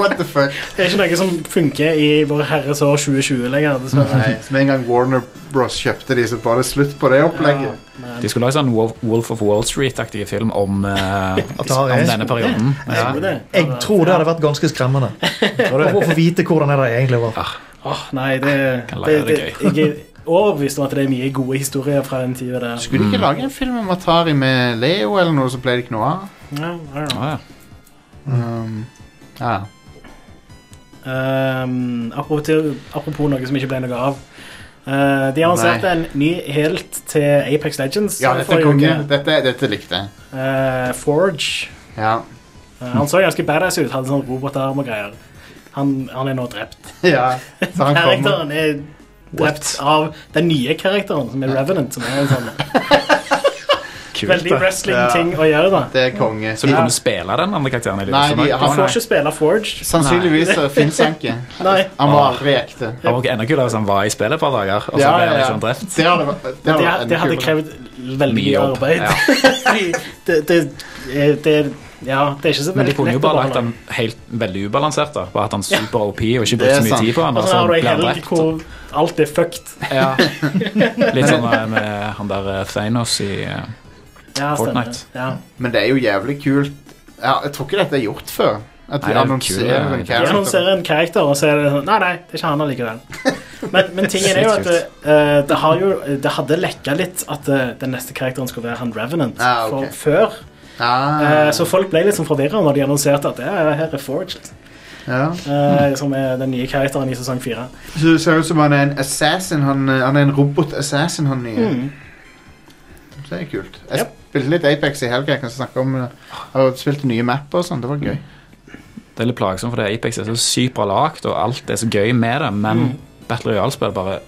Speaker 1: What the fuck
Speaker 2: Det er ikke noe som funker i Vår Herres år 2020 lenger, dessverre.
Speaker 1: Nei, så med en gang Warner Bros kjøpte de, så var det slutt på det opplegget.
Speaker 3: De skulle lage sånn Wolf Wolf of Wall Street-aktig film om, eh,
Speaker 4: Atari.
Speaker 3: om denne perioden.
Speaker 1: Ja.
Speaker 4: Jeg tror det hadde vært ganske skremmende. Bare for å få vite hvordan er det egentlig var.
Speaker 3: Ah,
Speaker 2: Åh, nei, det, det,
Speaker 3: Kan lage
Speaker 2: det
Speaker 3: det
Speaker 2: jeg, overbevist om at det er mye gode historier fra den tida der.
Speaker 1: Skulle de ikke lage en film om Atari med Leo eller noe, så ble det ikke noe av?
Speaker 2: Ja, I don't know.
Speaker 3: Ah, ja.
Speaker 1: Um, ja.
Speaker 2: Ehm, apropos, til, apropos noe som ikke ble noe av. Eh, de annonserte
Speaker 1: Nei.
Speaker 2: en ny helt til Apex Legends.
Speaker 1: ja, dette
Speaker 2: eh,
Speaker 1: er
Speaker 2: forrige
Speaker 1: konge.
Speaker 2: uke.
Speaker 1: Dette, dette likte jeg.
Speaker 2: Eh, Forge.
Speaker 1: Ja.
Speaker 2: Eh, han så ganske badass ut. Hadde sånn robotarm og greier. Han, han er nå drept.
Speaker 1: ja. Så han kommer.
Speaker 2: Karakteren er drept av den nye karakteren, som er Revenant. Som er en sånn
Speaker 3: Kult,
Speaker 2: veldig
Speaker 3: da.
Speaker 2: wrestling-ting å gjøre, da.
Speaker 1: Det er konge.
Speaker 3: Så du kunne spille den andre karakteren? i livet,
Speaker 1: Nei,
Speaker 3: så
Speaker 1: de-
Speaker 3: langt?
Speaker 1: han
Speaker 2: Han får ikke spille Forge.
Speaker 1: Sannsynligvis så finnes han ikke.
Speaker 2: Nei.
Speaker 1: Han var aldri ekte.
Speaker 3: Det hadde vært enda kulere hvis han var i spillet et par dager, og så
Speaker 1: Ja,
Speaker 3: ble han
Speaker 1: ja, ja.
Speaker 3: liksom drept.
Speaker 1: Det hadde vært- det hadde
Speaker 2: Det,
Speaker 1: vært
Speaker 2: det hadde
Speaker 1: enda kulere.
Speaker 2: krevd veldig
Speaker 3: Mye
Speaker 2: mye
Speaker 3: jobb,
Speaker 2: arbeid. Fordi det, det, er- det, er- ja, det er ikke så
Speaker 3: Men de
Speaker 2: veldig
Speaker 3: kunne jo
Speaker 2: lett å
Speaker 3: bare lagt
Speaker 2: beholde.
Speaker 3: den helt veldig ubalansert. da Bare hatt han super OP og ikke
Speaker 1: Det
Speaker 3: brukt
Speaker 1: er
Speaker 3: så mye
Speaker 1: sant.
Speaker 3: tid på han
Speaker 2: Og
Speaker 3: og
Speaker 2: så
Speaker 3: så
Speaker 2: har du ei
Speaker 3: ble han
Speaker 2: helg
Speaker 3: drept.
Speaker 2: hvor alt er fucked.
Speaker 3: Ja. Litt sånn eh, med han der eh, Thanos i eh,
Speaker 2: Ja, stemmer.
Speaker 3: Fortnite.
Speaker 2: Ja.
Speaker 1: Men det er jo jævlig kult. Ja, jeg tror ikke dette er gjort før. At de
Speaker 3: Nei, det er jo
Speaker 1: annonserer
Speaker 3: kul,
Speaker 1: en
Speaker 3: ja.
Speaker 2: De
Speaker 1: character.
Speaker 2: annonserer en karakter, og så er det sånn Nei, nei, det er ikke han allikevel. Men, men tingen er jo at det, eh, det, har jo, det hadde lekka litt at eh, den neste karakteren skulle være han Revenant
Speaker 1: Ah, ok.
Speaker 2: for, før.
Speaker 1: Ah,
Speaker 2: Eh, så folk ble litt sånn forvirra når de annonserte at ja, her er Forge, liksom.
Speaker 1: ja.
Speaker 2: Eh,
Speaker 1: Hmm.
Speaker 2: som er den nye karakteren i sesong fire.
Speaker 1: Så det ser ut som han er en assassin. Han, eh, han er en robot-assassin, han nye.
Speaker 2: Mm.
Speaker 1: Det er kult. Jeg
Speaker 2: Yep.
Speaker 1: spilte litt Apex i helga. Jeg kan snakke om det. Jeg har spilt nye mapper og sånn. Det var gøy.
Speaker 3: Det er litt plagsomt, for det Apex er så sykt bra lagd, og alt er så gøy med det, men
Speaker 1: Mm.
Speaker 3: Battle Royale-spill bare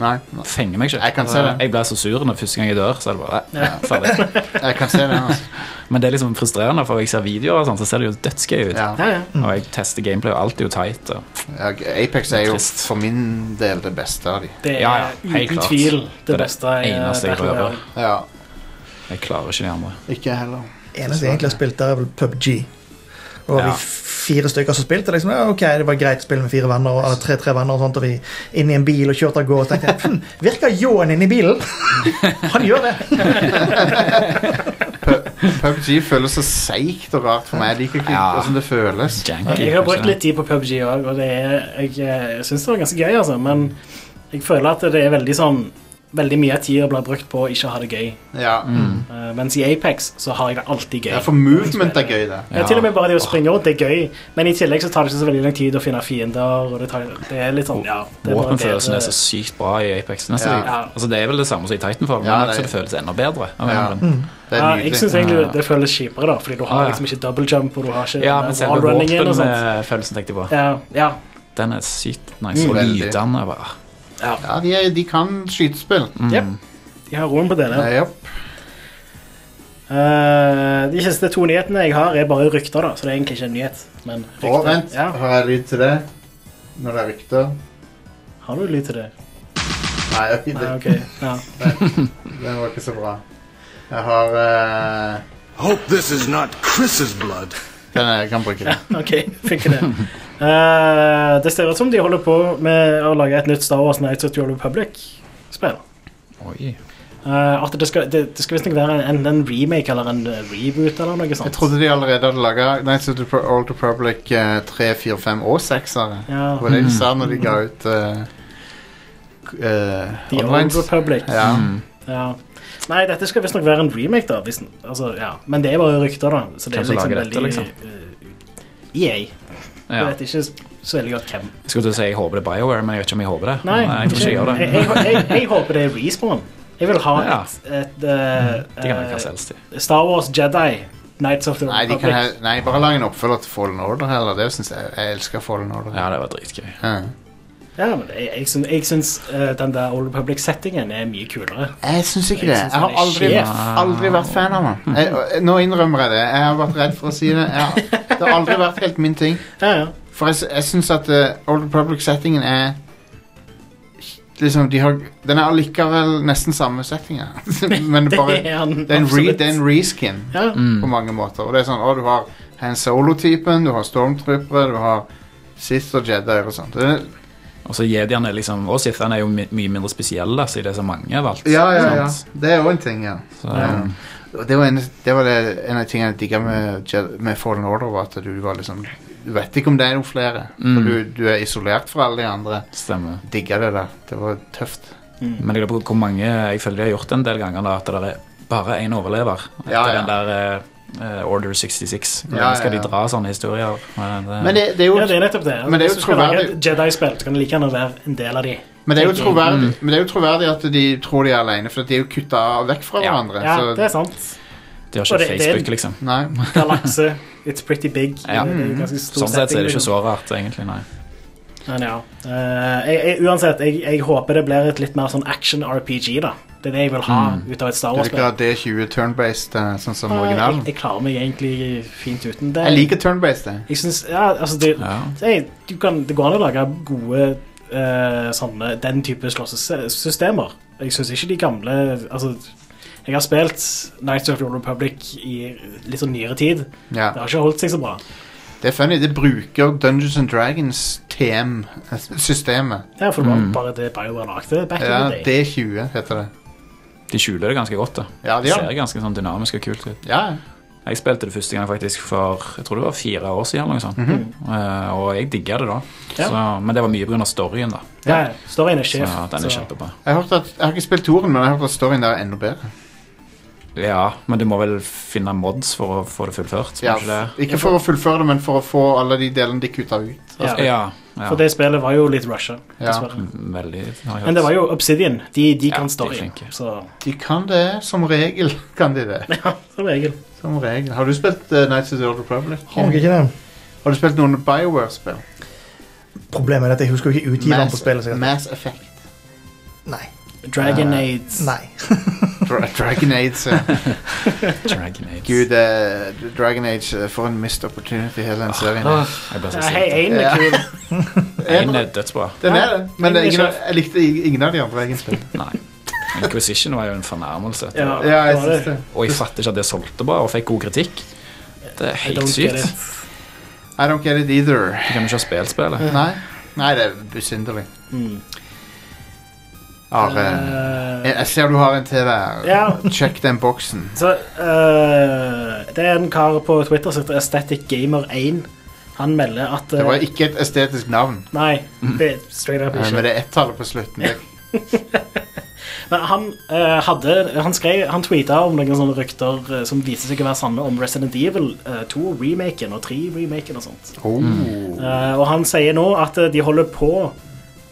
Speaker 1: Nei, nei,
Speaker 3: fenger meg ikke.
Speaker 1: Jeg kan se det.
Speaker 3: Jeg blir så sur når første gang jeg dør, så er det bare nei, ferdig.
Speaker 1: jeg kan se det. Altså.
Speaker 3: Men det er liksom frustrerende, for jeg ser videoer og sånn, så ser det jo dødsgøy ut.
Speaker 1: Ja.
Speaker 2: Ja, ja.
Speaker 3: Og jeg tester gameplay, og alt er jo tight. Og
Speaker 1: Ja, Apex er jo
Speaker 3: Trist.
Speaker 1: for min del det beste av de.
Speaker 2: Det er
Speaker 3: Ja, ja, helt
Speaker 2: uten
Speaker 3: klart.
Speaker 2: tvil det,
Speaker 3: Det er det
Speaker 2: beste i eh,
Speaker 3: eneste jeg
Speaker 2: Battle
Speaker 3: rører.
Speaker 2: Royale.
Speaker 1: Ja,
Speaker 3: jeg klarer ikke de andre.
Speaker 1: ikke jeg heller.
Speaker 4: Eneste jeg egentlig har spilt der, er vel PubG. Og
Speaker 3: Ja.
Speaker 4: vi fire stykker som spilte. Liksom, ja, ok, Det var et greit spill med fire venner, og- eller tre-tre venner og sånt, og vi inn i en bil og kjørte av gårde. og tenkte, hm, Virker ljåen inni bilen? Han gjør det.
Speaker 1: PubG føles så seigt og rart for meg. Jeg liker ikke
Speaker 3: Ja.
Speaker 1: hvordan det føles.
Speaker 3: Janky,
Speaker 2: Jeg har
Speaker 3: kanskje.
Speaker 2: brukt litt tid på PubG òg, og det er, jeg eh, syns det var ganske gøy, altså. Men jeg føler at det er veldig sånn Veldig mye av tida blir brukt på å ikke ha det gøy.
Speaker 1: Ja.
Speaker 3: Mm.
Speaker 2: Eh, mens i Apex så har jeg det alltid gøy.
Speaker 1: ja, for movement er gøy, det.
Speaker 2: Ja, til og med bare det å springe rundt, det er gøy, men i tillegg så tar det ikke så veldig lang tid å finne fiender. Og det, tar, det er litt sånn, ja det er bare
Speaker 3: Våpenfølelsen
Speaker 2: bedre-
Speaker 3: er så sykt bra i Apex. Nesten.
Speaker 1: Ja.
Speaker 2: Ja.
Speaker 3: Altså, det er vel det samme som i Titanfall, men
Speaker 1: Ja, det
Speaker 3: det,
Speaker 1: er-
Speaker 3: så det føles enda bedre. av en
Speaker 1: Ja.
Speaker 3: eller annen grunn.
Speaker 1: Det er
Speaker 2: ja, jeg syns
Speaker 1: nydelig.
Speaker 2: egentlig
Speaker 3: Ja. Ah,
Speaker 2: det føles kjipere, da, fordi du
Speaker 3: Ja,
Speaker 2: har
Speaker 3: ja.
Speaker 2: liksom ikke double jump, og du har ikke
Speaker 3: ja,
Speaker 2: den
Speaker 3: men
Speaker 2: der
Speaker 3: selve
Speaker 2: wallrunningen og sånt.
Speaker 3: våpenfølelsen tenkte jeg på.
Speaker 2: Ja, ja,
Speaker 3: Den er sykt nice.
Speaker 1: Mm.
Speaker 3: Og
Speaker 1: Veldig.
Speaker 3: lydene er bare Mm.
Speaker 2: ja.
Speaker 1: Ja, de, er, de kan skytespill.
Speaker 2: Jep. De har roen på det. der.
Speaker 1: Ja, jopp.
Speaker 2: Eh, de siste to nyhetene jeg har, er bare rykter, da, så det er egentlig ikke en nyhet. Men rykter.
Speaker 1: Å, vent.
Speaker 2: Ja.
Speaker 1: Har jeg lyd til det? Når det er rykter?
Speaker 2: Har du lyd til det?
Speaker 1: Nei, det,
Speaker 2: Nei, ok. Ja.
Speaker 1: den var ikke så bra. Jeg har eh,
Speaker 5: Hope this is not Chris's blood.
Speaker 1: den er, Jeg kan bruke den.
Speaker 2: Ok, funker det. Eh, det ser ut som de holder på med å lage et nytt Star Wars Nights of the Old Republic-spill.
Speaker 3: Oi.
Speaker 2: Eh, at det skal, det, det skal visstnok være en, en remake eller en eh, reboot eller noe sånt.
Speaker 1: Jeg trodde de allerede hadde laga Nights of the Pro- Old Republic eh, 3, 4, 5 og 6-ere.
Speaker 2: ja,
Speaker 1: Det var det de sa når de ga ut eh, k- eh,
Speaker 2: The Old
Speaker 1: online.
Speaker 2: Republic. Ja.
Speaker 1: Ja.
Speaker 3: Mm.
Speaker 2: Nei, dette skal visstnok være en remake, da. Hvis, altså, ja. Men det er bare rykter, da. Så det er
Speaker 3: Hvem som
Speaker 2: liksom
Speaker 3: lager
Speaker 2: veldig
Speaker 3: dette, liksom?
Speaker 2: eh, EA.
Speaker 3: Ja.
Speaker 2: Jeg vet ikke så veldig godt hvem.
Speaker 3: Jeg skulle til å si jeg håper det er BioWare, men jeg vet ikke om jeg håper det.
Speaker 2: Nei,
Speaker 3: jeg tror ikke jeg gjør
Speaker 2: jeg,
Speaker 3: det.
Speaker 2: jeg, jeg, jeg håper det er Respawn. Jeg vil ha
Speaker 3: Ja.
Speaker 2: et, et eh,
Speaker 3: De kan være
Speaker 2: eh,
Speaker 3: hva som helst. de.
Speaker 2: Star Wars Jedi Nights of the
Speaker 1: Nei, de kan
Speaker 2: Republic.
Speaker 1: he- nei, bare lag en oppfølger til Fallen Order heller. Det synes jeg, jeg elsker Fallen Order.
Speaker 3: Ja, det var dritgøy.
Speaker 1: Ja.
Speaker 2: Ja, men jeg, jeg, syns- jeg syns eh, den der Old Republic-settingen er mye kulere.
Speaker 1: Jeg syns ikke
Speaker 2: Jeg
Speaker 1: det.
Speaker 2: synes
Speaker 1: Jeg har
Speaker 2: han er
Speaker 1: aldri,
Speaker 2: sjef.
Speaker 1: aldri vært fan av han. Jeg, jeg- nå innrømmer jeg det. Jeg har vært redd for å si det. Jeg, har- det har aldri vært helt min ting.
Speaker 2: Ja, ja.
Speaker 1: For jeg, s- jeg syns at eh, Old Public-settingen er Liksom, de har, Den er allikevel nesten samme settinga. Men det bare
Speaker 2: er han
Speaker 1: det er en, re,
Speaker 2: absolutt.
Speaker 1: det er en reskin
Speaker 2: Ja,
Speaker 1: på mange måter. Og det er sånn, å, Du har Han Solo-typen, du har Stormtroopere, du har Sith og Jedier og sånt. Det,
Speaker 3: Og så jediene er liksom Og Sithene er jo my mye mindre spesielle, så det er så mange har valgt.
Speaker 1: ja, ja, ja.
Speaker 3: sant?
Speaker 1: Det er òg en ting, ja.
Speaker 3: Så,
Speaker 2: Ja.
Speaker 1: Og Det var en, det var det, en av de tingene jeg digga med, Jed- med Fallen Order, var at du var liksom Du vet ikke om det er noen flere. For
Speaker 3: Mm.
Speaker 1: du, du er isolert fra alle de andre.
Speaker 3: Stemmer.
Speaker 1: Digga det der. Det var tøft.
Speaker 2: Mm.
Speaker 3: Men jeg lurer på hvor mange jeg føler de har gjort en del ganger da, at det er bare én overlever. Etter
Speaker 1: Ja, ja.
Speaker 3: den der eh, eh, Order 66. Hvor
Speaker 1: Ja,
Speaker 3: lenge skal
Speaker 1: ja, ja.
Speaker 3: de dra sånne historier? Men det,
Speaker 1: Men det, det er jo
Speaker 2: Ja, det er nettopp det.
Speaker 1: Men det er jo
Speaker 2: Hvis du skal lage
Speaker 1: troverdig.
Speaker 2: et Jedi-spill, så kan det like gjerne være en del av de.
Speaker 1: Men det er jo
Speaker 2: Tenking.
Speaker 1: troverdig,
Speaker 3: Mm.
Speaker 1: men det er jo troverdig at de tror de er alene, for de er jo kutta vekk fra
Speaker 3: Ja.
Speaker 1: hverandre.
Speaker 2: Ja,
Speaker 1: så,
Speaker 2: det er sant.
Speaker 3: de har
Speaker 2: og
Speaker 3: ikke
Speaker 2: det- det er-
Speaker 3: Facebook, liksom.
Speaker 1: nei.
Speaker 2: Galakse, it's pretty big.
Speaker 3: Ja.
Speaker 2: Det er jo ganske stor
Speaker 3: Sånn sett så er det
Speaker 2: setting, liksom.
Speaker 3: ikke så rart, egentlig. Nei.
Speaker 2: Men ja. Eh, jeg, jeg, uansett, jeg, jeg håper det blir et litt mer sånn action-RPG, da. Det er det jeg vil ha
Speaker 3: Mm.
Speaker 2: ut av et Star
Speaker 1: Du liker
Speaker 2: Wars-spill.
Speaker 1: D20 turn-based, eh, sånn som
Speaker 2: Eh, Jeg,
Speaker 1: originalen?
Speaker 2: jeg klarer meg egentlig fint uten det.
Speaker 1: Jeg liker turn-based, jeg.
Speaker 2: Jeg synes, ja, altså det,
Speaker 3: Ja.
Speaker 2: jeg, du kan, det går an å lage gode eh, sånne, den type slåssesystemer. Jeg syns ikke de gamle Altså, jeg har spilt Nights of the Old Republic i litt sånn nyere tid.
Speaker 1: Ja.
Speaker 2: Det har ikke holdt seg så bra.
Speaker 1: Det er funny, det bruker Dungeons and Dragons TM-systemet.
Speaker 2: Ja, for det var
Speaker 3: Mm.
Speaker 2: bare det BioWare lagde back
Speaker 1: Ja,
Speaker 2: in the day.
Speaker 1: D20 heter det.
Speaker 3: De skjuler det ganske godt. da.
Speaker 1: Ja,
Speaker 3: Det
Speaker 1: de
Speaker 3: ser
Speaker 1: har
Speaker 3: ganske sånn dynamisk og kult ut.
Speaker 1: ja.
Speaker 3: Jeg spilte det første gang faktisk for jeg tror det var fire år siden. eller noe sånt.
Speaker 1: Mhm.
Speaker 3: Eh, og jeg digga det da.
Speaker 2: Ja.
Speaker 3: Så, men det var mye pga. storyen. da.
Speaker 2: Ja, storyen er sjef.
Speaker 3: så den er
Speaker 2: så-
Speaker 3: kjempebra.
Speaker 1: Jeg har hørt at, jeg har ikke spilt Toren, men jeg har hørt at storyen der er enda bedre.
Speaker 3: Ja, men du må vel finne mods for å få det fullført?
Speaker 1: Ja,
Speaker 3: må ikke det?
Speaker 1: ikke for å fullføre det, men for å få alle de delene de kutta ut.
Speaker 2: ja.
Speaker 3: Ja, ja.
Speaker 2: For det spillet var jo litt rusha,
Speaker 1: Ja.
Speaker 2: dessverre.
Speaker 3: Veldig. har jeg hørt.
Speaker 2: Men det var jo Obsidian. De, de
Speaker 3: Ja,
Speaker 2: kan
Speaker 3: de er
Speaker 2: storyen,
Speaker 3: flinke.
Speaker 2: så
Speaker 1: De kan det, som regel kan de det.
Speaker 2: ja, som regel.
Speaker 1: Som regel. Har du spilt eh, Knights of the Old Republic?
Speaker 4: Har dere ikke det?
Speaker 1: Har du spilt noen Bioware-spill?
Speaker 4: Problemet er at jeg husker jo ikke utgiveren på spillet. så jeg-
Speaker 1: Mass Effect.
Speaker 4: Nei.
Speaker 1: Eh,
Speaker 2: Dragonades.
Speaker 4: Nei.
Speaker 1: Dra Dragon Age. eh.
Speaker 3: Dragon Age.
Speaker 1: Gud, eh, Dragon Age eh, for en missed opportunity, hele den serien.
Speaker 3: Jeg ble så
Speaker 2: Ja,
Speaker 3: sint.
Speaker 2: hei, én Ah, er
Speaker 1: Ja.
Speaker 2: kul.
Speaker 3: En er dødsbra.
Speaker 1: Den
Speaker 2: Ja,
Speaker 1: er det, men
Speaker 2: egentlig
Speaker 1: ingen, av-
Speaker 2: ikke.
Speaker 1: jeg likte i- ingen av de andre, egentlig.
Speaker 3: Nei. Inquisition var jo en fornærmelse.
Speaker 2: Ja,
Speaker 1: Ja, jeg
Speaker 2: det var
Speaker 1: synes
Speaker 2: det.
Speaker 1: det.
Speaker 3: Og jeg fatter ikke at det solgte bra, og fikk god kritikk. Det er
Speaker 2: I
Speaker 3: helt
Speaker 2: don't get
Speaker 3: sykt.
Speaker 2: it.
Speaker 1: I don't get it either.
Speaker 3: Du kan jo ikke ha spilt spillet.
Speaker 1: Nei, Nei det er besynderlig.
Speaker 2: Mm.
Speaker 1: Are,
Speaker 2: Eh,
Speaker 1: jeg, jeg ser du har en til der.
Speaker 2: Ja.
Speaker 1: Sjekk den boksen.
Speaker 2: Så eh, Det er en kar på Twitter som heter Aesthetic Gamer 1. Han melder at eh,
Speaker 1: Det var ikke et estetisk navn,
Speaker 2: Nei, det er straight up
Speaker 1: eh, men
Speaker 2: ikke.
Speaker 1: det er ett-tallet på slutten. Det-
Speaker 2: Men han eh, hadde Han skrev, han tweeta om noen sånne rykter eh, som viste seg å være sanne om Resident Evil 2-remaken og 3-remaken og sånt.
Speaker 1: Oh.
Speaker 2: Eh, og han sier nå at eh, de holder på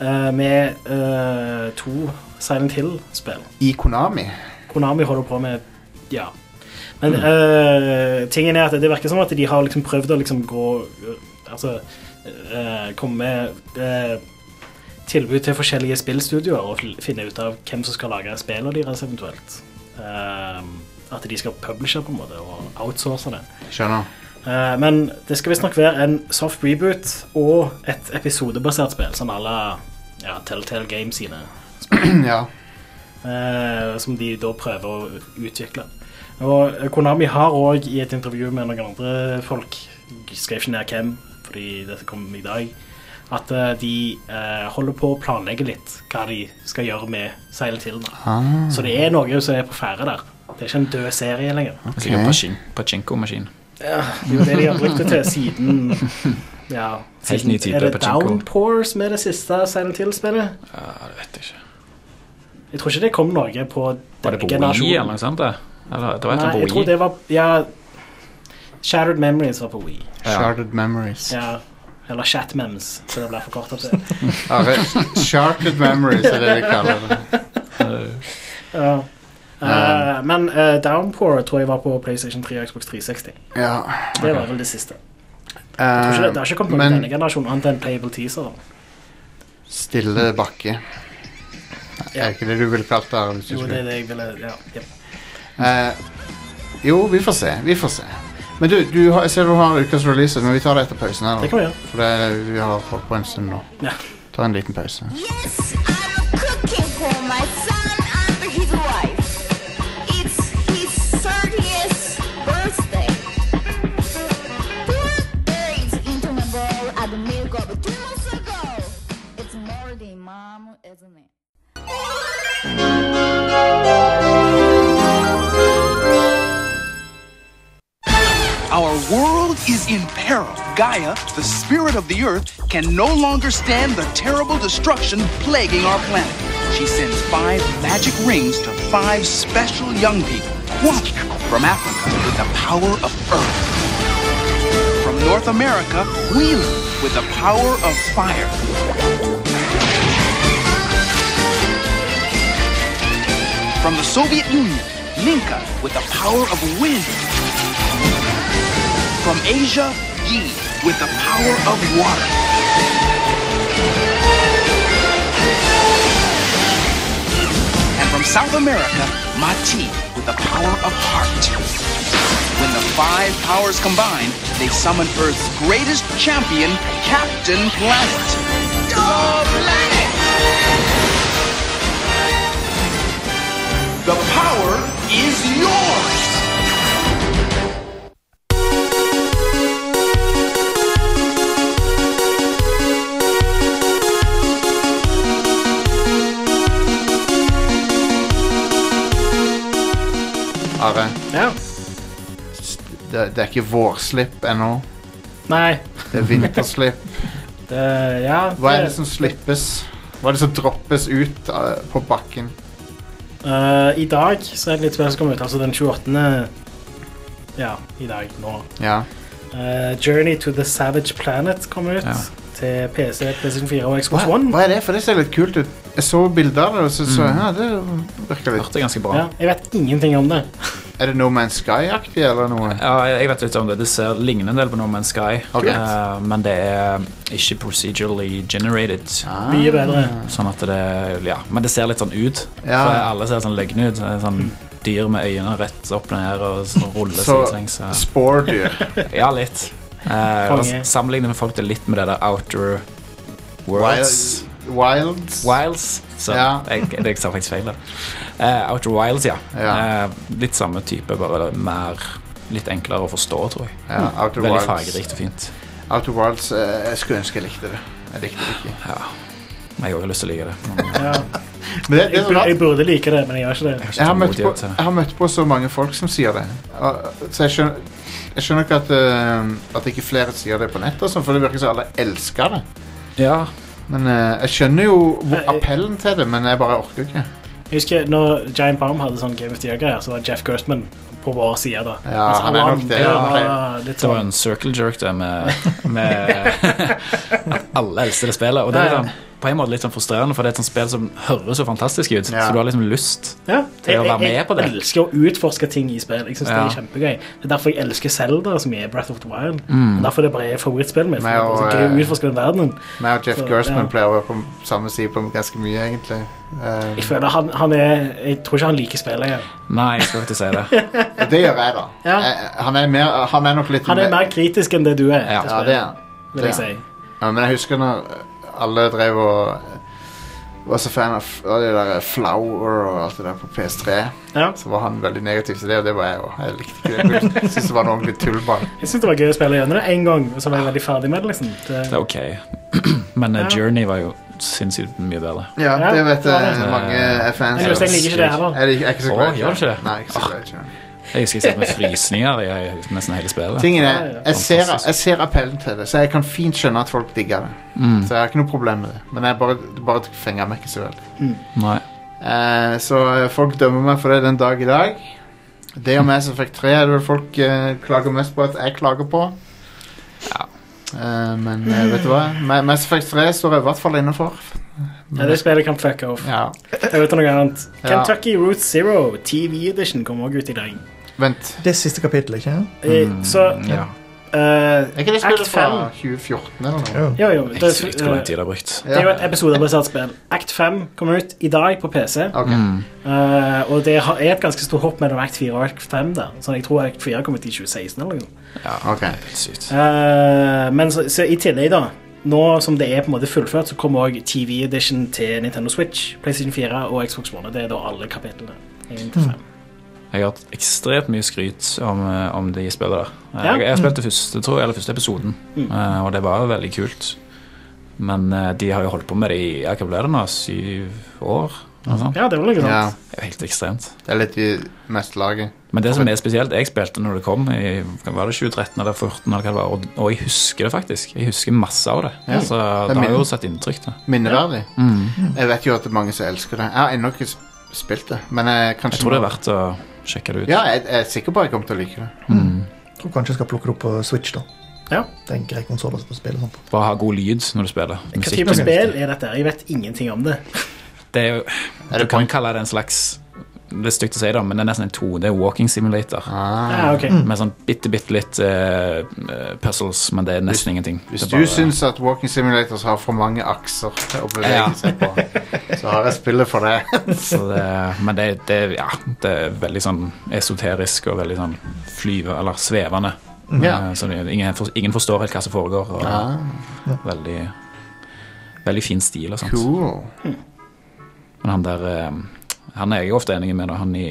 Speaker 2: eh, med eh, to Silent Hill-spill.
Speaker 1: I Konami.
Speaker 2: Konami holder på med Ja. Men eh, tingen er at det virker som at de har liksom prøvd å liksom gå eh, Altså eh, komme med eh, tilbud til forskjellige spillstudioer og fl- finne ut av hvem som skal lage spillene deres eventuelt. Eh, at de skal publishe på en måte og outsource det.
Speaker 1: Skjønner.
Speaker 2: Eh, men det skal visstnok være en soft reboot og et episodebasert spill, sånn à la ja, Telltale Games sine
Speaker 1: ja.
Speaker 2: eh, som de da prøver å utvikle. Og eh, Konami har òg i et intervju med noen andre folk, jeg skrev ikke ned hvem, fordi dette kom i dag, at eh, de eh, holder på å planlegge litt hva de skal gjøre med Silent Hill. nå.
Speaker 1: Ah,
Speaker 2: Så det er noe som er på ferde der. Det er ikke en død serie lenger.
Speaker 3: Det er Sikkert
Speaker 1: Ok.
Speaker 3: pachin pachinko-maskin.
Speaker 2: Ja, det er jo det de har brukt det til siden ja,
Speaker 3: Helt
Speaker 2: siden-
Speaker 3: ny type
Speaker 2: Er det
Speaker 3: pachinko.
Speaker 2: Downpour som er det siste Silent Hill-spillet?
Speaker 3: Ja, det vet jeg ikke.
Speaker 2: Jeg tror ikke det kom noe på
Speaker 3: Var det
Speaker 2: denne
Speaker 3: på Wii
Speaker 2: generasjonen.
Speaker 3: eller noe sånt? det? Eller, det var et
Speaker 2: Nei,
Speaker 3: eller
Speaker 2: jeg
Speaker 3: annet på
Speaker 2: tror
Speaker 3: Wii.
Speaker 2: det var Ja, Shattered Memories var på Wii.
Speaker 1: Sharded Memories.
Speaker 2: Ja, eller Chatmems, så det ble forkortet til.
Speaker 1: Are, Sharded Memories er det de kaller det.
Speaker 3: Eh,
Speaker 2: Ja. Eh, men eh, Downpour tror jeg var på PlayStation 3 og Xbox 360.
Speaker 1: Ja.
Speaker 2: Det var vel det siste. Jeg tror ikke det, det har ikke kommet
Speaker 1: Eh,
Speaker 2: noe i denne
Speaker 1: men
Speaker 2: generasjonen annet enn Playable Teaser.
Speaker 1: stille bakke.
Speaker 2: Ja.
Speaker 1: Er ikke det du ville kalt det? Hvis du
Speaker 2: Jo, det
Speaker 1: skulle-
Speaker 2: er det jeg ville ja, ja.
Speaker 1: Eh, jo, vi får se. Vi får se. Men du, du har, jeg ser du har ukas releaser, men vi tar det etter pausen. her
Speaker 2: Det
Speaker 1: nå.
Speaker 2: kan vi gjøre.
Speaker 1: For det, vi har holdt på en stund nå.
Speaker 2: Ja.
Speaker 1: Ta en liten pause.
Speaker 6: Yes, I'm cooking for my son and his wife. It's his 30th birthday. Birthdays interminable at the milk of two months ago. It's more than mom, isn't it?
Speaker 7: Our world is in peril. Gaia, the spirit of the earth, can no longer stand the terrible destruction plaguing our planet. She sends five magic rings to five special young people. One from Africa with the power of Earth. From North America, Wheeler with the power of fire. From the Soviet Union, Minka with the power of wind. From Asia, Yi with the power of water. And from South America, Mati with the power of heart. When the five powers combine, they summon Earth's greatest champion, Captain Planet. Go Planet! The power is yours!
Speaker 1: Are,
Speaker 2: Ja.
Speaker 1: det, det er ikke vårslipp ennå.
Speaker 2: Nei.
Speaker 1: Det er vinterslipp.
Speaker 2: Det, Eh, ja,
Speaker 1: Hva er det som slippes? Hva er det som droppes ut eh, på bakken?
Speaker 2: Eh, I dag så er det litt spill som kommer ut, altså den 28. Ja, i dag, nå.
Speaker 1: Ja.
Speaker 2: Eh, Journey to the Savage Planet kommer ut
Speaker 3: Ja.
Speaker 2: til PC, PlayStation 4 og
Speaker 1: Hva,
Speaker 2: Xbox One. Mm.
Speaker 1: hva er det? For det ser litt kult ut. Jeg så bilder av det, og så så jeg ja, det virker litt
Speaker 3: Hørte ganske bra.
Speaker 2: Ja, jeg vet ingenting om det.
Speaker 1: Er det No Man's Sky-aktig eller noe?
Speaker 3: Ja, jeg vet litt om det. Det ser ligner en del på No Man's Sky,
Speaker 1: Ok.
Speaker 3: eh, men det er ikke procedurally generated.
Speaker 1: Ah.
Speaker 2: Mye bedre.
Speaker 3: Sånn at det, ja, Men det ser litt sånn ut.
Speaker 1: Ja.
Speaker 3: For alle ser sånn løgne ut. så er det Sånn dyr med øyne rett opp og ned og sånn ruller
Speaker 1: Så
Speaker 3: sidelengs. ja.
Speaker 1: spordyr.
Speaker 3: Ja, litt. Eh, og
Speaker 2: Konge.
Speaker 3: Sammenligne med folk det er litt med det der Outer Worlds.
Speaker 1: Wild, wilds.
Speaker 3: Wilds. Så
Speaker 1: Ja.
Speaker 3: jeg, jeg sa faktisk feil. da. Eh, Outer Wilds, ja.
Speaker 1: Ja.
Speaker 3: Eh, litt samme type, bare mer Litt enklere å forstå, tror jeg.
Speaker 1: Ja, Outer Wilds.
Speaker 3: Veldig fargerikt og fint.
Speaker 1: Outer Wilds eh, Jeg skulle ønske jeg likte det. Jeg likte det ikke.
Speaker 3: Jeg har også lyst til å like det. men eh, jeg
Speaker 2: Ja.
Speaker 1: Men det, det
Speaker 2: Jeg,
Speaker 1: er
Speaker 2: bur-
Speaker 1: rart.
Speaker 2: jeg burde like det, men jeg gjør ikke det.
Speaker 3: har ikke
Speaker 1: Jeg har, møtt på,
Speaker 3: tålmodighet til det.
Speaker 1: jeg har møtt på så mange folk som sier det. Og- Så jeg skjønner, jeg skjønner ikke at, eh, at ikke flere sier det på nett, og sånn, for det virker som alle elsker det.
Speaker 3: Ja,
Speaker 1: Men eh, Jeg skjønner jo hvor-
Speaker 2: Nei, jeg-
Speaker 1: appellen til det, men jeg bare orker ikke.
Speaker 2: Jeg husker når Giant Bomb hadde sånn Game of the Year-greier, så var Jeff Gerstmann på vår side da.
Speaker 1: Ja,
Speaker 2: Mens
Speaker 1: han
Speaker 2: alle
Speaker 1: er nok det,
Speaker 2: andre
Speaker 1: ja, han er-
Speaker 2: var litt
Speaker 3: Det var
Speaker 2: sånn,
Speaker 3: en circle jerk det med, med at alle elsker det spillet. Og det er
Speaker 2: Ja, ja.
Speaker 3: sånn, på en måte litt sånn frustrerende, for det er et sånt spill som høres så fantastisk ut.
Speaker 1: Ja.
Speaker 3: Så du har liksom lyst.
Speaker 2: ja,
Speaker 3: til å være med på det.
Speaker 2: Jeg elsker å utforske ting i spill. Jeg synes det
Speaker 3: Ja.
Speaker 2: er kjempegøy. Det er derfor jeg elsker Zelda, som er Breath of the Wild.
Speaker 3: Mm.
Speaker 2: Det er Derfor det bare er favorittspillet mitt. for
Speaker 1: Nei, og,
Speaker 2: det er så
Speaker 1: eh,
Speaker 2: gøy å utforske den verdenen.
Speaker 1: Meg og Jeff
Speaker 2: Så,
Speaker 1: Gerstmann
Speaker 2: ja.
Speaker 1: pleier å være på samme side på ganske mye, egentlig. Eh,
Speaker 2: Jeg føler han, han er Jeg tror ikke han liker spillet engang.
Speaker 3: Nei, jeg skal ikke si det.
Speaker 1: og det gjør jeg, da.
Speaker 2: Ja.
Speaker 1: Jeg, han, er mer, han er nok litt
Speaker 2: Han er mer kritisk enn det du er.
Speaker 3: Ja.
Speaker 2: til
Speaker 1: Ja,
Speaker 2: spillet,
Speaker 1: det er han.
Speaker 2: vil
Speaker 1: det
Speaker 2: jeg
Speaker 1: er
Speaker 2: si.
Speaker 1: Ja, men jeg husker når alle drev og var så fan av av det der Flower og alt det der på PS3.
Speaker 2: Ja.
Speaker 1: Så var han veldig negativ til det, og det var jeg òg. Jeg likte ikke det. Jeg synes det var en ordentlig tullball.
Speaker 2: Jeg synes det var gøy å spille gjennom det én gang, og så var jeg veldig ferdig med det. liksom det,
Speaker 3: Det er ok. Men eh,
Speaker 2: Ja.
Speaker 3: Journey var jo sinnssykt mye bedre.
Speaker 1: Ja,
Speaker 2: Ja,
Speaker 1: det vet
Speaker 2: det var
Speaker 1: jeg
Speaker 2: det.
Speaker 1: mange er fans
Speaker 2: Jeg,
Speaker 1: av.
Speaker 2: jeg liker ikke det heller.
Speaker 1: Jeg lik- jeg er ikke så
Speaker 3: Å,
Speaker 1: glad i
Speaker 3: gjør du ikke det? Ah.
Speaker 1: Nei, jeg er ikke så glad i Journey.
Speaker 3: Jeg husker jeg satt med frysninger i i nesten hele spillet.
Speaker 1: Tingen er,
Speaker 2: Ja, ja.
Speaker 1: jeg ser,
Speaker 3: Fantastisk.
Speaker 1: jeg ser appellen til det, så jeg kan fint skjønne at folk digger det.
Speaker 3: Mm,
Speaker 1: Så jeg har ikke noe problem med det. Men jeg bare, det bare fenger meg ikke så veldig.
Speaker 3: Nei.
Speaker 1: Eh, så eh, folk dømmer meg for det den dag i dag. Det og meg som fikk tre, er det vel folk eh, klager mest på at jeg klager på. Eh, men eh, vet du hva? Mass Effect 3 står jeg i hvert fall innenfor.
Speaker 2: Ja, det spillet kan fuck off.
Speaker 1: Ja.
Speaker 2: Jeg vet noe annet.
Speaker 1: Ja.
Speaker 2: Kentucky Route Zero TV Edition kommer også ut i dag.
Speaker 1: Vent.
Speaker 4: Det er siste kapittel, ikke sant?
Speaker 2: Eh,
Speaker 3: Mm.
Speaker 2: Så
Speaker 3: Ja.
Speaker 2: eh,
Speaker 1: Er ikke det
Speaker 2: Act
Speaker 1: spillet fra
Speaker 2: fem.
Speaker 1: 2014 eller noe?
Speaker 4: Jo.
Speaker 2: Jo, jo.
Speaker 3: Jeg
Speaker 2: Det,
Speaker 3: jeg tror
Speaker 2: eh,
Speaker 3: den tiden er brukt.
Speaker 2: det er jo et episodebasert spill. Act 5 kommer ut i dag på PC.
Speaker 1: Ok.
Speaker 3: Mm.
Speaker 2: eh, og det har- er et ganske stort hopp mellom Act 4 og Act 5. Da. Så jeg tror Act 4 kom ut i 2016 eller noe. sånt.
Speaker 1: ok.
Speaker 3: Helt sykt.
Speaker 2: Eh, men så, så i tillegg, da Nå som det er på en måte fullført, så kommer òg TV Edition til Nintendo Switch, PlayStation 4 og Xbox One. og Det er da alle kapitlene. 1 til 5.
Speaker 3: Jeg har hatt ekstremt mye skryt om, eh, om de spillene der. Eh,
Speaker 2: Ja. Mm.
Speaker 3: Jeg, jeg har spilt det første, tror jeg, eller første episoden, eh, og det var veldig kult. Men eh, de har jo holdt på med det i ja, hva ble det nå, syv år? Noe sånt.
Speaker 2: Ja, det var noe sånt.
Speaker 1: Ja,
Speaker 3: Det er jo helt ekstremt.
Speaker 1: det er litt i meste laget.
Speaker 3: Men det som er spesielt, jeg spilte når det kom i var det 2013 eller 2014, eller hva det var, og, og jeg husker det faktisk. Jeg husker masse av det.
Speaker 1: Ja.
Speaker 3: Så
Speaker 1: Det er
Speaker 3: det har jo
Speaker 1: min-
Speaker 3: satt inntrykk, det.
Speaker 1: Minneverdig. Jeg vet jo at det er mange som elsker det. Jeg har ennå ikke s- spilt det, men jeg, kanskje
Speaker 3: Jeg tror det
Speaker 1: nå-
Speaker 3: er verdt å sjekke det ut.
Speaker 1: Ja, jeg, jeg er sikker på at jeg kommer til å like det.
Speaker 4: Tror kanskje jeg skal plukke det opp på Switch, da.
Speaker 2: Ja.
Speaker 4: Det er en grei konsoll å spille sånn på.
Speaker 3: Bare ha god lyd når du spiller.
Speaker 2: Hva
Speaker 3: Musikken
Speaker 2: type
Speaker 3: er
Speaker 2: spill
Speaker 3: viktig.
Speaker 2: er dette? Jeg vet ingenting om det.
Speaker 3: Det er jo,
Speaker 1: Er
Speaker 3: du
Speaker 1: det
Speaker 3: kan
Speaker 1: point?
Speaker 3: kalle det en slags Det er stygt å si, da, men det er nesten en 2D walking simulator.
Speaker 1: Ah.
Speaker 2: Ja, ok.
Speaker 4: Mm.
Speaker 3: Med sånn bitte, bitte litt eh, eh, puzzles, men det er nesten ingenting.
Speaker 1: Hvis
Speaker 3: Det er
Speaker 1: du
Speaker 3: bare-
Speaker 1: syns at walking simulators har for mange akser å
Speaker 3: Ja.
Speaker 1: bevege seg på, så har jeg spillet for det.
Speaker 3: Så det, men det, det, ja, det er veldig sånn esoterisk og veldig sånn flyve, eller svevende.
Speaker 1: Mm. Ja.
Speaker 3: Eh, Så det, ingen, for, ingen forstår helt hva som foregår. Og
Speaker 1: Ah,
Speaker 3: veldig, veldig fin stil og sånt.
Speaker 1: cool.
Speaker 3: Men han der eh, Han er jeg ofte enig med, da, han i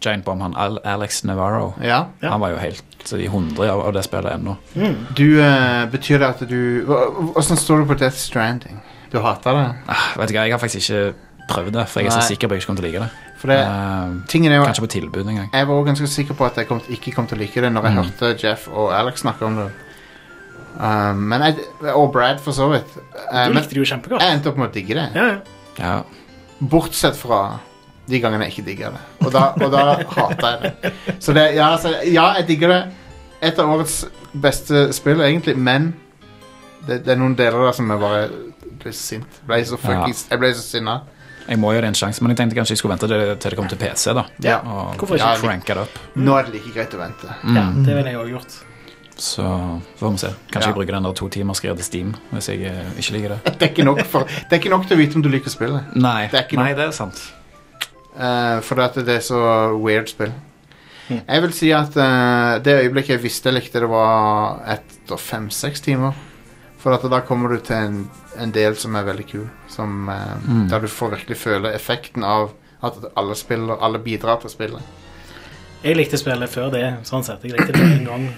Speaker 3: Giant Bomb, han Al Alex Navarro.
Speaker 1: Ja.
Speaker 2: Ja.
Speaker 3: Han var jo helt eh, i hundre av, av det spillet ennå.
Speaker 2: Mm.
Speaker 1: Du, eh, betyr det at du hva- Hvordan står du på Death Stranding? Du hater det?
Speaker 3: Ah, vet du hva, Jeg har faktisk ikke prøvd det, for jeg er så
Speaker 1: Nei.
Speaker 3: sikker på at jeg ikke kommer til å like det.
Speaker 1: For det,
Speaker 3: Eh,
Speaker 1: tingen er jo
Speaker 3: kanskje på tilbud en gang.
Speaker 1: Jeg var også ganske sikker på at jeg kom, ikke kom til å like det når jeg
Speaker 3: Mm.
Speaker 1: hørte Jeff og Alex snakke om det. Um, men jeg, og Brad, for så vidt. Eh,
Speaker 2: Du
Speaker 1: men
Speaker 2: likte det jo kjempegodt.
Speaker 1: jeg endte opp med å digge det.
Speaker 2: Ja, ja.
Speaker 3: Ja,
Speaker 1: Bortsett fra de gangene jeg ikke digger det. Og da, og da hater jeg det. Så det, ja, altså, ja, jeg digger det. Et av årets beste spill, egentlig, men det, det er noen deler der som jeg bare ble sint. Ble så fucking, Jeg ble så sinna.
Speaker 3: Jeg må jo det en sjanse, men jeg tenkte kanskje jeg skulle vente til det, til det kom til PC. da
Speaker 1: Ja.
Speaker 3: Og
Speaker 2: Hvorfor ikke?
Speaker 3: ja, cranke det opp.
Speaker 1: Nå er det like greit å vente.
Speaker 3: Mm.
Speaker 2: ja det ville jeg òg gjort.
Speaker 3: Så får vi se. Kanskje
Speaker 1: Ja.
Speaker 3: jeg bruker den der to timers greia til Steam hvis jeg eh, ikke liker det.
Speaker 1: Det er ikke nok, for, det er ikke nok til å vite om du liker spillet.
Speaker 3: Nei,
Speaker 1: Det er ikke
Speaker 3: Nei, det er sant.
Speaker 1: Eh, fordi at det er så weird spill. Jeg vil si at eh, det øyeblikket jeg visste jeg likte det, var etter fem-seks timer. For at da kommer du til en, en del som er veldig kul. Som, eh,
Speaker 3: Mm.
Speaker 1: Der du får virkelig føle effekten av at alle spiller, alle bidrar til spillet.
Speaker 2: Jeg likte spillet før det, sånn sett. Jeg likte det en gang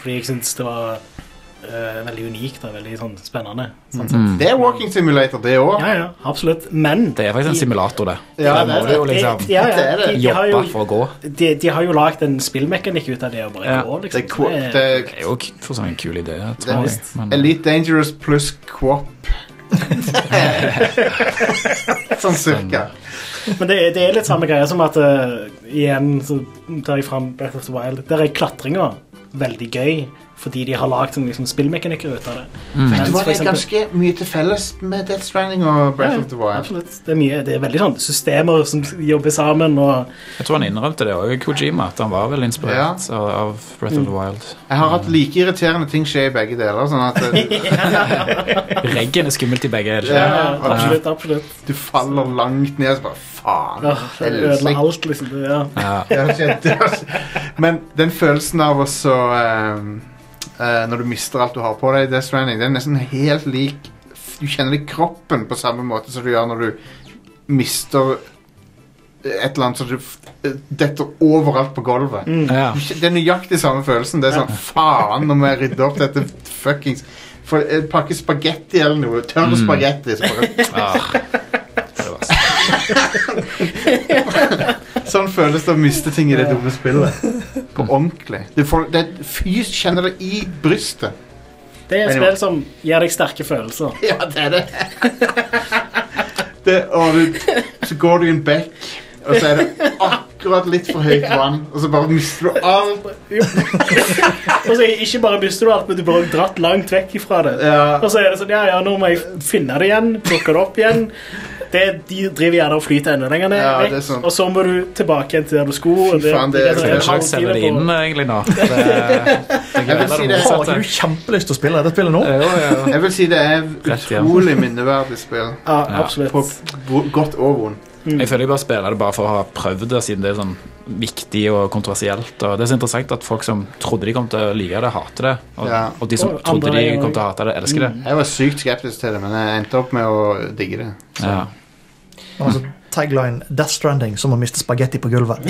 Speaker 2: fordi jeg syntes det var eh, veldig unikt og veldig sånn, spennende. Sånn sett.
Speaker 3: Mm.
Speaker 1: Det er walking simulator, det òg.
Speaker 2: Ja, ja, absolutt. Men
Speaker 3: Det er faktisk en simulator, det.
Speaker 1: Ja,
Speaker 3: Der
Speaker 1: det er
Speaker 3: må du jo
Speaker 1: det.
Speaker 3: liksom
Speaker 2: Ja, ja,
Speaker 1: Det er det.
Speaker 2: de- de har
Speaker 3: jobbe
Speaker 2: jo-
Speaker 3: for å gå.
Speaker 2: De, de har jo lagd en spillmekanikk ut av det å bare
Speaker 3: Ja,
Speaker 2: gå,
Speaker 1: Det
Speaker 2: liksom.
Speaker 1: er co-
Speaker 2: Det er-
Speaker 1: det er
Speaker 3: Det er jo k- for sånn en kul idé.
Speaker 1: Det er
Speaker 3: Tror jeg.
Speaker 1: visst.
Speaker 3: Men,
Speaker 1: Elite Dangerous pluss Quop. sånn cirka.
Speaker 2: Men det, det er litt samme greia som at eh, Igjen så tar jeg fram Breath of the Wild. Der er klatringa veldig gøy, fordi de har lagd liksom, spillmekanikker ut av det.
Speaker 3: mm.
Speaker 2: Mens
Speaker 1: Det
Speaker 2: for
Speaker 1: var
Speaker 2: eksempel-
Speaker 1: ganske mye til felles med Death Stranding og Breath of the Wild.
Speaker 2: Absolutt. Det er, mye, det er veldig sånn systemer som jobber sammen og
Speaker 3: jeg tror han innrømte det òg, Kojima, at han var vel inspirert av, av Breath of the Wild.
Speaker 1: Jeg har hatt like irriterende ting skje i begge deler. Sånn at eh,
Speaker 3: Reggen er skummelt i begge. er det
Speaker 1: Ja,
Speaker 3: ikke?
Speaker 2: Absolutt, absolutt.
Speaker 1: du faller langt ned og så bare Faen.
Speaker 2: Ja, det
Speaker 1: jeg
Speaker 2: ødela
Speaker 1: løsner ikke.
Speaker 2: alt, liksom. Det, ja.
Speaker 1: Jeg har kjent det, altså. Men den følelsen av å så eh, eh, Når du mister alt du har på deg i Death Stranding, den er nesten helt lik Du kjenner det i kroppen på samme måte som du gjør når du mister et eller annet som du f- eh, detter overalt på gulvet.
Speaker 3: Ja. Ah,
Speaker 1: Du kjen- Det er nøyaktig samme følelsen. Det er sånn Faen, nå må jeg rydde opp dette fuckings For en pakke spagetti eller noe. Tørr spagetti. så bare-
Speaker 3: Ah. Det var så-
Speaker 1: Sånn føles det å miste ting i det dumme spillet. På ordentlig. Du får, det er fys kjenner det i brystet.
Speaker 2: det er et
Speaker 1: Anyway.
Speaker 2: spill som gir deg sterke følelser.
Speaker 1: Ja, det er det. det og du, så går du i en bekk, og så er det akkurat litt for høyt vann, og så bare mister du alt.
Speaker 2: Og så Ikke bare mister du alt, men du blir også dratt langt vekk ifra det.
Speaker 1: Ja.
Speaker 2: Og så er det sånn, ja, ja, nå må jeg finne det igjen, plukke det opp igjen. Det, de driver gjerne og flyter enda lenger ned.
Speaker 1: Ja, det er
Speaker 2: vekk,
Speaker 1: sånn.
Speaker 2: Og så må du tilbake igjen til der du skulle. og
Speaker 1: Fy faen, det-
Speaker 2: er
Speaker 1: det
Speaker 3: Skal
Speaker 2: en
Speaker 3: vi
Speaker 2: halv
Speaker 3: slags selge det
Speaker 2: time
Speaker 3: inn,
Speaker 2: på-
Speaker 3: egentlig, nå? Det, det
Speaker 1: Jeg vil si det.
Speaker 4: Har ikke du kjempelyst til å spille dette spillet nå?
Speaker 3: Jo, jo.
Speaker 1: Jeg vil si det er
Speaker 3: Rett igjen.
Speaker 1: utrolig minneverdig spill.
Speaker 2: Ja,
Speaker 3: Ja.
Speaker 1: På
Speaker 2: absolutt.
Speaker 1: bo- godt og vondt.
Speaker 3: Jeg føler jeg bare spiller det bare for å ha prøvd det, siden det er sånn viktig og kontroversielt. Og det er så interessant at folk som trodde de kom til å like det, hater det. Og,
Speaker 1: Ja. Mm.
Speaker 3: og de som
Speaker 2: Og andre
Speaker 3: trodde de
Speaker 2: veien
Speaker 3: kom til å hate det, elsker det.
Speaker 1: Jeg var sykt skeptisk til det, men jeg endte opp med å digge det.
Speaker 3: Ja.
Speaker 4: Men Altså, tagline 'Death Stranding som å miste spagetti på gulvet'.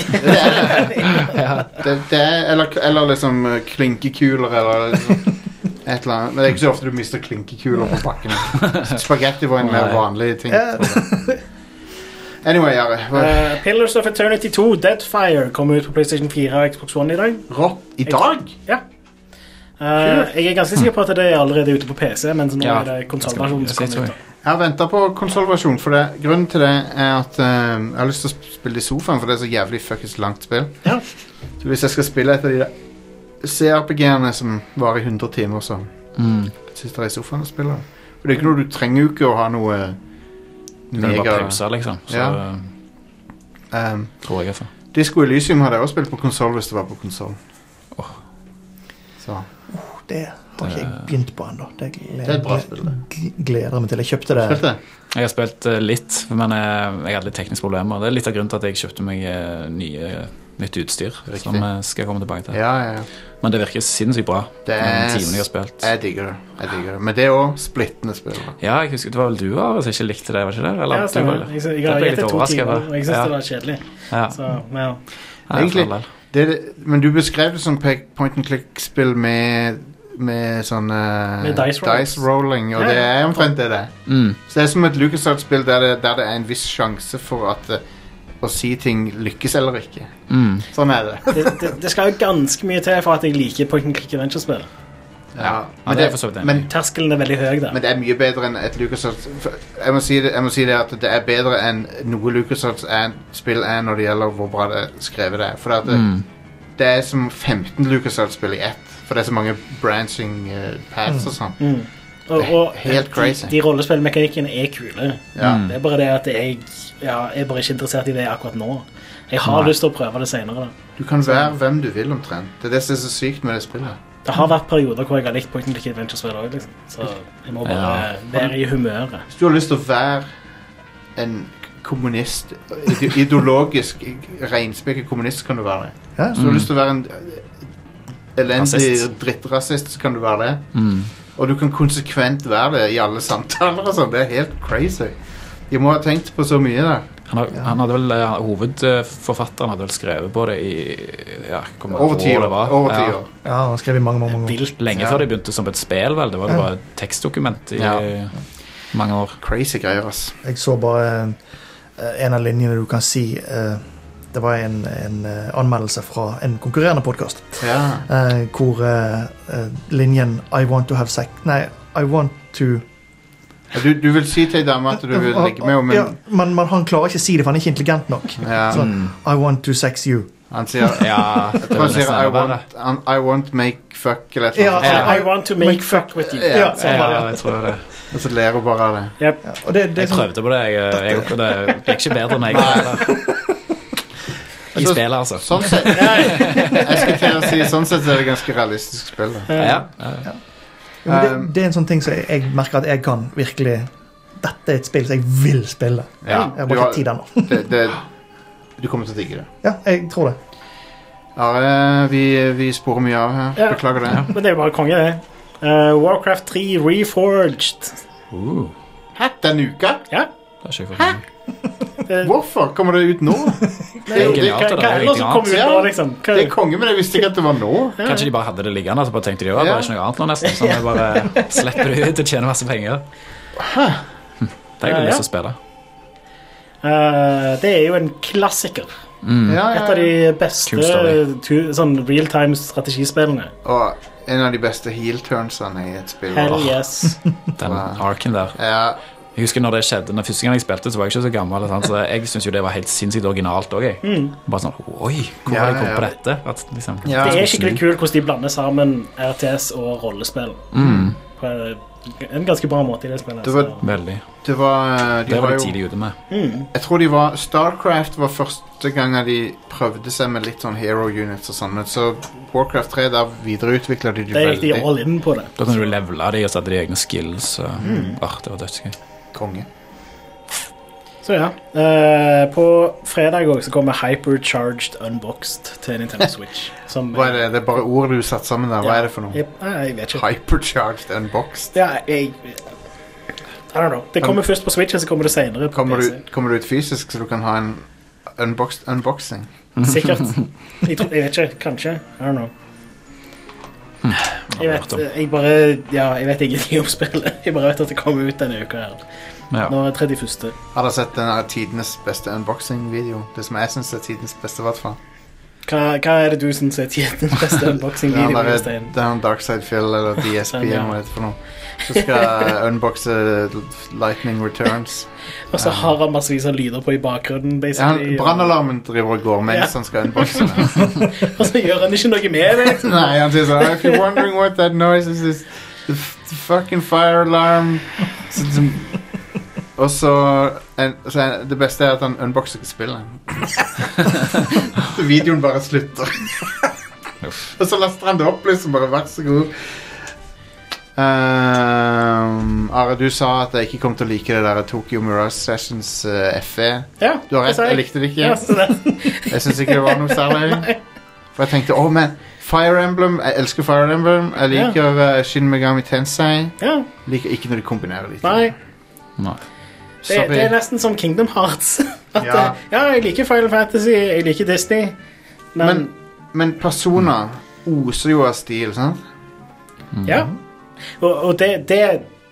Speaker 1: det, det er, eller, eller liksom eh, klinkekuler eller liksom, Et eller annet. Men det er ikke så ofte du mister klinkekuler på bakken. Spagetti var en mer
Speaker 3: Nei.
Speaker 1: vanlig ting.
Speaker 4: Ja.
Speaker 1: Anyway, Jare. hva-
Speaker 2: Eh, Pillars of Eternity 2, Deadfire, kom ut på PlayStation 4 og Xbox One i dag.
Speaker 1: Rått i dag?
Speaker 2: Ja. Eh, jeg er ganske sikker på at det er allerede ute på PC, men så nå
Speaker 3: Ja,
Speaker 2: er det konsollversjonen som
Speaker 3: Jeg
Speaker 2: kommer
Speaker 3: tror
Speaker 2: ut.
Speaker 3: jeg.
Speaker 1: Jeg har venta på konsolversjon, for det, grunnen til det er at eh, jeg har lyst til å sp- spille i sofaen, for det er så jævlig fuckings langt spill.
Speaker 2: Ja.
Speaker 1: Så hvis jeg skal spille et av de der CRPG-ene som varer i 100 timer, så
Speaker 3: Mm.
Speaker 1: sitter jeg i sofaen og spiller. Og det er ikke noe du trenger jo ikke å ha noe eh,
Speaker 3: Når du
Speaker 1: mega
Speaker 3: bare pauser, liksom. Så
Speaker 1: Ja. um,
Speaker 3: tror jeg for.
Speaker 1: Disco Elysium hadde jeg også spilt på konsoll hvis det var på konsoll.
Speaker 3: Åh.
Speaker 1: Så
Speaker 4: Det har ikke jeg begynt på ennå. Det gleder,
Speaker 1: Eh. Det er et bra spill, det.
Speaker 4: gl- gleder jeg meg til. Jeg kjøpte det
Speaker 1: spilte jeg.
Speaker 3: Jeg har spilt eh, litt, men jeg, jeg hadde litt tekniske problemer. Det er litt av grunnen til at jeg kjøpte meg eh, nye, nytt utstyr,
Speaker 1: Riktig.
Speaker 3: som jeg skal komme tilbake til.
Speaker 1: Ja, ja, ja.
Speaker 3: Men det virker sinnssykt bra.
Speaker 1: Det
Speaker 3: Den
Speaker 1: er
Speaker 3: timen jeg har spilt.
Speaker 1: Jeg digger det. jeg digger det Men det er òg splittende spill. da.
Speaker 3: Ja, jeg husker det var vel du Are, som ikke likte det? var ikke det? Eller,
Speaker 2: Ja,
Speaker 3: du,
Speaker 2: stemmer.
Speaker 3: var-
Speaker 2: Jeg, jeg,
Speaker 3: Da
Speaker 2: har
Speaker 3: ble
Speaker 2: gitt
Speaker 3: jeg
Speaker 2: det
Speaker 3: litt
Speaker 2: to
Speaker 3: overrasket,
Speaker 2: timer,
Speaker 3: da.
Speaker 2: og jeg syns
Speaker 3: Ja.
Speaker 2: det var kjedelig.
Speaker 3: ja.
Speaker 2: Så, men ja.
Speaker 3: Ja,
Speaker 1: Egentlig-
Speaker 3: for all del.
Speaker 1: Det er det, men du beskrev det som pe- point and click-spill med Med sånn eh,
Speaker 2: Med dice rolls.
Speaker 1: rolling, og
Speaker 2: Ja, ja.
Speaker 1: det er omtrent det det er.
Speaker 3: Mm.
Speaker 1: Så det er som et LucasArts-spill der, det- der det er en viss sjanse for at eh, å si ting lykkes eller ikke.
Speaker 3: Mm.
Speaker 1: Sånn er det.
Speaker 2: det, det, det skal jo ganske mye til for at jeg liker point and click adventure-spill.
Speaker 1: Ja,
Speaker 3: det er jeg for så vidt enig i.
Speaker 1: men,
Speaker 2: Terskelen er veldig høy der.
Speaker 1: men det er mye bedre enn et LucasArts for- jeg, må si det- jeg må si det at det er bedre enn noe LucasArts-spill er når det gjelder hvor bra det skrevet det er. For at det,
Speaker 3: Mm.
Speaker 1: det er som 15 LucasArts-spill i ett. For det er så mange branching eh, paths og sånn.
Speaker 2: Mm. Og,
Speaker 1: Det er
Speaker 2: og
Speaker 1: helt crazy.
Speaker 2: de, de rollespillmekanikkene er kule.
Speaker 1: Ja.
Speaker 3: Mm.
Speaker 2: Det er bare det at jeg ja, jeg er bare ikke interessert i det akkurat nå. Jeg har
Speaker 3: Nei.
Speaker 2: lyst til å prøve det senere. Da.
Speaker 1: Du kan være hvem du vil omtrent. Det er det som er så sykt med det spillet.
Speaker 2: Det har vært perioder hvor jeg har likt Point and Click Adventure-spill òg, liksom. så jeg må bare
Speaker 3: Ja.
Speaker 2: være i humøret.
Speaker 1: Hvis du har lyst til å være en kommunist, ide- ideologisk reinspekket kommunist, kan du være det.
Speaker 4: Ja.
Speaker 1: Hvis du har lyst til å være en elendig
Speaker 3: Rasist.
Speaker 1: drittrasist, så kan du være det.
Speaker 3: Mm.
Speaker 1: Og du kan konsekvent være det i alle samtaler og sånn. Det er helt crazy. De må ha tenkt på så mye der.
Speaker 3: Han, har, han hadde vel, eh, Hovedforfatteren hadde vel skrevet på det i ja, hvor mange
Speaker 1: Over ti
Speaker 3: år
Speaker 1: år.
Speaker 3: det var.
Speaker 1: Over ti
Speaker 3: Ja.
Speaker 1: år.
Speaker 4: Ja, han skrev i mange, mange mange år.
Speaker 2: Vilt.
Speaker 3: Lenge
Speaker 1: Ja.
Speaker 3: før det begynte som et spill, vel. Det var jo
Speaker 4: Ja.
Speaker 3: bare et tekstdokument i
Speaker 1: Ja.
Speaker 3: mange år.
Speaker 1: Crazy greier, ass.
Speaker 4: Jeg så bare eh, en av linjene du kan si eh, Det var en, en eh, anmeldelse fra en konkurrerende podkast.
Speaker 1: Ja.
Speaker 4: eh, hvor eh, eh, linjen I want to have sex Nei, I want to
Speaker 1: Ja, Du, du vil si til ei dame at du vil ligge med henne,
Speaker 4: ja,
Speaker 1: men
Speaker 4: men, men han klarer ikke å si det, for han er ikke intelligent nok.
Speaker 1: ja,
Speaker 4: Sånn, I want to sex you.
Speaker 1: han sier
Speaker 3: Mm. Ja, det
Speaker 1: Han
Speaker 3: var
Speaker 1: sier
Speaker 3: nesten
Speaker 1: I
Speaker 3: enda verre.
Speaker 1: want, an- I want make fuck eller et eller annet.
Speaker 4: Ja.
Speaker 2: I want to make fuck with you.
Speaker 1: Ja.
Speaker 4: sånn var
Speaker 3: Ja,
Speaker 4: det.
Speaker 3: jeg tror det.
Speaker 1: Og så ler hun bare av det.
Speaker 2: Yep.
Speaker 4: Ja, og det, det er
Speaker 3: Jeg
Speaker 4: sånn,
Speaker 3: prøvde på det. Jeg, jeg, og det ble ikke bedre enn jeg gjorde. I
Speaker 1: Så-
Speaker 3: spillet, altså.
Speaker 1: Sånn sett Jeg skal til å si Sånn sett er det ganske realistisk spill. da.
Speaker 3: Ja, ja.
Speaker 4: jo, men det,
Speaker 1: ehm,
Speaker 4: det er en sånn ting som jeg, jeg merker at jeg kan virkelig Dette er et spill som jeg vil spille. Jeg har
Speaker 1: du,
Speaker 4: bare
Speaker 1: har,
Speaker 4: ikke tid ennå.
Speaker 1: det, det, du kommer til å digge det.
Speaker 4: Ja, jeg tror det.
Speaker 1: Are, vi, vi sporer mye av her.
Speaker 2: Ja.
Speaker 1: Beklager det.
Speaker 2: Men det er jo bare konge, det. Eh, Warcraft 3 Reforged.
Speaker 3: Uh,
Speaker 1: Hæ? Denne uka?
Speaker 2: Ja.
Speaker 3: det har ikke jeg fått med meg.
Speaker 2: Det,
Speaker 1: Hvorfor kommer det ut nå?
Speaker 2: det,
Speaker 1: det-
Speaker 2: hva,
Speaker 3: det er
Speaker 2: hva
Speaker 3: jo
Speaker 2: ellers
Speaker 3: ingenting
Speaker 2: kommer ut nå,
Speaker 1: annet.
Speaker 2: liksom? Hva,
Speaker 1: Det er konge, men jeg visste ikke at det var nå.
Speaker 3: Kanskje de bare hadde det liggende, så bare tenkte de «Å, det er ikke noe annet nå, nesten. Så vi bare slipper det ut og tjener masse penger. Hm. Det har jeg lyst til å spille.
Speaker 2: Eh, det er jo en klassiker.
Speaker 3: Mm.
Speaker 1: Ja,
Speaker 2: Mm. Et
Speaker 1: ja,
Speaker 2: av
Speaker 1: ja.
Speaker 2: de beste
Speaker 3: Kul story.
Speaker 2: tu- sånn realtime strategispillene.
Speaker 1: Og en av de beste heel turnsene i et spill.
Speaker 2: Hell yes.
Speaker 3: Den
Speaker 1: Wow.
Speaker 3: arken der.
Speaker 1: Ja,
Speaker 3: Jeg husker når det skjedde, når første gang jeg spilte, så var jeg ikke så gammel. Sant? Så jeg syntes jo det var helt sinnssykt originalt òg, jeg.
Speaker 2: Mm.
Speaker 3: Bare sånn Oi, hvor
Speaker 1: Ja,
Speaker 3: har de kommet
Speaker 1: ja,
Speaker 3: på
Speaker 1: ja.
Speaker 3: dette? At, liksom,
Speaker 1: Ja.
Speaker 2: Det er skikkelig kult hvordan de blander sammen RTS og rollespill.
Speaker 3: Mm,
Speaker 2: På en ganske bra måte i det spillet.
Speaker 1: Det var-
Speaker 2: så- Mm.
Speaker 3: Veldig.
Speaker 1: det var eh,
Speaker 3: Det
Speaker 1: De
Speaker 3: var
Speaker 1: var
Speaker 3: de
Speaker 1: jo
Speaker 3: tidlig ute med.
Speaker 1: Jeg tror de var Starcraft var første gangen de prøvde seg med litt sånn hero units og sånn, men så Warcraft 3, der videreutvikla de
Speaker 2: Det
Speaker 1: det
Speaker 2: gikk de
Speaker 1: veldig.
Speaker 2: all in på det.
Speaker 3: Da kunne du levele de, og så hadde de egne skills. Og,
Speaker 1: Mm.
Speaker 3: Åh, det var dødsgøy.
Speaker 1: Konge.
Speaker 2: Så ja. eh, på fredag også så kommer Hypercharged Unboxed til Nintendo Switch. Som,
Speaker 1: Hva er det? Det er bare ordet du satte sammen der. Hva er det for noe?
Speaker 2: Jeg, nei, jeg vet ikke.
Speaker 1: Hypercharged unboxed.
Speaker 2: Ja, jeg I don't know. Det kommer først på Switch, og så kommer det senere på
Speaker 1: Kommer
Speaker 2: PC.
Speaker 1: du, kommer du ut fysisk, så du kan ha en unboxed unboxing?
Speaker 2: Sikkert. Jeg, tror, jeg vet ikke. Kanskje. I don't know. Jeg
Speaker 3: har
Speaker 2: vet,
Speaker 3: hørt om.
Speaker 2: jeg bare, ja, jeg vet ingenting om spillet. Jeg bare vet at det kommer ut denne uka. her. Nå
Speaker 3: Ja.
Speaker 2: er det 31.
Speaker 1: Har dere sett den her tidenes beste unboxing-video? Det som jeg syns er tidenes beste, i hvert fall.
Speaker 2: Hva, hva er det du syns er tidens beste
Speaker 1: Det er han
Speaker 2: unboxing-video?
Speaker 1: derre-
Speaker 2: Jostein?
Speaker 1: det er han Darkside Phil eller DSP
Speaker 2: Den, Sånn, ja.
Speaker 1: eller hva det heter for noe. Så skal jeg unboxe Lightning Returns.
Speaker 2: Og så har han massevis av lyder på i
Speaker 1: Ja,
Speaker 2: bakgrunnen.
Speaker 1: han-
Speaker 2: basically, og,
Speaker 1: Brannalarmen driver og går mens
Speaker 2: Ja.
Speaker 1: han skal unboxe den.
Speaker 2: og så gjør han ikke noe med det.
Speaker 1: Nei, han sier sånn If you're wondering what that noise is it's the, f- the fucking fire alarm Så- så- Og så, en, så en, Det beste er at han unboxer ikke spillet Så videoen bare slutter Og så laster han det opp liksom Bare vær så god Ehm, Are, du sa at jeg ikke kom til å like det der Tokyo Mirage Sessions eh, FE
Speaker 2: Ja,
Speaker 1: Du har
Speaker 2: det
Speaker 1: rett,
Speaker 2: sa
Speaker 1: jeg likte det ikke
Speaker 2: Ja, så det-
Speaker 1: jeg syns ikke det var noe særlig. For jeg tenkte å, men Fire Emblem Jeg elsker Fire Emblem. Jeg
Speaker 2: Ja.
Speaker 1: liker eh, Shin Megami Tensei.
Speaker 2: ja,
Speaker 1: Liker ikke når de kombinerer de to.
Speaker 2: nei,
Speaker 3: Nei.
Speaker 2: det,
Speaker 1: Sorry.
Speaker 2: det er nesten som Kingdom Hearts. At,
Speaker 1: Ja.
Speaker 2: eh, ja, jeg liker Final Fantasy, jeg liker Disney, men,
Speaker 1: men, men Persona oser jo av stil, sant?
Speaker 2: ja. Og, og det, det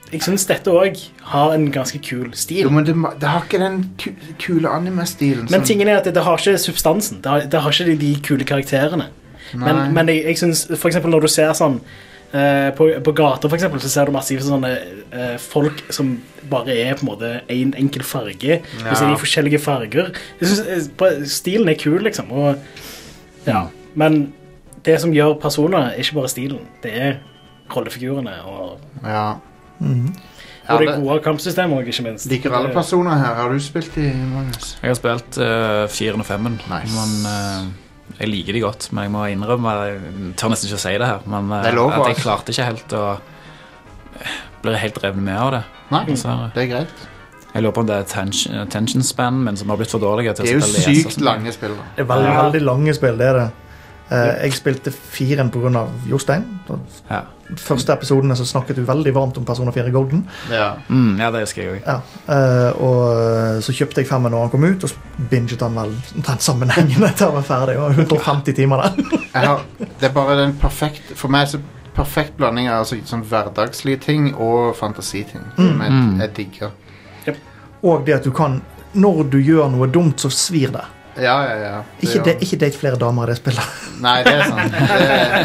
Speaker 2: Jeg syns dette òg har en ganske kul stil.
Speaker 1: Jo, men det, ma- det har ikke den ku, kule anime-stilen.
Speaker 2: Men
Speaker 1: som-
Speaker 2: tingen er at det, det har ikke substansen. Det har, det har ikke de, de kule karakterene.
Speaker 1: Nei.
Speaker 2: Men, men jeg, jeg syns f.eks. når du ser sånn eh, på, på gata for eksempel, så ser du massive sånne eh, folk som bare er på en måte én en enkel farge. Og så er
Speaker 1: Ja.
Speaker 2: de forskjellige farger. Jeg synes, eh, på- stilen er kul, liksom. Og, ja. Men det som gjør personer, er ikke bare stilen. Det er rollefigurene og,
Speaker 1: ja. Mhm. Ja,
Speaker 2: og det
Speaker 1: det-
Speaker 2: gode kampsystemet òg, ikke minst. Eh,
Speaker 1: Liker alle
Speaker 2: Det-
Speaker 1: personer her. Har du spilt i Magnus?
Speaker 3: Jeg har spilt uh, 4 og 5
Speaker 1: Nice.
Speaker 3: Men eh, jeg liker de godt Men jeg må innrømme Jeg tør nesten ikke å si det her Men eh,
Speaker 1: Det er lov,
Speaker 3: at jeg
Speaker 1: altså.
Speaker 3: klarte ikke helt å Blir helt revet med av det
Speaker 1: Nei,
Speaker 3: dessverre.
Speaker 1: det er greit.
Speaker 3: Jeg lurer på om det er attention, attention span Men som har blitt for dårlige til
Speaker 1: Det er
Speaker 3: å
Speaker 1: jo
Speaker 3: sitte og lese
Speaker 1: sykt
Speaker 3: så mye.
Speaker 1: lange spill, da.
Speaker 4: Det er veldig,
Speaker 2: Ja.
Speaker 4: veldig lange spill, det er det. Eh, jeg spilte firen pga. Jostein. De
Speaker 3: ja.
Speaker 4: første episodene så snakket du veldig varmt om Persona 4 Golden.
Speaker 1: Ja.
Speaker 3: Mm, ja, det husker jeg også
Speaker 4: Ja. eh, og så kjøpte jeg femmen når han kom ut, og så binget han vel den sammenhengen etter han var ferdig. Det var 150 timer der.
Speaker 1: jeg har, det er bare den perfekt For meg er det så perfekt blanding av altså, sånn hverdagslige ting og fantasiting.
Speaker 4: Mm.
Speaker 1: Som jeg, jeg digger.
Speaker 4: Og det at du kan Når du gjør noe dumt, så svir det.
Speaker 1: Ja, ja, ja.
Speaker 4: Ikke,
Speaker 1: er
Speaker 4: det,
Speaker 1: jo-
Speaker 4: ikke date flere damer i det spillet.
Speaker 1: Nei, det er sant.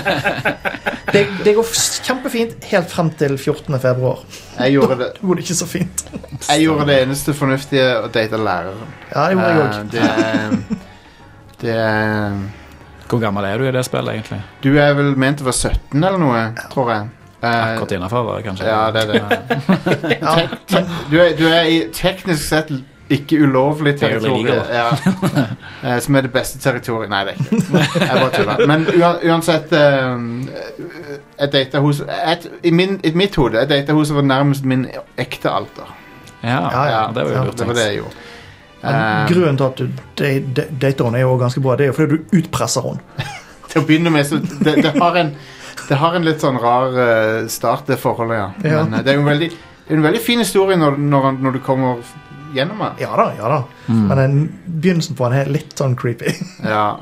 Speaker 1: Det,
Speaker 4: Det, det går f- kjempefint helt frem til 14. februar.
Speaker 1: jeg, gjorde det,
Speaker 4: Det går det ikke så fint.
Speaker 1: jeg gjorde det eneste fornuftige å date læreren.
Speaker 4: Ja, det gjorde jeg
Speaker 1: Eh,
Speaker 4: òg.
Speaker 1: det er Det er
Speaker 3: Hvor gammel er du i det spillet egentlig?
Speaker 1: Du er vel ment å være 17 eller noe, tror jeg. Eh,
Speaker 3: Akkurat innenfor kanskje?
Speaker 1: ja, det er det.
Speaker 4: Ja, men
Speaker 1: Du er, du er i teknisk sett ikke ulovlig
Speaker 3: Det er jo
Speaker 1: territorium. Ja. Eh, Som er det beste territoriet Nei, det er ikke det. Jeg bare tuller. Men ua- uansett eh, Jeg data hos et, i, min, I mitt hode jeg data hun som var nærmest min ekte alter.
Speaker 3: Ja,
Speaker 4: Ja, ja.
Speaker 3: det var
Speaker 4: Ja,
Speaker 3: jo
Speaker 1: Det var det
Speaker 3: lurt ja,
Speaker 1: jeg gjorde. Eh,
Speaker 4: grunnen til at du da- da- dater henne, er jo ganske bra. Det er jo fordi du utpresser henne.
Speaker 1: til å begynne med, så det, det har en Det har en litt sånn rar eh, start, det forholdet, ja.
Speaker 4: Ja.
Speaker 1: Men eh, det er jo en veldig, det er en veldig fin historie når, når, han- når du kommer gjennom den.
Speaker 4: Ja da, ja da.
Speaker 1: Mm.
Speaker 4: Men den begynnelsen på den er litt sånn creepy.
Speaker 1: Ja.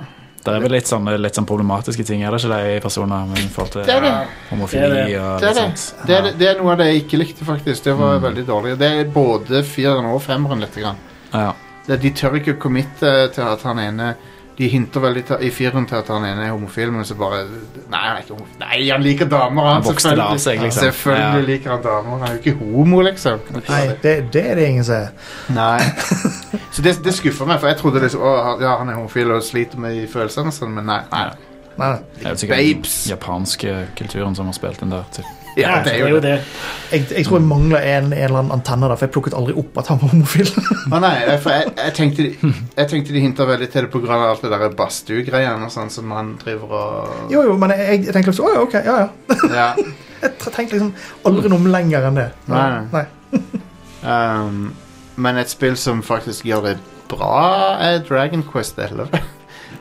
Speaker 3: Det er vel litt sånn, litt sånn problematiske ting Er det ikke det i personer Men i forhold til
Speaker 1: Det er det.
Speaker 3: homofili
Speaker 2: Det er det.
Speaker 3: og
Speaker 1: Det er
Speaker 3: litt
Speaker 1: det.
Speaker 3: sånt.
Speaker 1: Det er, det er noe av det jeg ikke likte, faktisk. Det
Speaker 3: Mm.
Speaker 1: var veldig dårlig. Det er både fireren og femmeren, lite grann.
Speaker 3: Ja,
Speaker 1: Det, de tør ikke committe til at han ene De hinter veldig til, i fireren til at han ene er homofil, men så bare Nei, han, er ikke homofil. nei, han liker damer, han.
Speaker 3: Han vokste det av seg, liksom.
Speaker 1: Selvfølgelig
Speaker 3: Ja.
Speaker 1: liker han damer. Han er jo ikke homo, liksom.
Speaker 4: Nei, det, det er det ingen som er.
Speaker 1: Nei. Så det, det skuffer meg, for jeg trodde liksom, å, han- ja, han er homofil og sliter med følelsene, og sånn, men nei. nei.
Speaker 4: Nei, nei.
Speaker 3: det er jo sikkert den
Speaker 1: Babes.
Speaker 3: japanske kulturen som har spilt den der til
Speaker 2: Ja, det er jo det.
Speaker 4: Jeg, jeg
Speaker 1: Mm.
Speaker 4: tror jeg mangler en, en eller annen antenne der, for jeg plukket aldri opp at han var homofil.
Speaker 1: Å nei, jeg, for jeg, jeg, tenkte, de- jeg tenkte de hinta veldig til det på grunn av alt det der badstue-greiene og sånn som han driver og
Speaker 4: jo, jo, men jeg, jeg tenkte liksom, «Å, ja, ok, ja, ja.
Speaker 1: Ja.
Speaker 4: Jeg t- tenkte liksom aldri noe om lenger enn det.
Speaker 1: Nei,
Speaker 4: nei.
Speaker 1: Um, men et spill som faktisk gjør det bra, er Dragon Quest 11.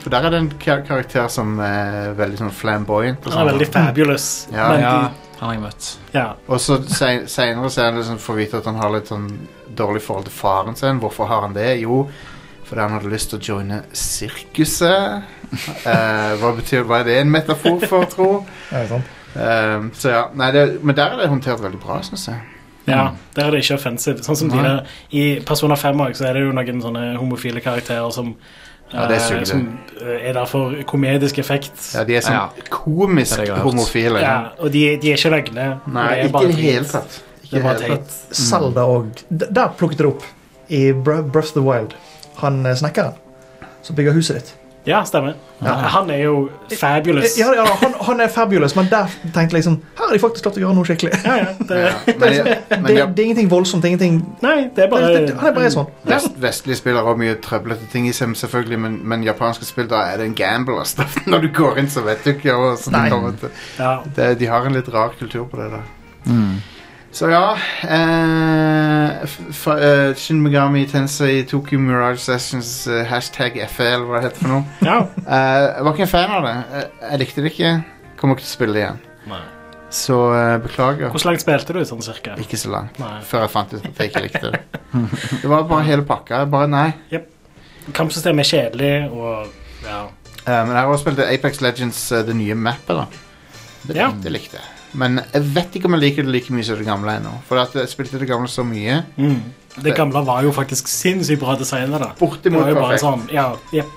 Speaker 1: For der er det en kar karakter som er veldig sånn flamboyant. Og
Speaker 2: Han er
Speaker 1: sånn.
Speaker 2: veldig fabulous.
Speaker 1: Ja,
Speaker 2: men
Speaker 3: Ja,
Speaker 2: De,
Speaker 3: han har jeg møtt
Speaker 2: ja.
Speaker 1: Og så se- senere så er han liksom får vite at han har litt sånn dårlig forhold til faren sin. Hvorfor har han det? Jo, fordi han hadde lyst til å joine sirkuset. Eh, hva, betyr, hva er det en metafor for, tro?
Speaker 4: Ja, ikke sant?
Speaker 1: Ehm, så ja, nei, det, Men der er det håndtert veldig bra, syns jeg.
Speaker 2: Ja, Der er det ikke offensive. Sånn som de
Speaker 1: Mm. Nei.
Speaker 2: der, I Persona 5 også, så er det jo noen sånne homofile karakterer som,
Speaker 1: Ja, det
Speaker 2: eh,
Speaker 1: suger det.
Speaker 2: som eh, er der for komedisk effekt.
Speaker 1: Ja, De er sånn
Speaker 3: Ja.
Speaker 1: komisk
Speaker 3: Det er det jeg har hørt.
Speaker 1: homofile.
Speaker 2: Ja, og de, de er ikke løgne.
Speaker 1: Nei,
Speaker 2: det er
Speaker 1: ikke i det
Speaker 2: drit.
Speaker 1: hele tatt. Ikke
Speaker 2: Det
Speaker 1: i
Speaker 2: er bare
Speaker 1: det hele tatt.
Speaker 2: teit.
Speaker 4: Zelda òg. Der plukket jeg det opp. I Br- Breath of the Wild. Han eh, snekkeren som bygger huset ditt.
Speaker 2: Ja, stemmer.
Speaker 4: Ja.
Speaker 2: Han er jo fabulous.
Speaker 4: Ja, ja, han, han er fabulous, men der tenkte jeg liksom Her har de faktisk klart å gjøre noe skikkelig.
Speaker 2: Ja, ja, det,
Speaker 1: Ja, men de, men
Speaker 4: Det,
Speaker 1: de har
Speaker 4: det er ingenting voldsomt. ingenting
Speaker 2: nei, det er
Speaker 4: det,
Speaker 2: bare
Speaker 4: det, Han er bare sånn.
Speaker 1: vest, Vestlige spillere har mye trøblete ting i seg, selvfølgelig, men, men japanske spill, da er det en gamble. og stuff. Når du går inn, så vet du ikke. Og sånn,
Speaker 4: Nei.
Speaker 1: kommer til-
Speaker 2: ja.
Speaker 1: det, de har en litt rar kultur på det der.
Speaker 3: Mm.
Speaker 1: Så ja eh, f- f- eh, Shin Megami Tensei Tokyo Mirage Sessions eh, Hashtag FL, hva det heter for noe
Speaker 2: ja.
Speaker 1: Eh, Jeg var ikke en fan av det Eh, Jeg likte det ikke Kommer ikke til å spille det igjen Så eh, beklager
Speaker 2: Hvor langt spilte du, sånn cirka?
Speaker 1: Ikke så langt
Speaker 2: Nei.
Speaker 1: Før jeg fant ut at jeg ikke likte det Det var bare hele pakka jeg Bare nei
Speaker 2: Kampsystemet er kjedelig, og ja.
Speaker 1: Eh, Men jeg har også spilt Apex Legends eh, Det nye mappet da det,
Speaker 2: Ja.
Speaker 1: det likte jeg Men jeg vet ikke om jeg liker det like mye som det gamle ennå For at jeg spilte det gamle så mye
Speaker 2: Mm. Det gamle var jo faktisk sinnssykt bra designet, da. Det
Speaker 1: Bortimot
Speaker 2: var jo bare
Speaker 1: perfekt
Speaker 2: sånn, ja, jep.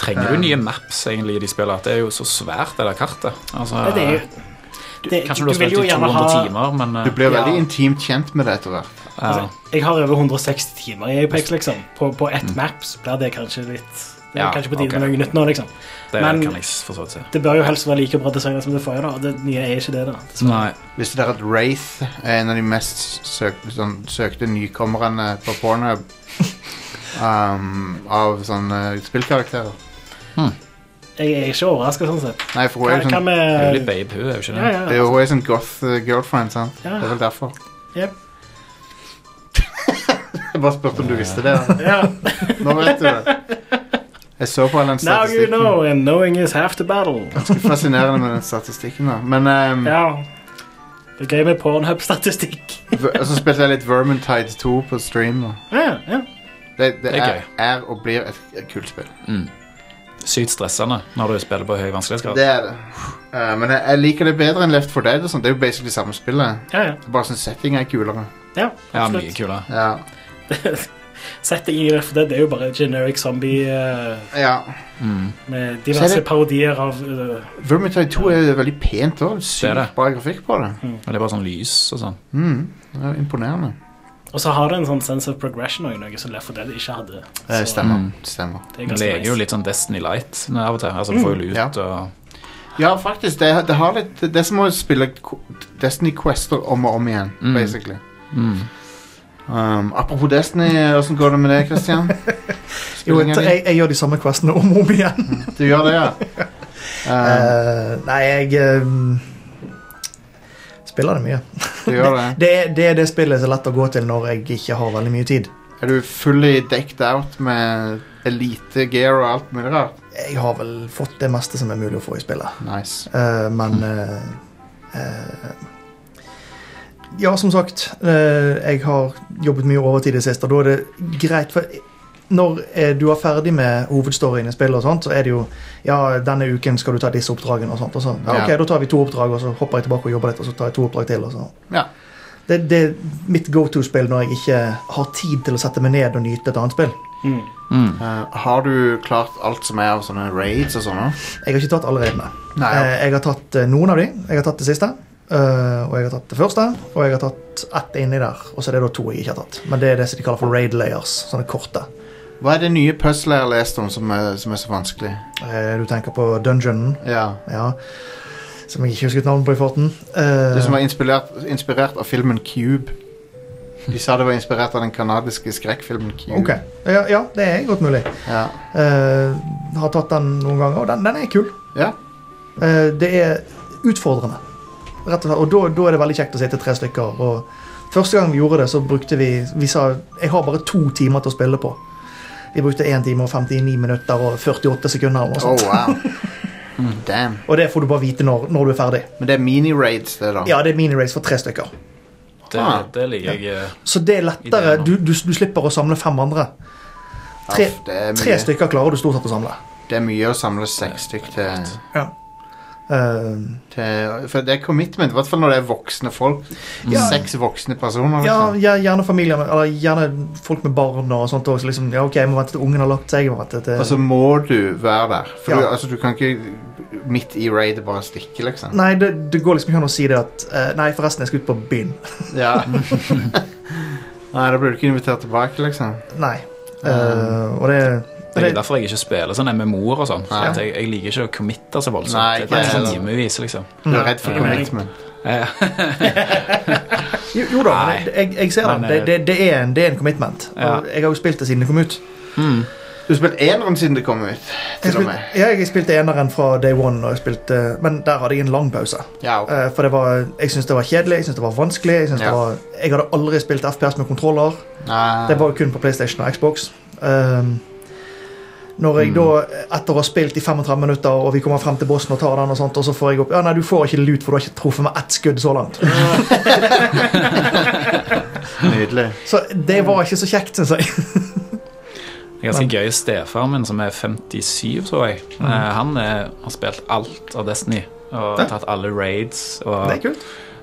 Speaker 3: Trenger
Speaker 1: Eh.
Speaker 3: du nye maps egentlig i de spillene? Det er jo så svært, det der kartet. Altså,
Speaker 2: Det er jo- det-
Speaker 3: kanskje du har
Speaker 2: vil
Speaker 3: spilt
Speaker 2: jo
Speaker 3: i 200
Speaker 2: gjerne ha-
Speaker 3: timer, men
Speaker 1: Du
Speaker 3: eh,
Speaker 1: blir
Speaker 2: Ja.
Speaker 1: veldig intimt kjent med det etter hvert
Speaker 3: ja.
Speaker 2: Altså, jeg har over 160 timer i Apex, liksom. På, på ett map så blir det kanskje litt Det er
Speaker 3: Mm. Ja,
Speaker 2: kanskje på tide
Speaker 3: ok.
Speaker 2: med noe nytt nå, liksom.
Speaker 3: det
Speaker 2: men-
Speaker 3: kan jeg for så vidt si.
Speaker 2: Det bør jo helst være like bra designet som det forrige, da. og Det nye er sånn- ikke det, da. dessverre.
Speaker 3: Nei.
Speaker 1: Visste dere at Wraith er en av de mest søk, sånn, søkte nykommerne på Pornhub? Um, av sånne spillkarakterer.
Speaker 2: Jeg er ikke overraska, sånn sett.
Speaker 1: Nei, for hun
Speaker 2: Hva,
Speaker 1: er jo
Speaker 2: hva
Speaker 1: sånn,
Speaker 3: Hun er jo
Speaker 2: med
Speaker 3: litt babe, hun er jo ikke
Speaker 2: Ja,
Speaker 3: det.
Speaker 2: ja.
Speaker 1: det er jo- hun er sånn goth uh, girlfriend, sant?
Speaker 2: Ja.
Speaker 1: Det er vel derfor.
Speaker 2: Jep.
Speaker 1: Jeg bare spurte om du visste det. da.
Speaker 2: ja.
Speaker 1: Nå vet du det. Jeg så på all den
Speaker 2: Now you
Speaker 1: statistikken.
Speaker 2: know, and knowing is half the battle.
Speaker 1: Ganske fascinerende med den statistikken. da. Men um,
Speaker 2: Ja. Det er gøy med pornhub-statistikk.
Speaker 1: v- og så spilte jeg litt Vermintide 2 på stream. da.
Speaker 2: Ja, ja.
Speaker 1: Det, det
Speaker 3: Det er
Speaker 1: er,
Speaker 3: gøy.
Speaker 1: er og blir et, et kult spill.
Speaker 3: Mm. Sykt stressende når du spiller på høy vanskelighetsgrad.
Speaker 1: Det er det. Uh, men jeg, jeg liker det bedre enn Left 4 Dead. og sånt. Det er jo basically samme spillet.
Speaker 2: ja, ja.
Speaker 1: Jeg bare syns settinga er kulere.
Speaker 2: ja
Speaker 3: Ja,
Speaker 2: absolutt.
Speaker 3: mye kulere.
Speaker 1: Ja.
Speaker 2: Setting i Left 4 Dead er jo bare generic zombie eh,
Speaker 1: ja.
Speaker 3: Mm.
Speaker 2: med
Speaker 1: Så
Speaker 2: diverse
Speaker 1: er det-
Speaker 2: parodier av eh,
Speaker 1: Vermintide 2 er veldig pent òg.
Speaker 3: Det er det.
Speaker 1: Sykt bra grafikk på det.
Speaker 3: Men det er bare sånn lys og sånn.
Speaker 1: Mm. Det er imponerende.
Speaker 2: Og så har det en sånn sense of progression også, noe som Left 4 Dead ikke hadde.
Speaker 1: Eh,
Speaker 2: Så
Speaker 1: stemmer.
Speaker 3: Mm.
Speaker 1: stemmer.
Speaker 2: Det er
Speaker 3: Men det
Speaker 2: ganske
Speaker 3: er jo
Speaker 2: nice.
Speaker 3: litt sånn Destiny Light av og til. Altså, du får jo
Speaker 1: Ja.
Speaker 3: lut og
Speaker 1: Ja, faktisk. Det, det har litt Det er som å spille Qu- Destiny Quester om og om igjen,
Speaker 3: Mm.
Speaker 1: basically.
Speaker 3: mm.
Speaker 1: Um, apropos Destiny, åssen går det med det, Christian?
Speaker 4: Jo,
Speaker 1: Spillingen
Speaker 4: jeg,
Speaker 1: din?
Speaker 4: jeg, jeg gjør de samme questene om og om igjen.
Speaker 1: Du gjør det, ja? Um,
Speaker 4: Eh, nei, jeg eh, spiller det mye.
Speaker 1: du gjør det.
Speaker 4: Det, er- det er det spillet som er lett å gå til når jeg ikke har veldig mye tid.
Speaker 1: Er du fully decked out med elite gear og alt mulig rart?
Speaker 4: Jeg har vel fått det meste som er mulig å få i spillet.
Speaker 1: Nice.
Speaker 4: Eh, men eh, eh, Ja, som sagt. eh, jeg har jobbet mye overtid i det siste, og da er det greit. for når eh, du er ferdig med hovedstoryen i spillet, og sånt, så er det jo Ja, denne uken skal du ta disse oppdragene og sånt. Og så, ja, ok,
Speaker 1: Ja.
Speaker 4: Da tar vi to oppdrag, og så hopper jeg tilbake og jobber litt, og så tar jeg to oppdrag til. og sånn.
Speaker 1: Ja.
Speaker 4: Det, det er mitt go to-spill når jeg ikke har tid til å sette meg ned og nyte et annet spill.
Speaker 2: Mm.
Speaker 3: Mm.
Speaker 1: Eh, har du klart alt som er av sånne raids og sånne?
Speaker 4: Jeg har ikke tatt alle reglene.
Speaker 1: Nei,
Speaker 4: Eh, Jeg har tatt eh, noen av de. Jeg har tatt det siste. eh, og jeg har tatt det første, og jeg har tatt ett inni der. Og så er det da to jeg ikke har tatt. Men det er det som de kaller for raid layers. Sånne korte.
Speaker 1: Hva er det nye puzzlet jeg har lest om som er, som er så vanskelig?
Speaker 4: Eh, du tenker på dungeonen,
Speaker 1: Ja.
Speaker 4: ja. Som jeg ikke husket navnet på i farten. Eh,
Speaker 1: Det som var inspirert, inspirert av filmen Cube. De sa det var inspirert av den kanadiske skrekkfilmen Cube.
Speaker 4: Ok. Ja, ja, det er godt mulig.
Speaker 1: Ja.
Speaker 4: Eh, har tatt den noen ganger, og den, den er kul.
Speaker 1: ja.
Speaker 4: Eh, det er utfordrende. Rett og slett. Og da, da er det veldig kjekt å sitte tre stykker. Og første gang vi gjorde det, så brukte vi Vi sa jeg har bare to timer til å spille på. Vi brukte 1 time og 59 minutter og 48 sekunder. Eller noe
Speaker 1: Oh,
Speaker 4: sånt.
Speaker 1: wow.
Speaker 4: Mm.
Speaker 1: Damn.
Speaker 4: Og det får du bare vite når, når du er ferdig.
Speaker 1: Men det er mini-raids, det, da.
Speaker 4: Ja, det er mini-race for tre stykker.
Speaker 3: Det,
Speaker 1: Ah.
Speaker 3: det liker jeg. eh,
Speaker 4: Så det er lettere.
Speaker 3: Ideene.
Speaker 4: Du, du, du slipper å samle fem andre. Tre,
Speaker 1: Aff, det, er
Speaker 4: tre
Speaker 1: mye,
Speaker 4: stykker klarer du stort sett å samle.
Speaker 1: det er mye å samle seks stykk til.
Speaker 4: Ja. Eh,
Speaker 1: Til, for det er commitment, i hvert fall når det er voksne folk.
Speaker 3: mm.
Speaker 4: Ja.
Speaker 1: Seks voksne personer.
Speaker 4: Ja,
Speaker 1: Liksom.
Speaker 4: ja, gjerne familier, med- eller gjerne folk med barn og sånt også. Liksom, ja, ok, jeg må vente til ungen har lagt seg. Jeg må vente til...
Speaker 1: Og så må du være der. For
Speaker 4: Ja.
Speaker 1: du, altså, du kan ikke midt i raidet bare stikke, liksom.
Speaker 4: Nei, det, det går liksom ikke an å si det at eh, Nei, forresten, jeg skal ut på byen.
Speaker 1: Ja. Nei, da blir du ikke invitert tilbake, liksom.
Speaker 4: Nei. Eh,
Speaker 3: Ah.
Speaker 4: og det,
Speaker 3: Det er
Speaker 4: det,
Speaker 3: derfor jeg ikke spiller sånn MMO-er og sånn. for
Speaker 1: Ja.
Speaker 3: at Jeg, jeg liker ikke å committe så voldsomt.
Speaker 1: Nei,
Speaker 3: det er
Speaker 1: ikke
Speaker 3: sånn
Speaker 1: jeg
Speaker 3: timevis, liksom.
Speaker 1: Du er redd for
Speaker 2: Ja.
Speaker 1: commitment.
Speaker 3: Eh,
Speaker 4: jo, jo da,
Speaker 3: Nei.
Speaker 4: men jeg, jeg- jeg ser
Speaker 3: Men,
Speaker 4: det. Det, det, det, er en, det er en commitment.
Speaker 3: Ja.
Speaker 4: Og jeg har jo spilt det siden det kom ut.
Speaker 3: Mm.
Speaker 1: Du har spilt eneren siden det kom ut.
Speaker 4: Jeg,
Speaker 1: Til og
Speaker 4: spil,
Speaker 1: med.
Speaker 4: ja, jeg spilte eneren fra day one, og jeg spilte, men der hadde jeg en lang pause.
Speaker 1: Ja, ok.
Speaker 4: Eh, for det var, jeg syntes det var kjedelig, jeg syntes det var vanskelig. Jeg, syntes
Speaker 1: Ja.
Speaker 4: det var, jeg hadde aldri spilt FPS med kontroller.
Speaker 1: Nei.
Speaker 4: Eh, Det var jo kun på PlayStation og Xbox. Ehm, når
Speaker 1: Mm.
Speaker 4: jeg da, etter å ha spilt i 35 minutter, og vi kommer frem til bossen og tar den, og sånt, og så får jeg opp Ja, nei, du får ikke lut, for du har ikke truffet med ett skudd så langt.
Speaker 1: Nydelig.
Speaker 4: Så det var ikke så kjekt, syns jeg.
Speaker 3: Det er ganske gøy. Stefaren min, som er 57, tror jeg, eh, han er, har spilt alt av Destiny. Og
Speaker 4: Ja.
Speaker 3: tatt alle raids
Speaker 4: Det er
Speaker 3: og
Speaker 4: kult.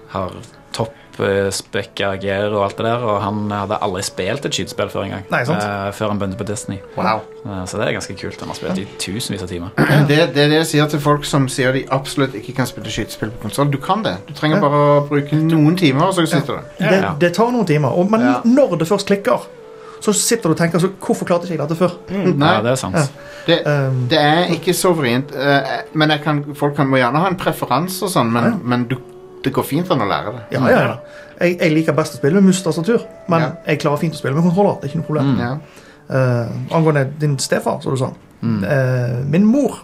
Speaker 3: har toppspekka gear og alt det der. Og han hadde aldri spilt et skytespill før engang.
Speaker 4: Nei, sant.
Speaker 3: eh, Før han begynte på Destiny.
Speaker 1: Wow.
Speaker 3: Eh, Så det er ganske kult. Han har spilt i tusenvis av timer.
Speaker 1: Det, det er det jeg sier til folk som sier de absolutt ikke kan spille skytespill på konsoll. Du kan det. Du trenger
Speaker 4: Ja.
Speaker 1: bare å bruke noen timer, og så sitter du.
Speaker 4: Det,
Speaker 3: Ja.
Speaker 4: det tar noen timer. Og, men
Speaker 1: Ja.
Speaker 4: når det først klikker, så sitter du og tenker så, Hvorfor klarte ikke jeg dette før?
Speaker 1: Nei,
Speaker 3: Ja, det er sant.
Speaker 4: Ja.
Speaker 1: det,
Speaker 4: Ehm,
Speaker 1: det er ikke så vrient. eh, men jeg kan, folk kan, må gjerne ha en preferanse og sånn, men,
Speaker 4: Ja.
Speaker 1: men du, det går fint an å lære det.
Speaker 4: ja, ja, ja. Jeg, jeg liker best å spille med mus-tastatur, men
Speaker 1: Ja.
Speaker 4: jeg klarer fint å spille med kontroller. Det er ikke noe problem.
Speaker 1: Mm. Ja.
Speaker 4: Eh, angående din stefar, som du sa.
Speaker 3: Mm.
Speaker 4: Eh, min mor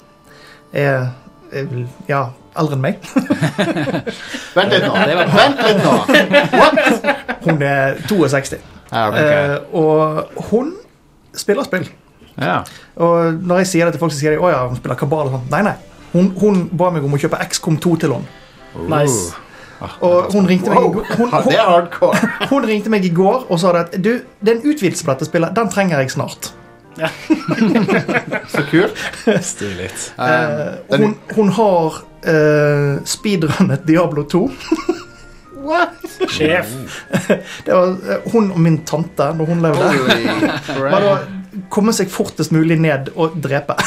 Speaker 4: er, er vel, ja, eldre enn meg.
Speaker 1: Vent litt nå.
Speaker 3: Det var-
Speaker 1: Vent litt nå.
Speaker 4: Hun er 62.
Speaker 1: Ja, ok.
Speaker 4: Eh, og hun spiller spill.
Speaker 3: Ja.
Speaker 4: Og når jeg sier det til folk, så sier de å ja, hun spiller kabal. og sånn. Nei, nei. Hun, hun ba meg om å kjøpe XCOM 2 til henne.
Speaker 1: Oh.
Speaker 2: Nice.
Speaker 1: Ah,
Speaker 4: Og hun ringte, meg, i
Speaker 1: Wow.
Speaker 4: går- hun,
Speaker 1: Ha, Det
Speaker 4: hun,
Speaker 1: er hardcore.
Speaker 4: hun ringte meg i går og sa det at du, det er en utvidelse på dette spillet. Den trenger jeg snart.
Speaker 1: Så kult.
Speaker 3: Stilig.
Speaker 1: Eh,
Speaker 4: Eh, hun, hun har eh, speedrunnet Diablo 2.
Speaker 2: Sjef.
Speaker 4: Det var eh, hun og min tante når hun levde.
Speaker 1: holy
Speaker 4: Var det
Speaker 1: crap.
Speaker 4: å komme seg fortest mulig ned og drepe.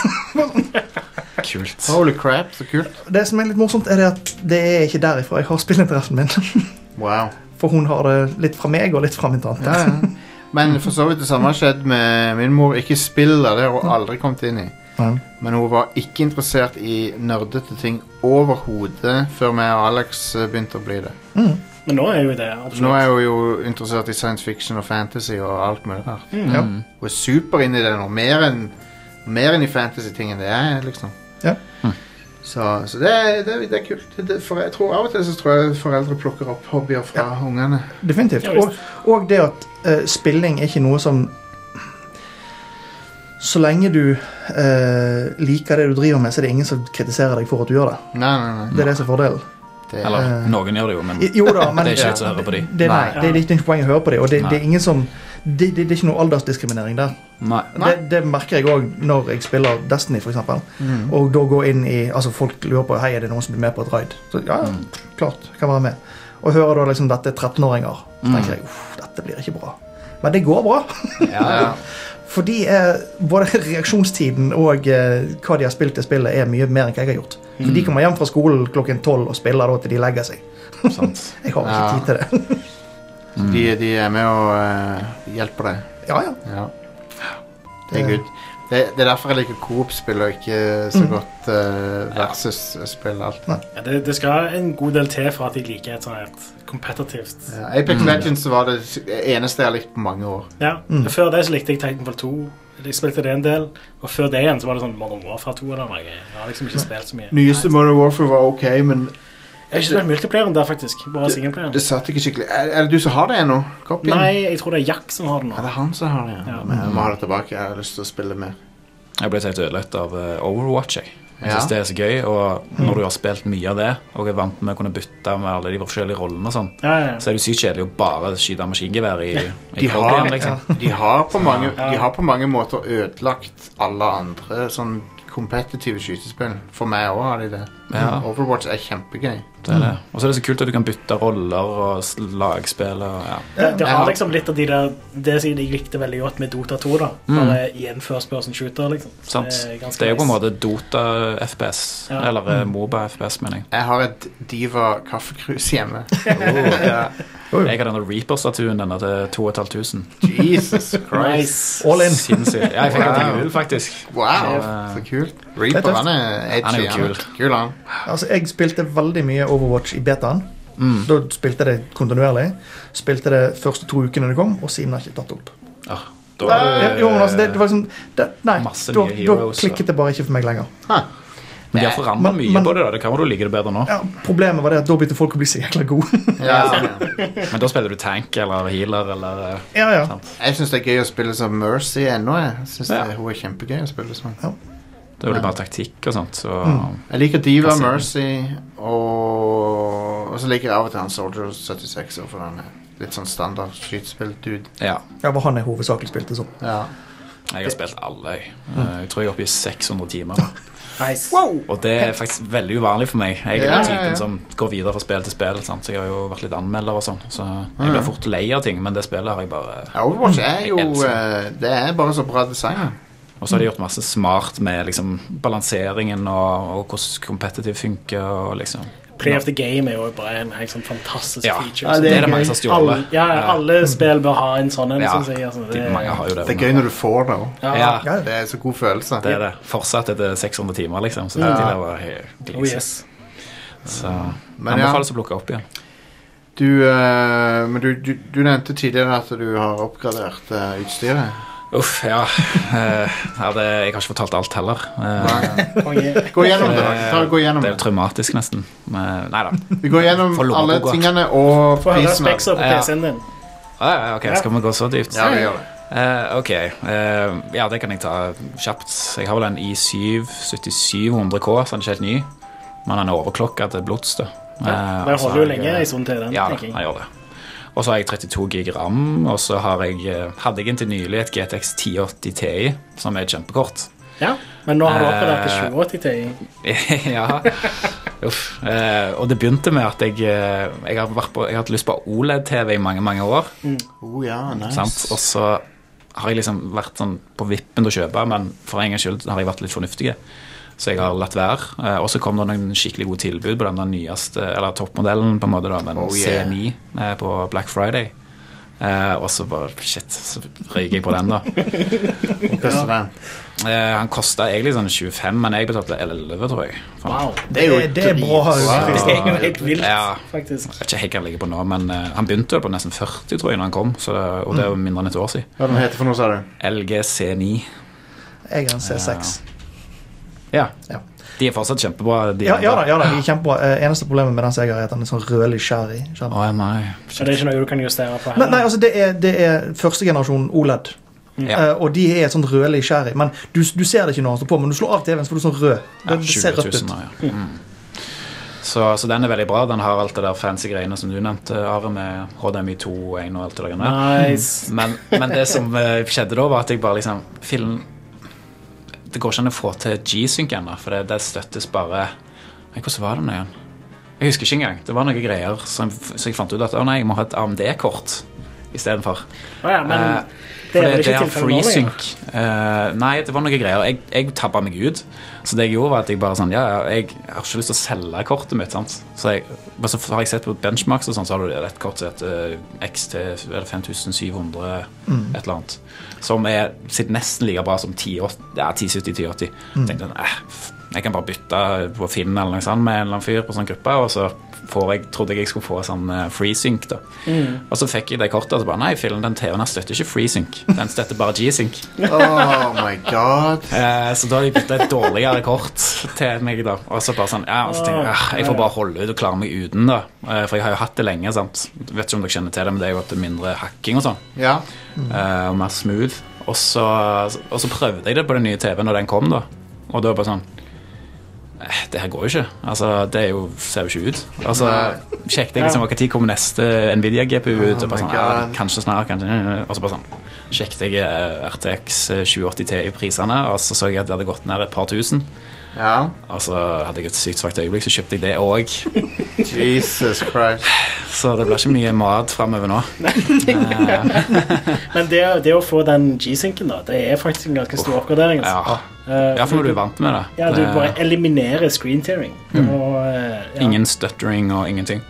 Speaker 3: Kult.
Speaker 1: Holy crap, så kult.
Speaker 4: Det som er litt morsomt, er det at det er ikke derifra jeg har spillinteressen min.
Speaker 1: Wow.
Speaker 4: For hun har det litt fra meg og litt fra min tante.
Speaker 1: Ja, ja. Men for så vidt det samme har skjedd med min mor. Ikke spiller, det har hun aldri kommet inn i.
Speaker 4: Nei.
Speaker 1: Men hun var ikke interessert i nerdete ting overhodet før meg og Alex eh, begynte å bli det.
Speaker 2: Men nå er jo det
Speaker 1: Nå
Speaker 2: absolutt.
Speaker 1: er hun jo interessert i science fiction og fantasy og alt mulig rart.
Speaker 4: Ja.
Speaker 3: Mm.
Speaker 1: Hun er super inn i det nå. Mer enn mer enn i fantasy-ting enn det jeg er, liksom.
Speaker 4: Ja.
Speaker 1: Så, så det, er- det, er- det er kult. Det, for jeg tror Av og til så tror jeg foreldre plukker opp hobbyer fra ungene.
Speaker 4: Definitivt.
Speaker 2: Ja,
Speaker 4: Og,
Speaker 2: visst.
Speaker 4: og det at eh, spilling er ikke noe som Så lenge du eh, liker det du driver med, så er det ingen som kritiserer deg for at du gjør det.
Speaker 1: Nei, nei, nei.
Speaker 4: Det er det som er fordelen.
Speaker 1: Det er,
Speaker 3: Eller, noen gjør det jo, men
Speaker 4: Eh, I- Jo da, men
Speaker 3: det er ikke vits å høre på de.
Speaker 4: det, nei,
Speaker 1: Nei.
Speaker 4: det, er ikke noe poeng å høre på det, og det, det
Speaker 3: Nei.
Speaker 4: er ingen som det, det, det er ikke noe aldersdiskriminering der.
Speaker 3: Nei.
Speaker 1: Nei.
Speaker 4: Det, det merker jeg òg når jeg spiller Destiny, for eksempel. Og da går inn i Altså, folk lurer på Hei, er det noen som blir med på et raid. Så ja, ja,
Speaker 1: Mm.
Speaker 4: klart. Kan være med. Og hører da liksom dette er 13-åringer, så
Speaker 1: Mm.
Speaker 4: tenker jeg uff, dette blir ikke bra. Men det går bra.
Speaker 3: Ja,
Speaker 1: ja.
Speaker 4: Fordi eh, både reaksjonstiden og eh, hva de har spilt i spillet, er mye mer enn hva jeg har gjort. For
Speaker 1: Mm.
Speaker 4: de kommer hjem fra skolen klokken tolv og spiller da til de legger seg.
Speaker 3: sant.
Speaker 4: Jeg har
Speaker 1: Ja.
Speaker 4: ikke tid til det.
Speaker 3: mm.
Speaker 1: De, de er med og eh, hjelper deg.
Speaker 4: Ja, ja.
Speaker 1: Ja. Det er good. Det, det er derfor jeg liker Coop-spill og ikke så godt eh, Versus-spill. og alt.
Speaker 2: Ja, det, det skal en god del til for at jeg liker et sånt her et kompetitivt
Speaker 1: Ja, Eh, Apex
Speaker 3: Mm.
Speaker 1: Legends var det s- eneste jeg har likt på mange år.
Speaker 2: Ja.
Speaker 1: Mm.
Speaker 2: Før det så likte jeg Titanfall 2. Jeg spilte det en del. Og før det igjen så var det sånn Modern Warfare 2 eller noe. Jeg har liksom ikke spilt så mye.
Speaker 1: Nyeste Modern Warfare var ok, men
Speaker 2: Jeg har ikke spilt multiplayeren der, faktisk. Bare singleplayeren.
Speaker 1: det satt ikke skikkelig Er, er det du som har det ennå? Copyen?
Speaker 2: Nei, jeg tror det er Jack som har den
Speaker 1: Er
Speaker 2: nå.
Speaker 1: det han som har det? Ja.
Speaker 2: Ja.
Speaker 1: Men jeg må ha det tilbake. Jeg har lyst til å spille mer.
Speaker 3: Jeg ble helt ødelagt av eh, Overwatch. Jeg, jeg
Speaker 1: Ja.
Speaker 3: synes det er så gøy. Og
Speaker 4: Mm.
Speaker 3: når du har spilt mye av det, og er vant med å kunne bytte med alle de forskjellige rollene, og sånn,
Speaker 2: Ja, ja.
Speaker 3: så er det jo sykt kjedelig å bare skyte maskingevær i, i
Speaker 1: De har,
Speaker 3: Coglan, liksom.
Speaker 1: de, har på mange, de har på mange måter ødelagt alle andre sånn kompetitive skytespill. For meg òg har de det.
Speaker 3: Ja.
Speaker 1: Overwatch er kjempegøy.
Speaker 3: Det er det.
Speaker 4: Mm.
Speaker 3: Og så er det så kult at du kan bytte roller og s- lagspill og ja.
Speaker 2: Det, det
Speaker 1: Ja.
Speaker 2: har liksom litt av de der Det som jeg likte veldig godt med Dota 2, da.
Speaker 3: Mm.
Speaker 2: Bare i en first person shooter, liksom. Så
Speaker 3: Sant.
Speaker 2: er ganske
Speaker 3: Det er jo på en
Speaker 2: nice.
Speaker 3: måte Dota-FPS,
Speaker 2: Ja.
Speaker 3: eller
Speaker 4: Mm.
Speaker 3: eh, Moba-FPS, mener jeg.
Speaker 1: Jeg har et diva kaffekrus hjemme.
Speaker 4: Oh,
Speaker 1: ja.
Speaker 3: Jeg har denne Reaper-statuen, denne til 2500.
Speaker 1: Jesus Christ.
Speaker 2: Nice.
Speaker 4: Eh, All in.
Speaker 3: Sinnssykt. Ja, jeg fikk den
Speaker 1: Wow.
Speaker 3: til jul, faktisk.
Speaker 1: Wow,
Speaker 3: Ja.
Speaker 1: så kult. Reaper,
Speaker 4: tøft.
Speaker 1: han er edgy.
Speaker 3: Han er jo kul.
Speaker 1: Kul, han.
Speaker 4: Altså, jeg spilte veldig mye Overwatch i betaen.
Speaker 1: Mm.
Speaker 4: Da spilte jeg det kontinuerlig. Spilte det første to ukene det kom, og siden har jeg ikke tatt opp.
Speaker 3: Ja, da
Speaker 4: Nei,
Speaker 3: er det-
Speaker 4: jo, men altså, det, det var liksom, det, nei,
Speaker 3: Masse
Speaker 4: da,
Speaker 3: nye
Speaker 4: da
Speaker 3: heroes,
Speaker 4: klikket det bare ikke for meg lenger.
Speaker 3: Men de har forandra
Speaker 4: Men-
Speaker 3: mye
Speaker 4: men-
Speaker 3: på det. da Det kan jo du liker det bedre nå.
Speaker 4: Ja, problemet var det at da begynte folk å bli så jækla gode.
Speaker 1: Ja.
Speaker 3: Men da spiller du tank eller healer eller eh,
Speaker 4: ja, ja.
Speaker 1: Jeg syns det er gøy å spille som Mercy ennå. Jeg synes
Speaker 3: Ja.
Speaker 1: det, Hun er kjempegøy å spille som.
Speaker 3: Det blir bare taktikk og sånt. Så
Speaker 4: Mm.
Speaker 1: Jeg liker Diva,
Speaker 3: Hva sier du?
Speaker 1: Mercy og Og så liker jeg av og til han Soldier 76 også, for han er litt sånn standard skytespill-dude.
Speaker 3: ja.
Speaker 4: Ja, var han jeg hovedsakelig spilte som.
Speaker 1: Ja.
Speaker 3: Jeg har spilt alle. jeg.
Speaker 4: Mm.
Speaker 3: Eh, Jeg tror jeg er oppe i 600 timer. nå.
Speaker 2: nice.
Speaker 3: Og det er faktisk veldig uvanlig for meg. Jeg er
Speaker 1: Ja,
Speaker 3: den
Speaker 1: ja, ja.
Speaker 3: typen som går videre fra spill til spill. Sant? Så jeg har jo vært litt anmelder og sånn. Så jeg blir fort lei av ting, men det spillet har jeg bare
Speaker 1: Ja, Overwatch er
Speaker 3: Jeg
Speaker 1: jo
Speaker 3: elsker
Speaker 1: eh, Det er bare så bra design.
Speaker 3: Og så har de gjort masse smart med liksom, balanseringen og, og hvordan competitive funker. Og liksom.
Speaker 2: Play of the game er jo bare en helt sånn fantastisk
Speaker 3: Ja,
Speaker 2: feature.
Speaker 3: det er det mange
Speaker 2: gøy.
Speaker 3: som stjåler.
Speaker 2: Alle, ja, alle spill bør ha en sånn en,
Speaker 3: Ja,
Speaker 2: synes jeg. Altså,
Speaker 3: de,
Speaker 2: det,
Speaker 3: mange har jo det.
Speaker 1: Det er gøy når du får det òg.
Speaker 2: ja.
Speaker 3: Ja,
Speaker 4: Ja,
Speaker 1: Det er så god følelse.
Speaker 3: det er det. Fortsatt etter 600 timer, liksom. Så
Speaker 1: Ja.
Speaker 3: det der var helt
Speaker 2: Oh, yes.
Speaker 3: Så
Speaker 1: Men ja.
Speaker 3: anbefales å plukke opp igjen.
Speaker 1: Du, eh, men du, du, du nevnte tidligere at du har oppgradert eh, utstyret.
Speaker 3: Uff, ja. Eh, ja det, jeg har ikke fortalt alt heller. Eh,
Speaker 2: Konge.
Speaker 1: Gå gjennom det. da. Ta, og gå gjennom
Speaker 3: det er
Speaker 1: det.
Speaker 3: jo traumatisk, nesten. Nei da.
Speaker 1: Vi går gjennom
Speaker 3: For
Speaker 1: alle
Speaker 3: lommeboka.
Speaker 1: tingene og
Speaker 2: Få høre
Speaker 1: prisen.
Speaker 2: spekser på
Speaker 3: Ja.
Speaker 2: PC-en din.
Speaker 3: Ok, skal vi gå så dypt?
Speaker 1: Ja, vi gjør det.
Speaker 3: Eh, ok, eh, ja det kan jeg ta kjapt. Jeg har vel en i7 7700K, så den er ikke helt ny. Men den er overklokka til blods, da. Eh,
Speaker 2: Den
Speaker 3: og
Speaker 2: holder jo
Speaker 3: så har jeg,
Speaker 2: lenge
Speaker 3: eh,
Speaker 2: en stund til, den.
Speaker 3: Ja,
Speaker 2: tenker
Speaker 3: den
Speaker 2: jeg.
Speaker 3: gjør det. Og så har jeg 32 gig ram, og så har jeg, eh, hadde jeg inntil nylig et GTX 1080 Ti, som er kjempekort.
Speaker 2: Ja. Men nå har du oppgradert
Speaker 3: Eh,
Speaker 2: til 2080 Ti.
Speaker 3: ja. Uff. Eh, og det begynte med at jeg, eh, jeg, har, vært på, jeg har hatt lyst på E OLED-TV i mange, mange år.
Speaker 1: Oh, ja, nice.
Speaker 3: Sant? Og så har jeg liksom vært sånn på vippen til å kjøpe, men for en gangs skyld har jeg vært litt fornuftig. Så jeg har latt være. Eh, Og så kom det noen skikkelig gode tilbud på den der nyeste, eller toppmodellen, på en måte da, den
Speaker 1: Oh, yeah.
Speaker 3: C9 eh, på Black Friday. Eh, og så bare Shit, så røyker jeg på den, da.
Speaker 1: Koster den.
Speaker 3: Eh, han kosta egentlig sånn 25, men jeg betalte 11, tror jeg. for den.
Speaker 2: Wow.
Speaker 1: Det er jo
Speaker 4: Det er bra.
Speaker 1: dritbra.
Speaker 2: Det er jo helt vilt,
Speaker 3: Ja.
Speaker 2: faktisk.
Speaker 3: Jeg vet ikke helt hva han ligger på nå, men eh, han begynte vel på nesten 40, tror jeg, når han kom. Så det, og det er jo mindre enn et år siden.
Speaker 1: Hva den heter for noe, sa du?
Speaker 3: LG C9.
Speaker 4: Jeg har en C6.
Speaker 3: Ja.
Speaker 4: Ja.
Speaker 3: De er fortsatt kjempebra. De
Speaker 4: Ja, ja
Speaker 3: andre.
Speaker 4: da, ja da, de er kjempebra. Eh, eneste problemet med den som jeg har, er at den er sånn rødlig sherry.
Speaker 3: Å nei.
Speaker 2: Så det er ikke noe du kan justere på
Speaker 4: Nei, nei,
Speaker 2: heller.
Speaker 4: altså, det er, det er første generasjon OLED.
Speaker 3: Ja.
Speaker 4: Eh, og de er sånn rødlig sherry. Men du, du ser det ikke når han står på, men du slår av TV-en, så får du sånn rød. Det,
Speaker 3: Ja,
Speaker 4: det ser
Speaker 3: 20
Speaker 4: rødt
Speaker 3: 000,
Speaker 4: ut.
Speaker 3: ja. Mm. Så, så den er veldig bra. Den har alt det der fancy greiene som du nevnte, Are, med HDMI2 og 1 og alt det der. greiene.
Speaker 2: Nice.
Speaker 3: Men, men det som eh, skjedde da, var at jeg bare liksom Filmen Det går ikke an å få til G-sync ennå, for det, det støttes bare Nei, hvordan var det nå igjen? Jeg husker ikke engang. Det var noen greier som så jeg fant ut at å nei, jeg må ha et AMD-kort istedenfor.
Speaker 2: Å ja, men
Speaker 3: Eh,
Speaker 2: det er
Speaker 3: For
Speaker 2: vel ikke
Speaker 3: har
Speaker 2: tilfellet nå lenger?
Speaker 3: FreeSync. Eh, nei, det var noen greier. Jeg, jeg tabba meg ut. Så det jeg gjorde, var at jeg bare sånn Ja, ja, jeg har ikke lyst til å selge kortet mitt. Sant? Så, jeg, men så har jeg sett på benchmarks, og sånn, så har du et kort som heter eh, XT eller 5700 et eller annet. Som er sitt nesten like bra som 1080, ja, 1070-1080. Tenkte jeg, eh, f- jeg kan bare bytte på Finn eller noe sånt med en eller annen fyr på sånn gruppe, og så får jeg, trodde jeg jeg skulle få sånn eh, FreeSync. da. Og så fikk jeg det kortet, og så bare Nei, fillen, den TV-en her støtter ikke FreeSync. Den støtter bare G-Sync.
Speaker 1: Oh my god.
Speaker 3: Eh, så da har de bytta et dårligere kort til meg, da. Og så bare sånn, ja, og så tenker jeg «Ah, jeg får bare holde ut og klare meg uten, da. Eh, for jeg har jo hatt det lenge, sant. Vet ikke om dere kjenner til det, men det er jo at det er mindre hacking og sånn.
Speaker 1: Ja.
Speaker 3: eh, og mer smooth. Og så, og så prøvde jeg det på den nye TV-en når den kom, da. Og da bare sånn eh, det her går jo ikke. Altså, det er jo, ser jo ikke ut. Altså, Sjekket jeg
Speaker 2: Ja.
Speaker 3: liksom hva tid kommer neste Nvidia-GPU ut, og bare
Speaker 1: my
Speaker 3: sånn, ja,
Speaker 1: God.
Speaker 3: kanskje snart, kanskje Og så bare sånn Sjekket jeg eh, RTX 2080 Ti-prisene, og så så jeg at det hadde gått ned et par tusen.
Speaker 1: Ja.
Speaker 3: Og så hadde jeg et sykt svakt øyeblikk, så kjøpte jeg det òg.
Speaker 1: Jesus Christ.
Speaker 3: Så det blir ikke mye mat framover nå.
Speaker 2: Men det, det å få den G-synken, da, det er faktisk en ganske stor oppgradering. Altså.
Speaker 3: Ja.
Speaker 2: Eh,
Speaker 3: Iallfall når du er vant med det.
Speaker 2: Ja, du
Speaker 3: Det-
Speaker 2: bare eliminerer screen tearing. Og, eh, ja. Hmm.
Speaker 3: Ingen stuttering og ingenting.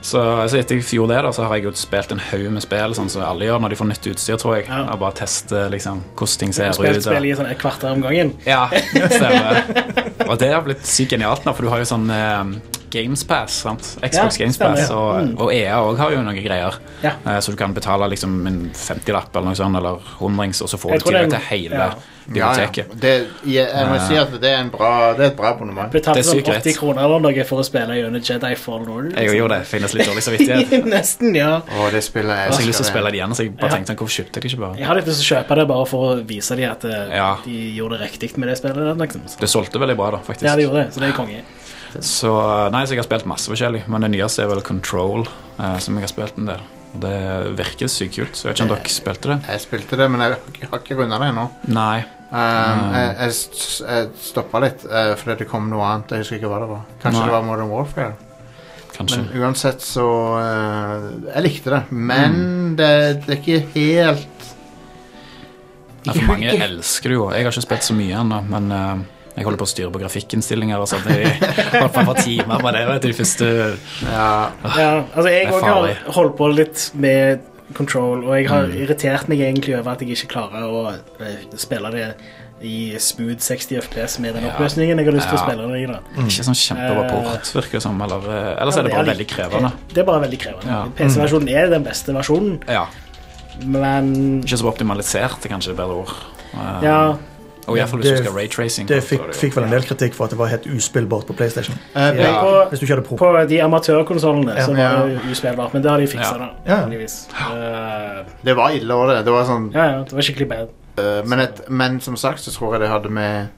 Speaker 3: Så, så etter jeg gjorde det, da, så har jeg jo spilt en haug med spill, sånn som alle gjør når de får nytt utstyr, tror jeg.
Speaker 2: Ja.
Speaker 3: Og bare teste liksom, hvordan ting ser
Speaker 2: Du
Speaker 3: ut.
Speaker 2: spilte
Speaker 3: og-
Speaker 2: spillet i sånn et kvarter om gangen.
Speaker 3: Ja, stemmer. Og det har blitt sykt genialt nå, for du har jo sånn eh, Games Pass, sant? Xbox
Speaker 2: Ja,
Speaker 3: Games Pass,
Speaker 2: stemmer. Hmm.
Speaker 3: og, og EA òg har jo noen greier.
Speaker 2: Ja.
Speaker 3: Eh, Så du kan betale liksom en 50-lapp eller noe sånt, eller hundrings, og så får
Speaker 2: Jeg
Speaker 3: du
Speaker 2: tror det er
Speaker 3: tilgang til
Speaker 2: en-
Speaker 3: hele
Speaker 2: ja.
Speaker 1: Ja, ja.
Speaker 3: biblioteket.
Speaker 1: Det, ja, jeg må si at det er, en bra, det er et bra abonnement.
Speaker 2: Betalte
Speaker 3: Det er
Speaker 2: sånn
Speaker 3: sykt greit.
Speaker 2: 80 kroner eller noe for å spille gjennom Jedi Fallen Order. liksom.
Speaker 3: Jeg gjorde det. Finnes litt dårlig samvittighet.
Speaker 2: Nesten, ja.
Speaker 1: Og det spillet jeg
Speaker 3: Så jeg har lyst til å
Speaker 1: elsker det.
Speaker 3: spille det igjen, så jeg bare
Speaker 2: Ja.
Speaker 3: tenkte sånn, hvorfor kjøpte jeg det ikke bare?
Speaker 2: Jeg har litt lyst til å kjøpe det bare for å vise dem at eh,
Speaker 3: Ja.
Speaker 2: de gjorde det riktig med det spillet. der, Liksom. Så-
Speaker 3: Det solgte veldig bra, da, faktisk.
Speaker 2: Ja, de gjorde det, så det er konge.
Speaker 3: Så eh, nei, så jeg har spilt masse forskjellig, men det nyeste er vel Control, eh, som jeg har spilt en del. Og Det virker sykt kult. Så jeg vet ikke om dere spilte det?
Speaker 1: Jeg spilte det, men jeg har- har ikke runda det ennå.
Speaker 3: Nei.
Speaker 1: Um, jeg jeg, s- jeg stoppa litt eh, fordi det kom noe annet. Jeg husker ikke hva det var. Kanskje
Speaker 3: Nei.
Speaker 1: det var Modern Warfare.
Speaker 3: Kanskje.
Speaker 1: Men uansett så eh, Jeg likte det, men det, det er ikke helt
Speaker 3: Ja, for mange elsker det jo. Jeg har ikke spilt så mye ennå, men eh, jeg holder på å styre på grafikkinnstillinger og sånn. Jeg holdt på for timer med det vet du, de første
Speaker 1: Ja,
Speaker 2: Ja, altså jeg
Speaker 3: Det
Speaker 2: òg
Speaker 3: er
Speaker 2: har
Speaker 3: farlig. Mm.
Speaker 2: holdt på litt med Control, og jeg har irritert meg egentlig over at jeg ikke klarer å eh, spille det i smooth 60 FPS med den
Speaker 3: Ja.
Speaker 2: oppløsningen jeg har lyst til å
Speaker 3: Ja.
Speaker 2: spille det i. da.
Speaker 3: Ikke sånn kjempebra port, virker det som. Eller, eh, ellers er det bare veldig krevende.
Speaker 2: Det er bare veldig krevende.
Speaker 3: Ja. Mm.
Speaker 2: PC-versjonen er den beste versjonen,
Speaker 3: Ja.
Speaker 2: men
Speaker 3: Ikke så optimalisert, er kanskje et bedre ord. Eh,
Speaker 2: ja,
Speaker 3: Og iallfall hvis
Speaker 4: Det-
Speaker 3: du skal raytracing.
Speaker 4: Det fikk, fikk vel en del kritikk for at det var helt uspillbart på PlayStation.
Speaker 1: Eh,
Speaker 2: Ja.
Speaker 1: Play-
Speaker 2: På,
Speaker 4: Hvis du ikke hadde pro.
Speaker 2: på de amatørkonsollene så
Speaker 1: Ja.
Speaker 2: var det jo uspillbart, men det har de fiksa,
Speaker 3: Ja.
Speaker 2: da.
Speaker 4: Ja.
Speaker 2: heldigvis. Eh,
Speaker 1: Det var ille år, det. Det var sånn
Speaker 2: ja, ja, det var skikkelig bad.
Speaker 1: Eh, men, et, men som sagt så tror jeg det hadde med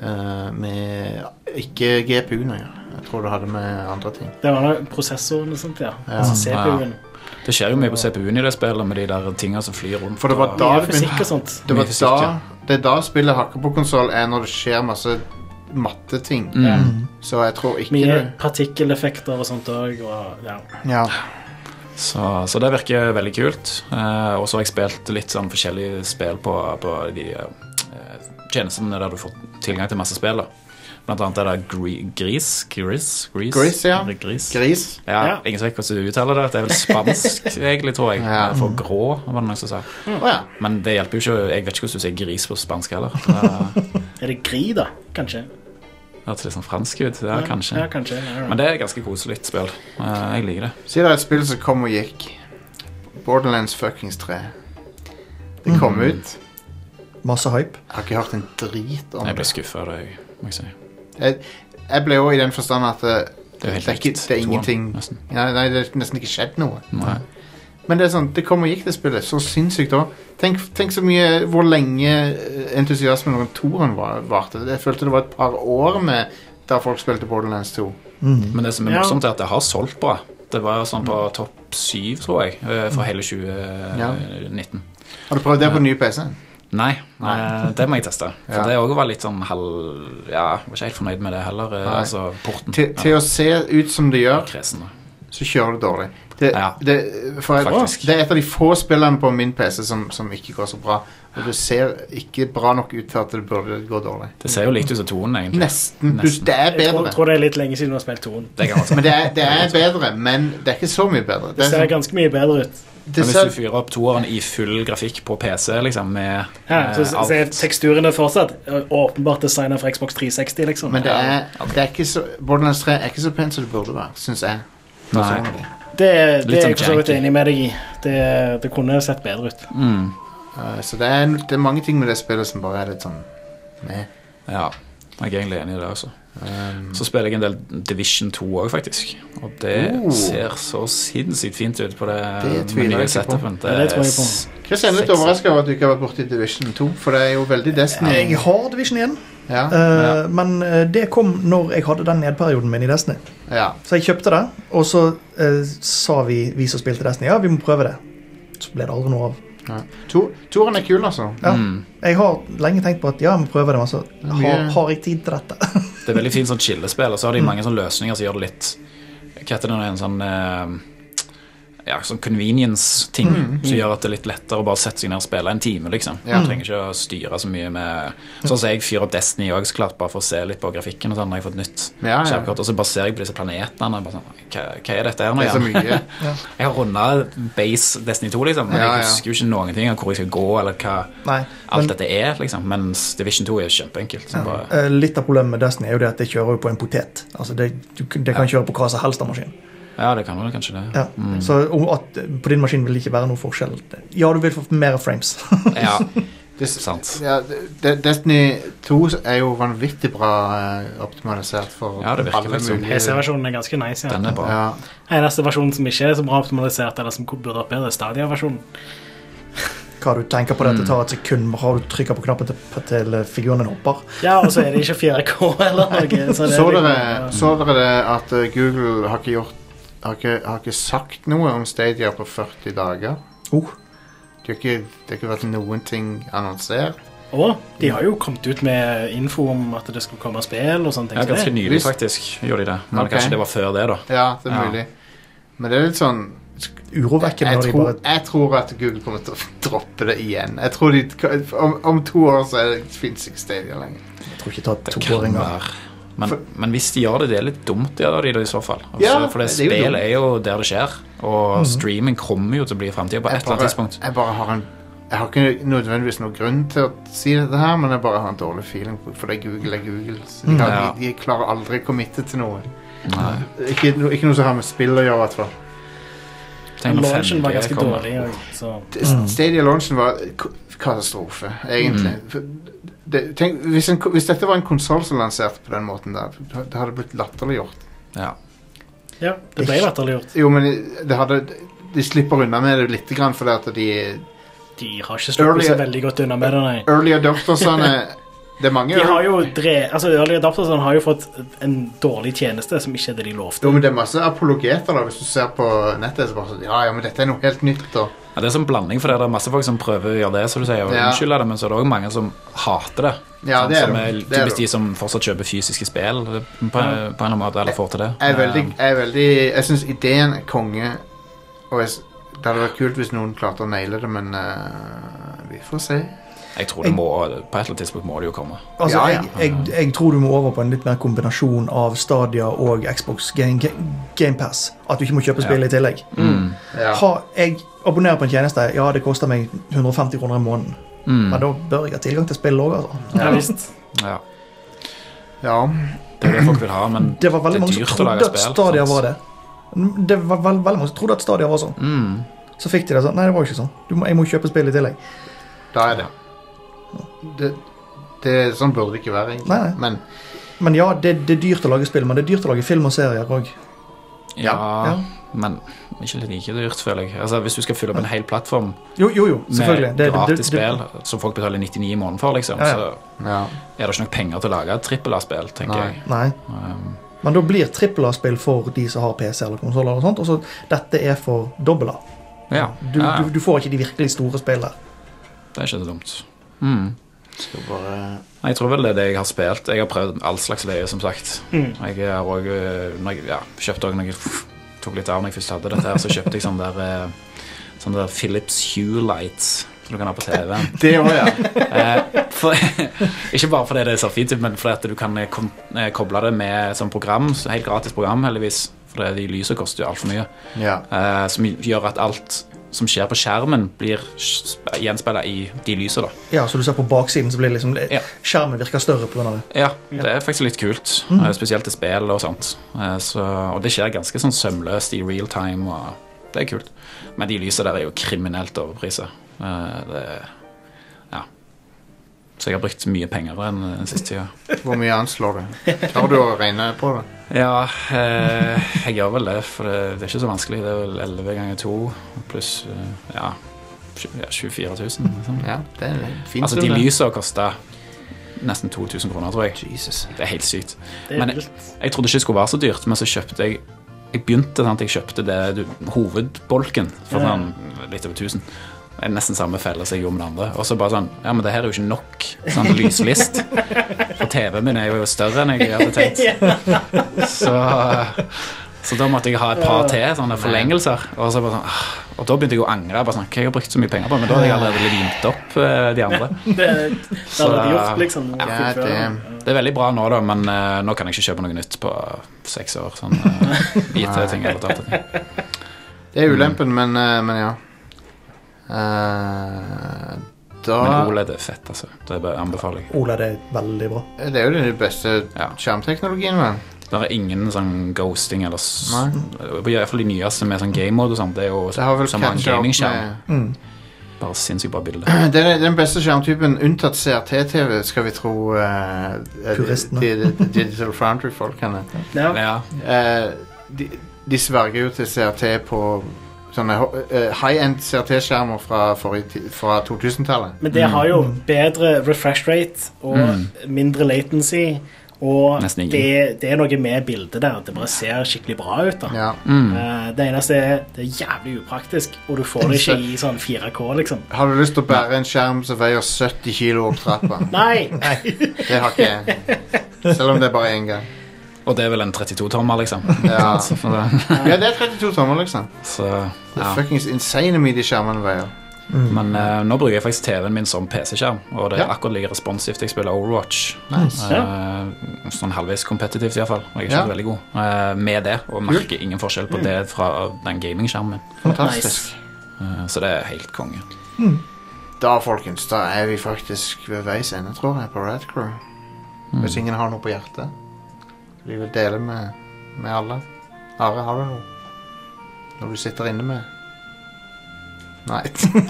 Speaker 1: eh, Med Ikke GPU-en å gjøre. Jeg tror det hadde med andre ting.
Speaker 2: Det var da prosessoren og sånt, ja.
Speaker 1: Ja.
Speaker 2: Altså CPU-en.
Speaker 3: Det skjer jo mye på CPU-en i det spillet, med de der tinga som flyr rundt.
Speaker 1: For det var
Speaker 3: og-
Speaker 1: da
Speaker 2: Mye
Speaker 1: det
Speaker 2: fysikk
Speaker 1: begynte-
Speaker 2: og sånt.
Speaker 1: Det, var
Speaker 3: Mye
Speaker 1: da,
Speaker 3: fysikk, ja.
Speaker 1: det er da spillet hakker på konsoll, er når det skjer masse matteting.
Speaker 3: Mm.
Speaker 2: Ja.
Speaker 1: Så jeg tror ikke
Speaker 2: Mye
Speaker 1: det
Speaker 2: partikkeleffekter og sånt òg. Og, ja.
Speaker 1: ja.
Speaker 3: Så, så det virker veldig kult. Eh, og så har jeg spilt litt sånn forskjellige spill på, på de eh, tjenestene der du får tilgang til masse spill. da. Blant annet er det gri, Gris Gris? Gris,
Speaker 1: Gris, ja.
Speaker 3: Er det Gris.
Speaker 1: Gris.
Speaker 3: Ja,
Speaker 2: Ja.
Speaker 3: Ingen som vet hvordan du uttaler det. Det er vel spansk, egentlig, tror jeg.
Speaker 1: Ja.
Speaker 3: For grå, var det noen som sa.
Speaker 1: Å ja.
Speaker 3: Men det hjelper jo ikke. Jeg vet ikke hvordan du sier gris på spansk heller. Eh,
Speaker 2: Er det gri, da? Kanskje?
Speaker 3: Det hørtes litt sånn fransk ut. Ja, kanskje.
Speaker 2: Ja, kanskje. I don't know.
Speaker 3: Men det er et ganske koselig spill. Eh, jeg liker det.
Speaker 1: Si det er et spill som kom og gikk. Borderlands fuckings 3. Det kom
Speaker 3: Mm.
Speaker 1: ut.
Speaker 4: Masse hype.
Speaker 1: Jeg har ikke hørt en drit om
Speaker 3: Jeg ble
Speaker 1: det.
Speaker 3: skuffa av det, jeg, må jeg si.
Speaker 1: Jeg, jeg ble jo i den forstand at eh,
Speaker 3: Det er jo helt
Speaker 1: det er, ikke,
Speaker 3: likt
Speaker 1: det er
Speaker 3: toeren,
Speaker 1: ingenting
Speaker 3: nesten.
Speaker 1: ja, Nei, det er nesten ikke skjedd noe.
Speaker 3: Nei.
Speaker 1: Men det er sånn, det kom og gikk det spillet så sinnssykt òg. Tenk, tenk så mye hvor lenge eh, entusiasmen rundt toeren var- varte. Jeg følte det var et par år med da folk spilte Borderlands 2.
Speaker 3: Men det som er
Speaker 2: Ja.
Speaker 3: morsomt, er at det har solgt bra. Det var sånn på
Speaker 1: Mm.
Speaker 3: topp syv, tror jeg, eh, for hele 2019.
Speaker 1: Har du prøvd det på den nye PC-en?
Speaker 3: Nei, eh, det må jeg teste. For
Speaker 1: Ja.
Speaker 3: det òg var litt sånn halv Ja, jeg var ikke helt fornøyd med det heller. eh,
Speaker 1: Nei.
Speaker 3: Altså porten.
Speaker 1: Til, til å se ut som det
Speaker 3: Ja,
Speaker 1: gjør,
Speaker 3: kresen, da.
Speaker 1: så kjører du dårlig. Det,
Speaker 3: Ja.
Speaker 1: det, for jeg,
Speaker 3: Faktisk.
Speaker 1: det er et av de få spillene på min PC som, som ikke går så bra. Og det ser ikke bra nok ut til at det burde gå dårlig.
Speaker 3: Det ser jo likt ut som tonen, egentlig.
Speaker 1: Nesten. Du,
Speaker 3: Nesten.
Speaker 1: det er
Speaker 2: jeg tror,
Speaker 1: bedre.
Speaker 2: tror det er litt lenge siden du har spilt toen.
Speaker 3: Det kan man si.
Speaker 1: Men det er, det er bedre, men det er ikke så mye bedre.
Speaker 2: Det
Speaker 1: er
Speaker 2: ser
Speaker 1: sånn-
Speaker 2: ganske mye bedre ut.
Speaker 1: det
Speaker 3: Men hvis
Speaker 1: ser-
Speaker 3: du fyrer opp toeren i full grafikk på PC, liksom, med
Speaker 2: Ja, så
Speaker 3: eh,
Speaker 2: så
Speaker 3: alt
Speaker 2: er teksturene fortsatt ø, åpenbart designa for Xbox 360, liksom.
Speaker 1: Men det
Speaker 2: Ja.
Speaker 1: er, det er ikke så Borderlands 3 er ikke så pent som det burde være, syns jeg. Altså,
Speaker 3: Nei.
Speaker 2: det, det,
Speaker 3: Litt
Speaker 2: er
Speaker 3: sånn
Speaker 2: jeg for så vidt
Speaker 3: janky.
Speaker 2: enig med deg i. Det, det kunne sett bedre ut.
Speaker 3: Mm.
Speaker 1: Uh, så det er, det er mange ting med det spillet som bare er litt sånn meh.
Speaker 3: Ja, jeg er egentlig enig i det altså. også.
Speaker 1: Um,
Speaker 3: så spiller jeg en del Division 2 òg, faktisk. Og det
Speaker 1: Oh.
Speaker 3: ser så sinnssykt fint ut på det,
Speaker 1: Det tviler jeg
Speaker 3: nye
Speaker 1: ikke på.
Speaker 3: setupen.
Speaker 2: Ja, det tror jeg på.
Speaker 3: s-
Speaker 1: Chris jeg er litt
Speaker 3: Sexy.
Speaker 1: overraska over at du ikke har vært borti Division 2, for det er jo veldig Destiny.
Speaker 4: Jeg har Division igjen.
Speaker 1: Ja.
Speaker 4: Eh, Men eh, det kom når jeg hadde den nedperioden min i Destiny.
Speaker 1: ja.
Speaker 4: Så jeg kjøpte det, og så eh, sa vi, vi som spilte Destiny, ja, vi må prøve det. Så ble det aldri noe av.
Speaker 1: To, toren er kul, altså.
Speaker 4: Ja.
Speaker 3: mm.
Speaker 4: Jeg har lenge tenkt på at ja, jeg må prøve det, men så har,
Speaker 1: Mye-
Speaker 4: har jeg tid til dette?
Speaker 3: Det er veldig fint sånn chillespill, og så har
Speaker 1: Mm.
Speaker 3: de mange sånne løsninger som gjør det litt Hva heter det nå, en sånn eh, ja, sånn convenience-ting
Speaker 1: Mm.
Speaker 3: som gjør at det er litt lettere å bare sette seg ned og spille en time, liksom. Du trenger ikke å styre så mye med Sånn som jeg fyrer opp Destiny òg, så klart, bare for å se litt på grafikken og sånn, når jeg har fått nytt
Speaker 1: Ah, Ja, ja.
Speaker 3: skjermkort, og så bare ser jeg på disse planetene og bare sånn Hva, hva er dette her nå
Speaker 1: Det er så mye.
Speaker 3: Jeg har runda base Destiny 2, liksom, men
Speaker 1: Ja, ja.
Speaker 3: jeg husker jo ikke noen ting av hvor jeg skal gå, eller hva
Speaker 4: Nei.
Speaker 3: alt
Speaker 4: Men
Speaker 3: dette er, liksom. Mens Division 2 er kjempeenkelt. Så bare
Speaker 4: eh, litt av problemet med Destiny er jo det at det kjører jo på en potet. Altså, det, du, det kan kjøre på hva som helst av maskinen.
Speaker 1: Eh.
Speaker 3: Ja, det kan vel kanskje det.
Speaker 4: Ja. Så om at eh, på din maskin vil det ikke være noe forskjell. Ja, du vil få mer frames.
Speaker 3: Ja,
Speaker 1: Det,
Speaker 3: sant.
Speaker 1: ja, De- Destiny 2 er jo vanvittig bra eh, optimalisert for
Speaker 3: Ja, det virker
Speaker 1: alle
Speaker 3: litt sånn.
Speaker 1: mulige
Speaker 2: PC-versjonen er ganske nice.
Speaker 3: Den er
Speaker 2: Ja.
Speaker 3: bra.
Speaker 1: Ja.
Speaker 2: Eneste versjonen som ikke er så bra optimalisert, eller som burde vært bedre, er Stadia-versjonen.
Speaker 4: hva du tenker på dette tar et sekund. Har du trykket på knappen til, til figuren din hopper?
Speaker 2: Ja, og så er det ikke 4K eller noe. Så det
Speaker 1: Så
Speaker 2: er
Speaker 1: dere,
Speaker 2: liksom,
Speaker 1: så dere det at eh, Google har ikke gjort har ikke, har ikke sagt noe om Stadia på 40 dager?
Speaker 4: Oh.
Speaker 1: Det har ikke, det har ikke vært noen ting annonsert.
Speaker 2: ja. Og de har jo kommet ut med info om at det skulle komme spill og sånne ting.
Speaker 3: Ja,
Speaker 2: så det-
Speaker 3: ganske nylig,
Speaker 1: Hvis-
Speaker 3: faktisk. Gjorde de det. Men
Speaker 1: Ok.
Speaker 3: kanskje det var før det, da.
Speaker 1: Ja, det er
Speaker 3: Ja.
Speaker 1: mulig. Men det er litt sånn
Speaker 4: Urovekkende
Speaker 1: jeg
Speaker 4: når de
Speaker 1: tror,
Speaker 4: bare
Speaker 1: jeg tror at Google kommer til å droppe det igjen. Jeg tror de, om, om to år så er det- finnes ikke Stadia lenger.
Speaker 4: Jeg tror ikke ta
Speaker 3: Det kan
Speaker 4: toåringer.
Speaker 3: være. Men, men hvis de gjør det, det er litt dumt, ja, da, de, da, i så fall. Også,
Speaker 1: Ja,
Speaker 3: for det
Speaker 1: det er jo
Speaker 3: spill
Speaker 1: dumt. Mhm.
Speaker 3: er jo der det skjer. Og streaming kommer jo til å bli framtida på
Speaker 1: Jeg
Speaker 3: et eller annet
Speaker 1: bare,
Speaker 3: tidspunkt.
Speaker 1: jeg bare har en Jeg har ikke nødvendigvis noen grunn til å si dette her, men jeg bare har en dårlig feeling, fordi Google er Google. Så de, har,
Speaker 3: Ja.
Speaker 1: de, de klarer aldri å committe til noe.
Speaker 3: Nei.
Speaker 1: Ikke, no- ikke noe som har med spill å gjøre, i hvert fall.
Speaker 3: Tenk når
Speaker 2: Launchen var
Speaker 3: 5G
Speaker 2: ganske
Speaker 3: kommer.
Speaker 2: dårlig. og Så.
Speaker 1: Det- Stadia launchen var k- katastrofe, egentlig. Det, tenk, hvis, en, ko- hvis dette var en konsoll som lanserte på den måten der, det hadde blitt latterliggjort.
Speaker 3: Ja.
Speaker 2: Ja, det ble latterliggjort.
Speaker 1: Jo, men det hadde, de slipper unna med det litt, grann, fordi at de
Speaker 2: De har ikke sluppet så
Speaker 1: Early-
Speaker 2: veldig godt unna med det, nei.
Speaker 1: Early adoptersene Det er mange
Speaker 2: De har jo dre... Altså, Early Adapters har jo fått en dårlig tjeneste som ikke er det de lovte.
Speaker 1: Jo, men det er masse apologeter da, hvis du ser på nettet. så bare sånn, Ja, ja, men dette er noe helt nytt. Og,
Speaker 3: ja, Det er sånn blanding, for det er masse folk som prøver å gjøre det, som du sier, og
Speaker 1: Ja.
Speaker 3: unnskylder det, men så er det òg mange som hater det.
Speaker 1: Ja,
Speaker 3: Sant?
Speaker 1: det er
Speaker 3: som
Speaker 1: det.
Speaker 3: er
Speaker 1: Det er
Speaker 3: typisk
Speaker 1: det.
Speaker 3: de som fortsatt kjøper fysiske spill på, på en eller annen måte, eller får til det. Um,
Speaker 1: jeg er veldig, jeg, er veldig, jeg syns ideen er konge, og jeg, s- det hadde vært kult hvis noen klarte å naile det, men eh, vi får se.
Speaker 3: Jeg tror det må, på et eller annet tidspunkt må det jo komme.
Speaker 4: Altså,
Speaker 1: Ja, ja.
Speaker 4: jeg, jeg, jeg tror du må over på en litt mer kombinasjon av Stadia og Xbox Game, Ga- Game Pass. At du ikke må kjøpe spillet i tillegg.
Speaker 3: Mm.
Speaker 1: Ja.
Speaker 4: Ha, jeg abonnerer på en tjeneste. Ja, det koster meg 150 kroner i måneden. Men da bør jeg ha tilgang til spill òg, altså.
Speaker 2: Ja, visst.
Speaker 3: Mm. Ja.
Speaker 1: ja.
Speaker 3: Det er det folk vil ha, men
Speaker 4: Det var veldig
Speaker 3: er
Speaker 4: mange som
Speaker 3: dyrt å
Speaker 4: trodde
Speaker 3: lage
Speaker 4: at
Speaker 3: spill,
Speaker 4: Stadia
Speaker 3: sant?
Speaker 4: var det. Det var vel- veldig mange som trodde at Stadia var sånn.
Speaker 3: Mm.
Speaker 4: Så fikk de det sånn. Nei, det var jo ikke sånn. Du må, jeg må kjøpe spill i tillegg.
Speaker 1: Da er det. det, det sånn burde det ikke være, egentlig.
Speaker 4: Nei, nei.
Speaker 1: Men
Speaker 4: Men ja, det, det er dyrt å lage spill, men det er dyrt å lage film og serier òg.
Speaker 3: Ja,
Speaker 4: Ja.
Speaker 3: men ikke like dyrt, føler jeg. Altså, Hvis du skal fylle opp en hel plattform
Speaker 4: Jo, jo, jo, selvfølgelig.
Speaker 3: med
Speaker 4: Det- det-
Speaker 3: gratis
Speaker 4: det-
Speaker 3: spill som folk betaler 99 i måneden for, liksom,
Speaker 4: Ja, ja.
Speaker 3: så
Speaker 1: ja.
Speaker 3: er det ikke nok penger til å lage et trippel A-spill, tenker
Speaker 1: Nei.
Speaker 3: jeg.
Speaker 4: Nei.
Speaker 3: Um,
Speaker 4: Men da blir trippel A-spill for de som har PC eller konsoller. Og sånt, og så dette er for dobbel A.
Speaker 3: ja.
Speaker 4: Du,
Speaker 3: ja,
Speaker 4: du, du får ikke de virkelig store spillene.
Speaker 3: det er ikke så dumt. Mm.
Speaker 1: Skal bare
Speaker 3: Nei, Jeg tror vel det er det jeg har spilt. Jeg har prøvd all slags løye, som sagt. Jeg har òg ja, kjøpt òg noe Tok litt av når jeg først hadde dette, her, så kjøpte jeg sånn der, eh, sånn der Philips Hue Lights som du kan ha på TV-en.
Speaker 1: Det òg, ja.
Speaker 3: Eh, for, ikke bare fordi det ser fint ut, men fordi at du kan eh, kom, eh, koble det med et sånt program. så Helt gratis program, heldigvis. For det, de lysene koster jo altfor mye.
Speaker 1: ja.
Speaker 3: Eh, som gjør at alt som skjer på skjermen, blir sp- gjenspeila i de lysene. da.
Speaker 4: Ja, så du ser på baksiden, så blir det liksom
Speaker 3: Ja.
Speaker 4: skjermen virker større pga. det.
Speaker 3: Ja, det er faktisk litt kult. eh, Spesielt til spill og sånt. Eh, så, og det skjer ganske sånn sømløst i real time, og det er kult. Men de lysene der er jo kriminelt overpriset. Eh, det Ja. Så jeg har brukt mye penger på den eh, siste tida.
Speaker 1: Hvor mye anslår du? Klarer du å regne på det?
Speaker 3: Ja, eh, jeg gjør vel det, for det, det er ikke så vanskelig. Det er vel 11 ganger 2 pluss eh, ja, tju- ja, 24 000. Liksom.
Speaker 1: Ja, det er fint.
Speaker 3: Altså,
Speaker 1: du,
Speaker 3: de
Speaker 1: det.
Speaker 3: lysa kosta nesten 2000 kroner, tror jeg.
Speaker 1: Jesus.
Speaker 3: Det er helt sykt.
Speaker 2: Det
Speaker 3: Men
Speaker 2: er
Speaker 3: jeg,
Speaker 2: vilt.
Speaker 3: jeg trodde ikke det skulle være så dyrt, men så kjøpte jeg Jeg begynte sant, jeg kjøpte det du, hovedbolken for
Speaker 2: Ja.
Speaker 3: sånn litt over 1000. Det er nesten samme felle som jeg gjorde med det andre. Og så bare sånn Ja, men det her er jo ikke nok sånn lyslist. For TV-en min er jo større enn jeg hadde tenkt. Så så da måtte jeg ha et par til sånne forlengelser. Og, så bare sånn, ah, og da begynte jeg å angre. Bare sånn, hva har jeg brukt så mye penger på? Men da hadde jeg allerede limt opp eh, de andre.
Speaker 2: Det er- det
Speaker 3: Så-
Speaker 2: hadde de gjort, liksom. når man
Speaker 1: Ja,
Speaker 2: fikk før.
Speaker 1: det-
Speaker 3: Det er veldig bra nå, da, men eh, nå kan jeg ikke kjøpe noe nytt på seks år. Sånn eh, IT-ting eller datating.
Speaker 1: Det er ulempen, men, eh, men ja. Eh,
Speaker 3: Men
Speaker 1: da
Speaker 3: OLED er fett, altså. Det bare anbefaler jeg.
Speaker 4: Ola, det er veldig bra.
Speaker 1: Det er jo den beste
Speaker 3: Ja.
Speaker 1: skjermteknologien, vel.
Speaker 3: Det er ingen sånn ghosting eller s-
Speaker 1: Nei.
Speaker 3: I hvert fall de nyeste med sånn game mode og sånn. Det er jo
Speaker 1: Det har vel
Speaker 3: som en
Speaker 1: catcha opp
Speaker 3: gamingskjerm.
Speaker 1: med
Speaker 4: Mm.
Speaker 3: Bare sinnssykt bra bilde.
Speaker 1: Det er den beste skjermtypen unntatt CRT-TV, skal vi tro eh,
Speaker 4: Puristene.
Speaker 1: de, de, de Digital Foundry-folkene.
Speaker 2: Ja.
Speaker 3: Ja.
Speaker 1: Eh, de, de sverger jo til CRT på sånne eh, high-end CRT-skjermer fra, forrige ti- fra 2000-tallet.
Speaker 2: Men det har jo
Speaker 3: Mm.
Speaker 2: bedre refresh rate og mindre latency. Og
Speaker 3: Nesten ingen.
Speaker 2: det, det er noe med bildet der. Det bare ser skikkelig bra ut. da
Speaker 1: Ja.
Speaker 3: Mm.
Speaker 2: Eh, Det eneste er det er jævlig upraktisk, og du får det ikke i sånn 4K, liksom.
Speaker 1: Har du lyst til å bære en skjerm som veier 70 kilo opp trappa?
Speaker 2: Nei!
Speaker 1: Det har ikke jeg. Selv om det er bare én gang.
Speaker 3: Og det er vel en 32-tommer, liksom.
Speaker 1: Ja.
Speaker 3: Så, det-
Speaker 1: ja, det er 32 tommer, liksom.
Speaker 3: så
Speaker 1: Det
Speaker 3: ja.
Speaker 1: er fuckings insane hvor mye de skjermene veier.
Speaker 3: Men eh, nå bruker jeg faktisk TV-en min som PC-skjerm, og det er
Speaker 1: Ja.
Speaker 3: akkurat like responsivt. Jeg spiller Overwatch.
Speaker 1: Nice.
Speaker 3: Eh, sånn halvveis kompetitivt, iallfall. Og jeg er ikke
Speaker 1: Ja.
Speaker 3: så veldig god eh, med det. Og merker ingen forskjell på det fra den gamingskjermen min.
Speaker 1: Fantastisk.
Speaker 3: Eh, så det er helt konge.
Speaker 1: Da, folkens, da er vi faktisk ved veis ende, tror jeg, på Red Crew.
Speaker 2: Mm.
Speaker 1: Hvis ingen har noe på hjertet. Vi vil dele med, med alle. Are, har du noe? Når du sitter inne med Nei. jeg,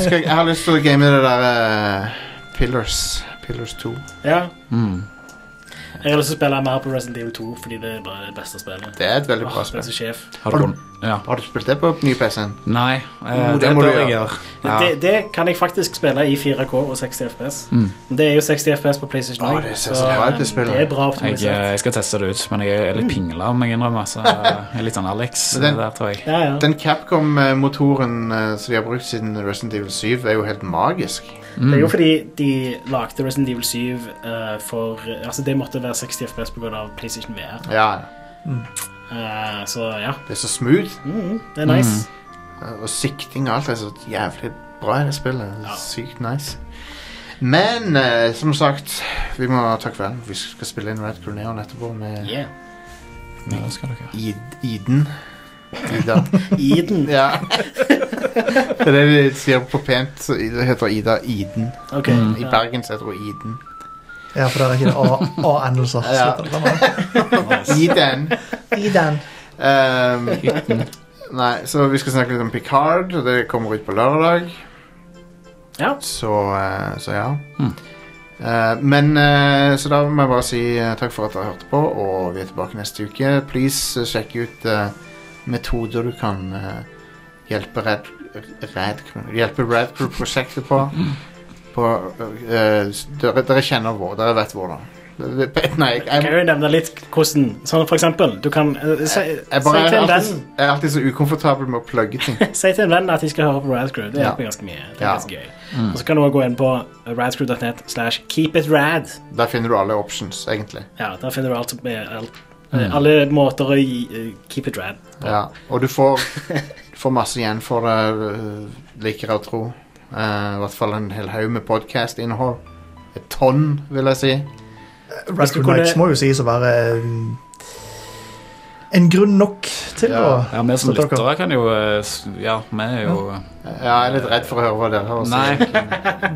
Speaker 1: skal, jeg har lyst til å game det der eh, Pillars. Pillars 2.
Speaker 2: Ja.
Speaker 3: Mm.
Speaker 2: Jeg har lyst til å spille mer på Resident Evil 2 fordi det er bare det beste spillet.
Speaker 1: Det er et veldig
Speaker 2: Åh,
Speaker 1: bra
Speaker 2: det er
Speaker 1: spill.
Speaker 2: så sjef.
Speaker 3: Har du Ja.
Speaker 1: Har du spilt det på ny PC-en?
Speaker 3: Nei, eh,
Speaker 1: Jo, det
Speaker 3: det,
Speaker 1: må
Speaker 3: bør
Speaker 1: du
Speaker 3: jeg
Speaker 1: gjøre.
Speaker 3: gjøre.
Speaker 2: Men
Speaker 3: Ja.
Speaker 2: Det, det kan jeg faktisk spille i 4K og 60 FPS.
Speaker 3: Mm.
Speaker 2: Men Det er jo 60 FPS på PlayStation
Speaker 1: Åh,
Speaker 2: 1,
Speaker 1: det ser så bra ut, det spillet.
Speaker 2: det er bra
Speaker 3: Jeg,
Speaker 2: optimisert.
Speaker 3: eh, jeg skal teste det ut, men jeg er litt pingla, om jeg innrømmer. Så eh, jeg er litt sånn Alex
Speaker 1: Men den-
Speaker 3: der, tror jeg.
Speaker 2: Ja, ja.
Speaker 1: Den Capcom-motoren eh, som de har brukt siden Resident Evil 7, er jo helt magisk.
Speaker 2: Det
Speaker 3: Mm.
Speaker 2: er jo fordi de lagde Resident Evil 7 eh, for Altså, det måtte være 60 FPS pga. PlayStation VR.
Speaker 1: Ja,
Speaker 2: Eh, så ja,
Speaker 1: Det er så smooth.
Speaker 2: mm, det er nice.
Speaker 1: Og sikting og alt er så jævlig bra i det spillet. Det er
Speaker 2: Ja.
Speaker 1: Sykt nice. Men eh, som sagt, vi må ta kvelden. Vi skal spille inn Red Corneon etterpå
Speaker 3: Mm.
Speaker 1: med
Speaker 2: Yeah.
Speaker 3: Ja, det skal dere.
Speaker 1: Id Iden. Ida.
Speaker 2: Eden.
Speaker 1: ja. det er det de sier på pent. så Det heter Ida Iden.
Speaker 2: Ok.
Speaker 3: Mm.
Speaker 1: I
Speaker 2: ja.
Speaker 1: Bergen så heter hun Iden.
Speaker 4: Ja, for det er ikke det A-endelser.
Speaker 1: Ja. Iden.
Speaker 4: I den.
Speaker 1: Um, nei, så vi skal snakke litt om Picard, og det kommer ut på lørdag.
Speaker 2: Ja.
Speaker 1: Så, eh, så ja.
Speaker 3: Mm.
Speaker 1: Eh, men eh, Så da må jeg bare si eh, takk for at dere hørte på, og vi er tilbake neste uke. Please eh, sjekk ut eh, metoder du kan eh, hjelpe Red, Red, Hjelpe Red Crew-prosjektet på. på eh, s- dere, dere kjenner hvor. Dere vet hvordan. Nei, jeg,
Speaker 2: Kan jeg jo nevne litt hvordan Sånn for eksempel, du kan eh, si,
Speaker 1: jeg, bare,
Speaker 2: si,
Speaker 1: jeg,
Speaker 2: til en
Speaker 1: er alltid,
Speaker 2: venn,
Speaker 1: jeg er alltid så ukomfortabel med å plugge ting.
Speaker 2: si til en venn at de skal høre på Radcrew. Det
Speaker 1: Ja.
Speaker 2: hjelper ganske mye. Det er
Speaker 1: Ja.
Speaker 2: ganske gøy. Og så kan du også gå inn på radcrew.net slash keepitrad.
Speaker 1: Der finner du alle options, egentlig.
Speaker 2: Ja, der finner du alt som er alt,
Speaker 1: Mm.
Speaker 3: Mm.
Speaker 2: Alle måter å gi, eh, keep it rad.
Speaker 1: Ja. Og du får, du får masse igjen for det, øh, liker jeg å tro. Eh, I hvert fall en hel haug med podkast-innhold. Et tonn, vil jeg si.
Speaker 2: Hvis du
Speaker 4: Rescue
Speaker 2: kunne-
Speaker 4: Nights må jo sies å være mm, en grunn nok til å
Speaker 1: Ja.
Speaker 3: Ja, vi som
Speaker 4: Så dere-
Speaker 3: lyttere kan jo eh, s- Ja, vi er jo
Speaker 1: Ja, jeg er litt redd for å høre hva dere har å si.
Speaker 3: Nei,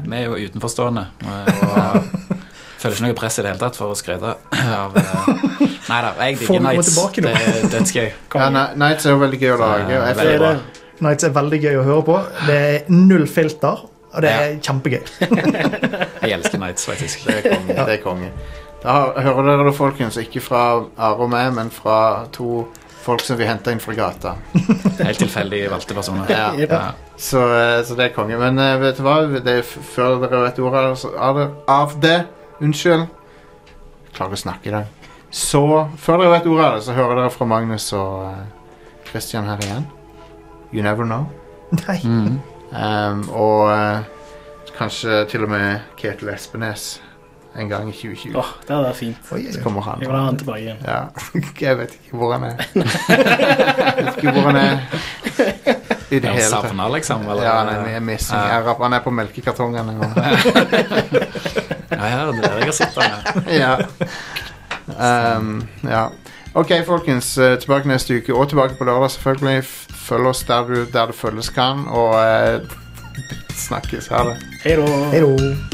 Speaker 3: vi er jo utenforstående. eh, Og føler ikke noe press i det hele tatt for å skryte av eh, Nei da, jeg
Speaker 4: Får vi
Speaker 3: digger
Speaker 4: komme
Speaker 3: Nights.
Speaker 4: tilbake
Speaker 3: Det
Speaker 4: nå?
Speaker 3: er dødsgøy.
Speaker 1: Ja, Ni- Nights er jo veldig gøy å lage. og jeg
Speaker 3: Det er
Speaker 2: Det
Speaker 1: føler-
Speaker 2: er det.
Speaker 3: bra.
Speaker 4: Nights er veldig gøy å høre på. Det er null filter, og det er kjempegøy.
Speaker 3: Jeg elsker Nights, faktisk.
Speaker 1: Det er konge. Det er konge. Da hører dere det, folkens. Ikke fra Are og meg, men fra to folk som vi henta inn fra gata.
Speaker 3: Helt tilfeldig valgte personer.
Speaker 1: Ja.
Speaker 2: Jep.
Speaker 3: Ja.
Speaker 1: Så, eh, så det er konge. Men eh, vet du hva? Det er f før dere vet ordet av det- av det- av det Unnskyld. Klarer å snakke i dag. Så før dere vet ordet av det, så hører dere fra Magnus og eh, Christian her igjen. You never know.
Speaker 4: Nei.
Speaker 3: Mm.
Speaker 1: Ehm, og eh, kanskje til og med Ketil Espenes en gang i 2020.
Speaker 2: Åh, det hadde vært fint.
Speaker 4: Oi,
Speaker 1: Så
Speaker 4: oi, oi.
Speaker 1: kommer han.
Speaker 2: Jeg vil ha han tilbake igjen.
Speaker 1: Ja. Jeg vet ikke hvor han er. Jeg vet ikke hvor han er i det
Speaker 3: Er han
Speaker 1: hele tatt.
Speaker 3: savna, liksom? Eller?
Speaker 1: Ja, han er, med- missing.
Speaker 3: Ja.
Speaker 1: Jeg rapper- han er på melkekartongene. nå.
Speaker 3: Ja, ja, det er der jeg har sett han. ja.
Speaker 1: ja. Ehm, ja. Ok, folkens. eh, Tilbake neste uke, og tilbake på lørdag, selvfølgelig. F- Følg oss der, du, der det følges kan, og eh, snakkes. Ha det.
Speaker 2: Hei da.
Speaker 4: Hei da.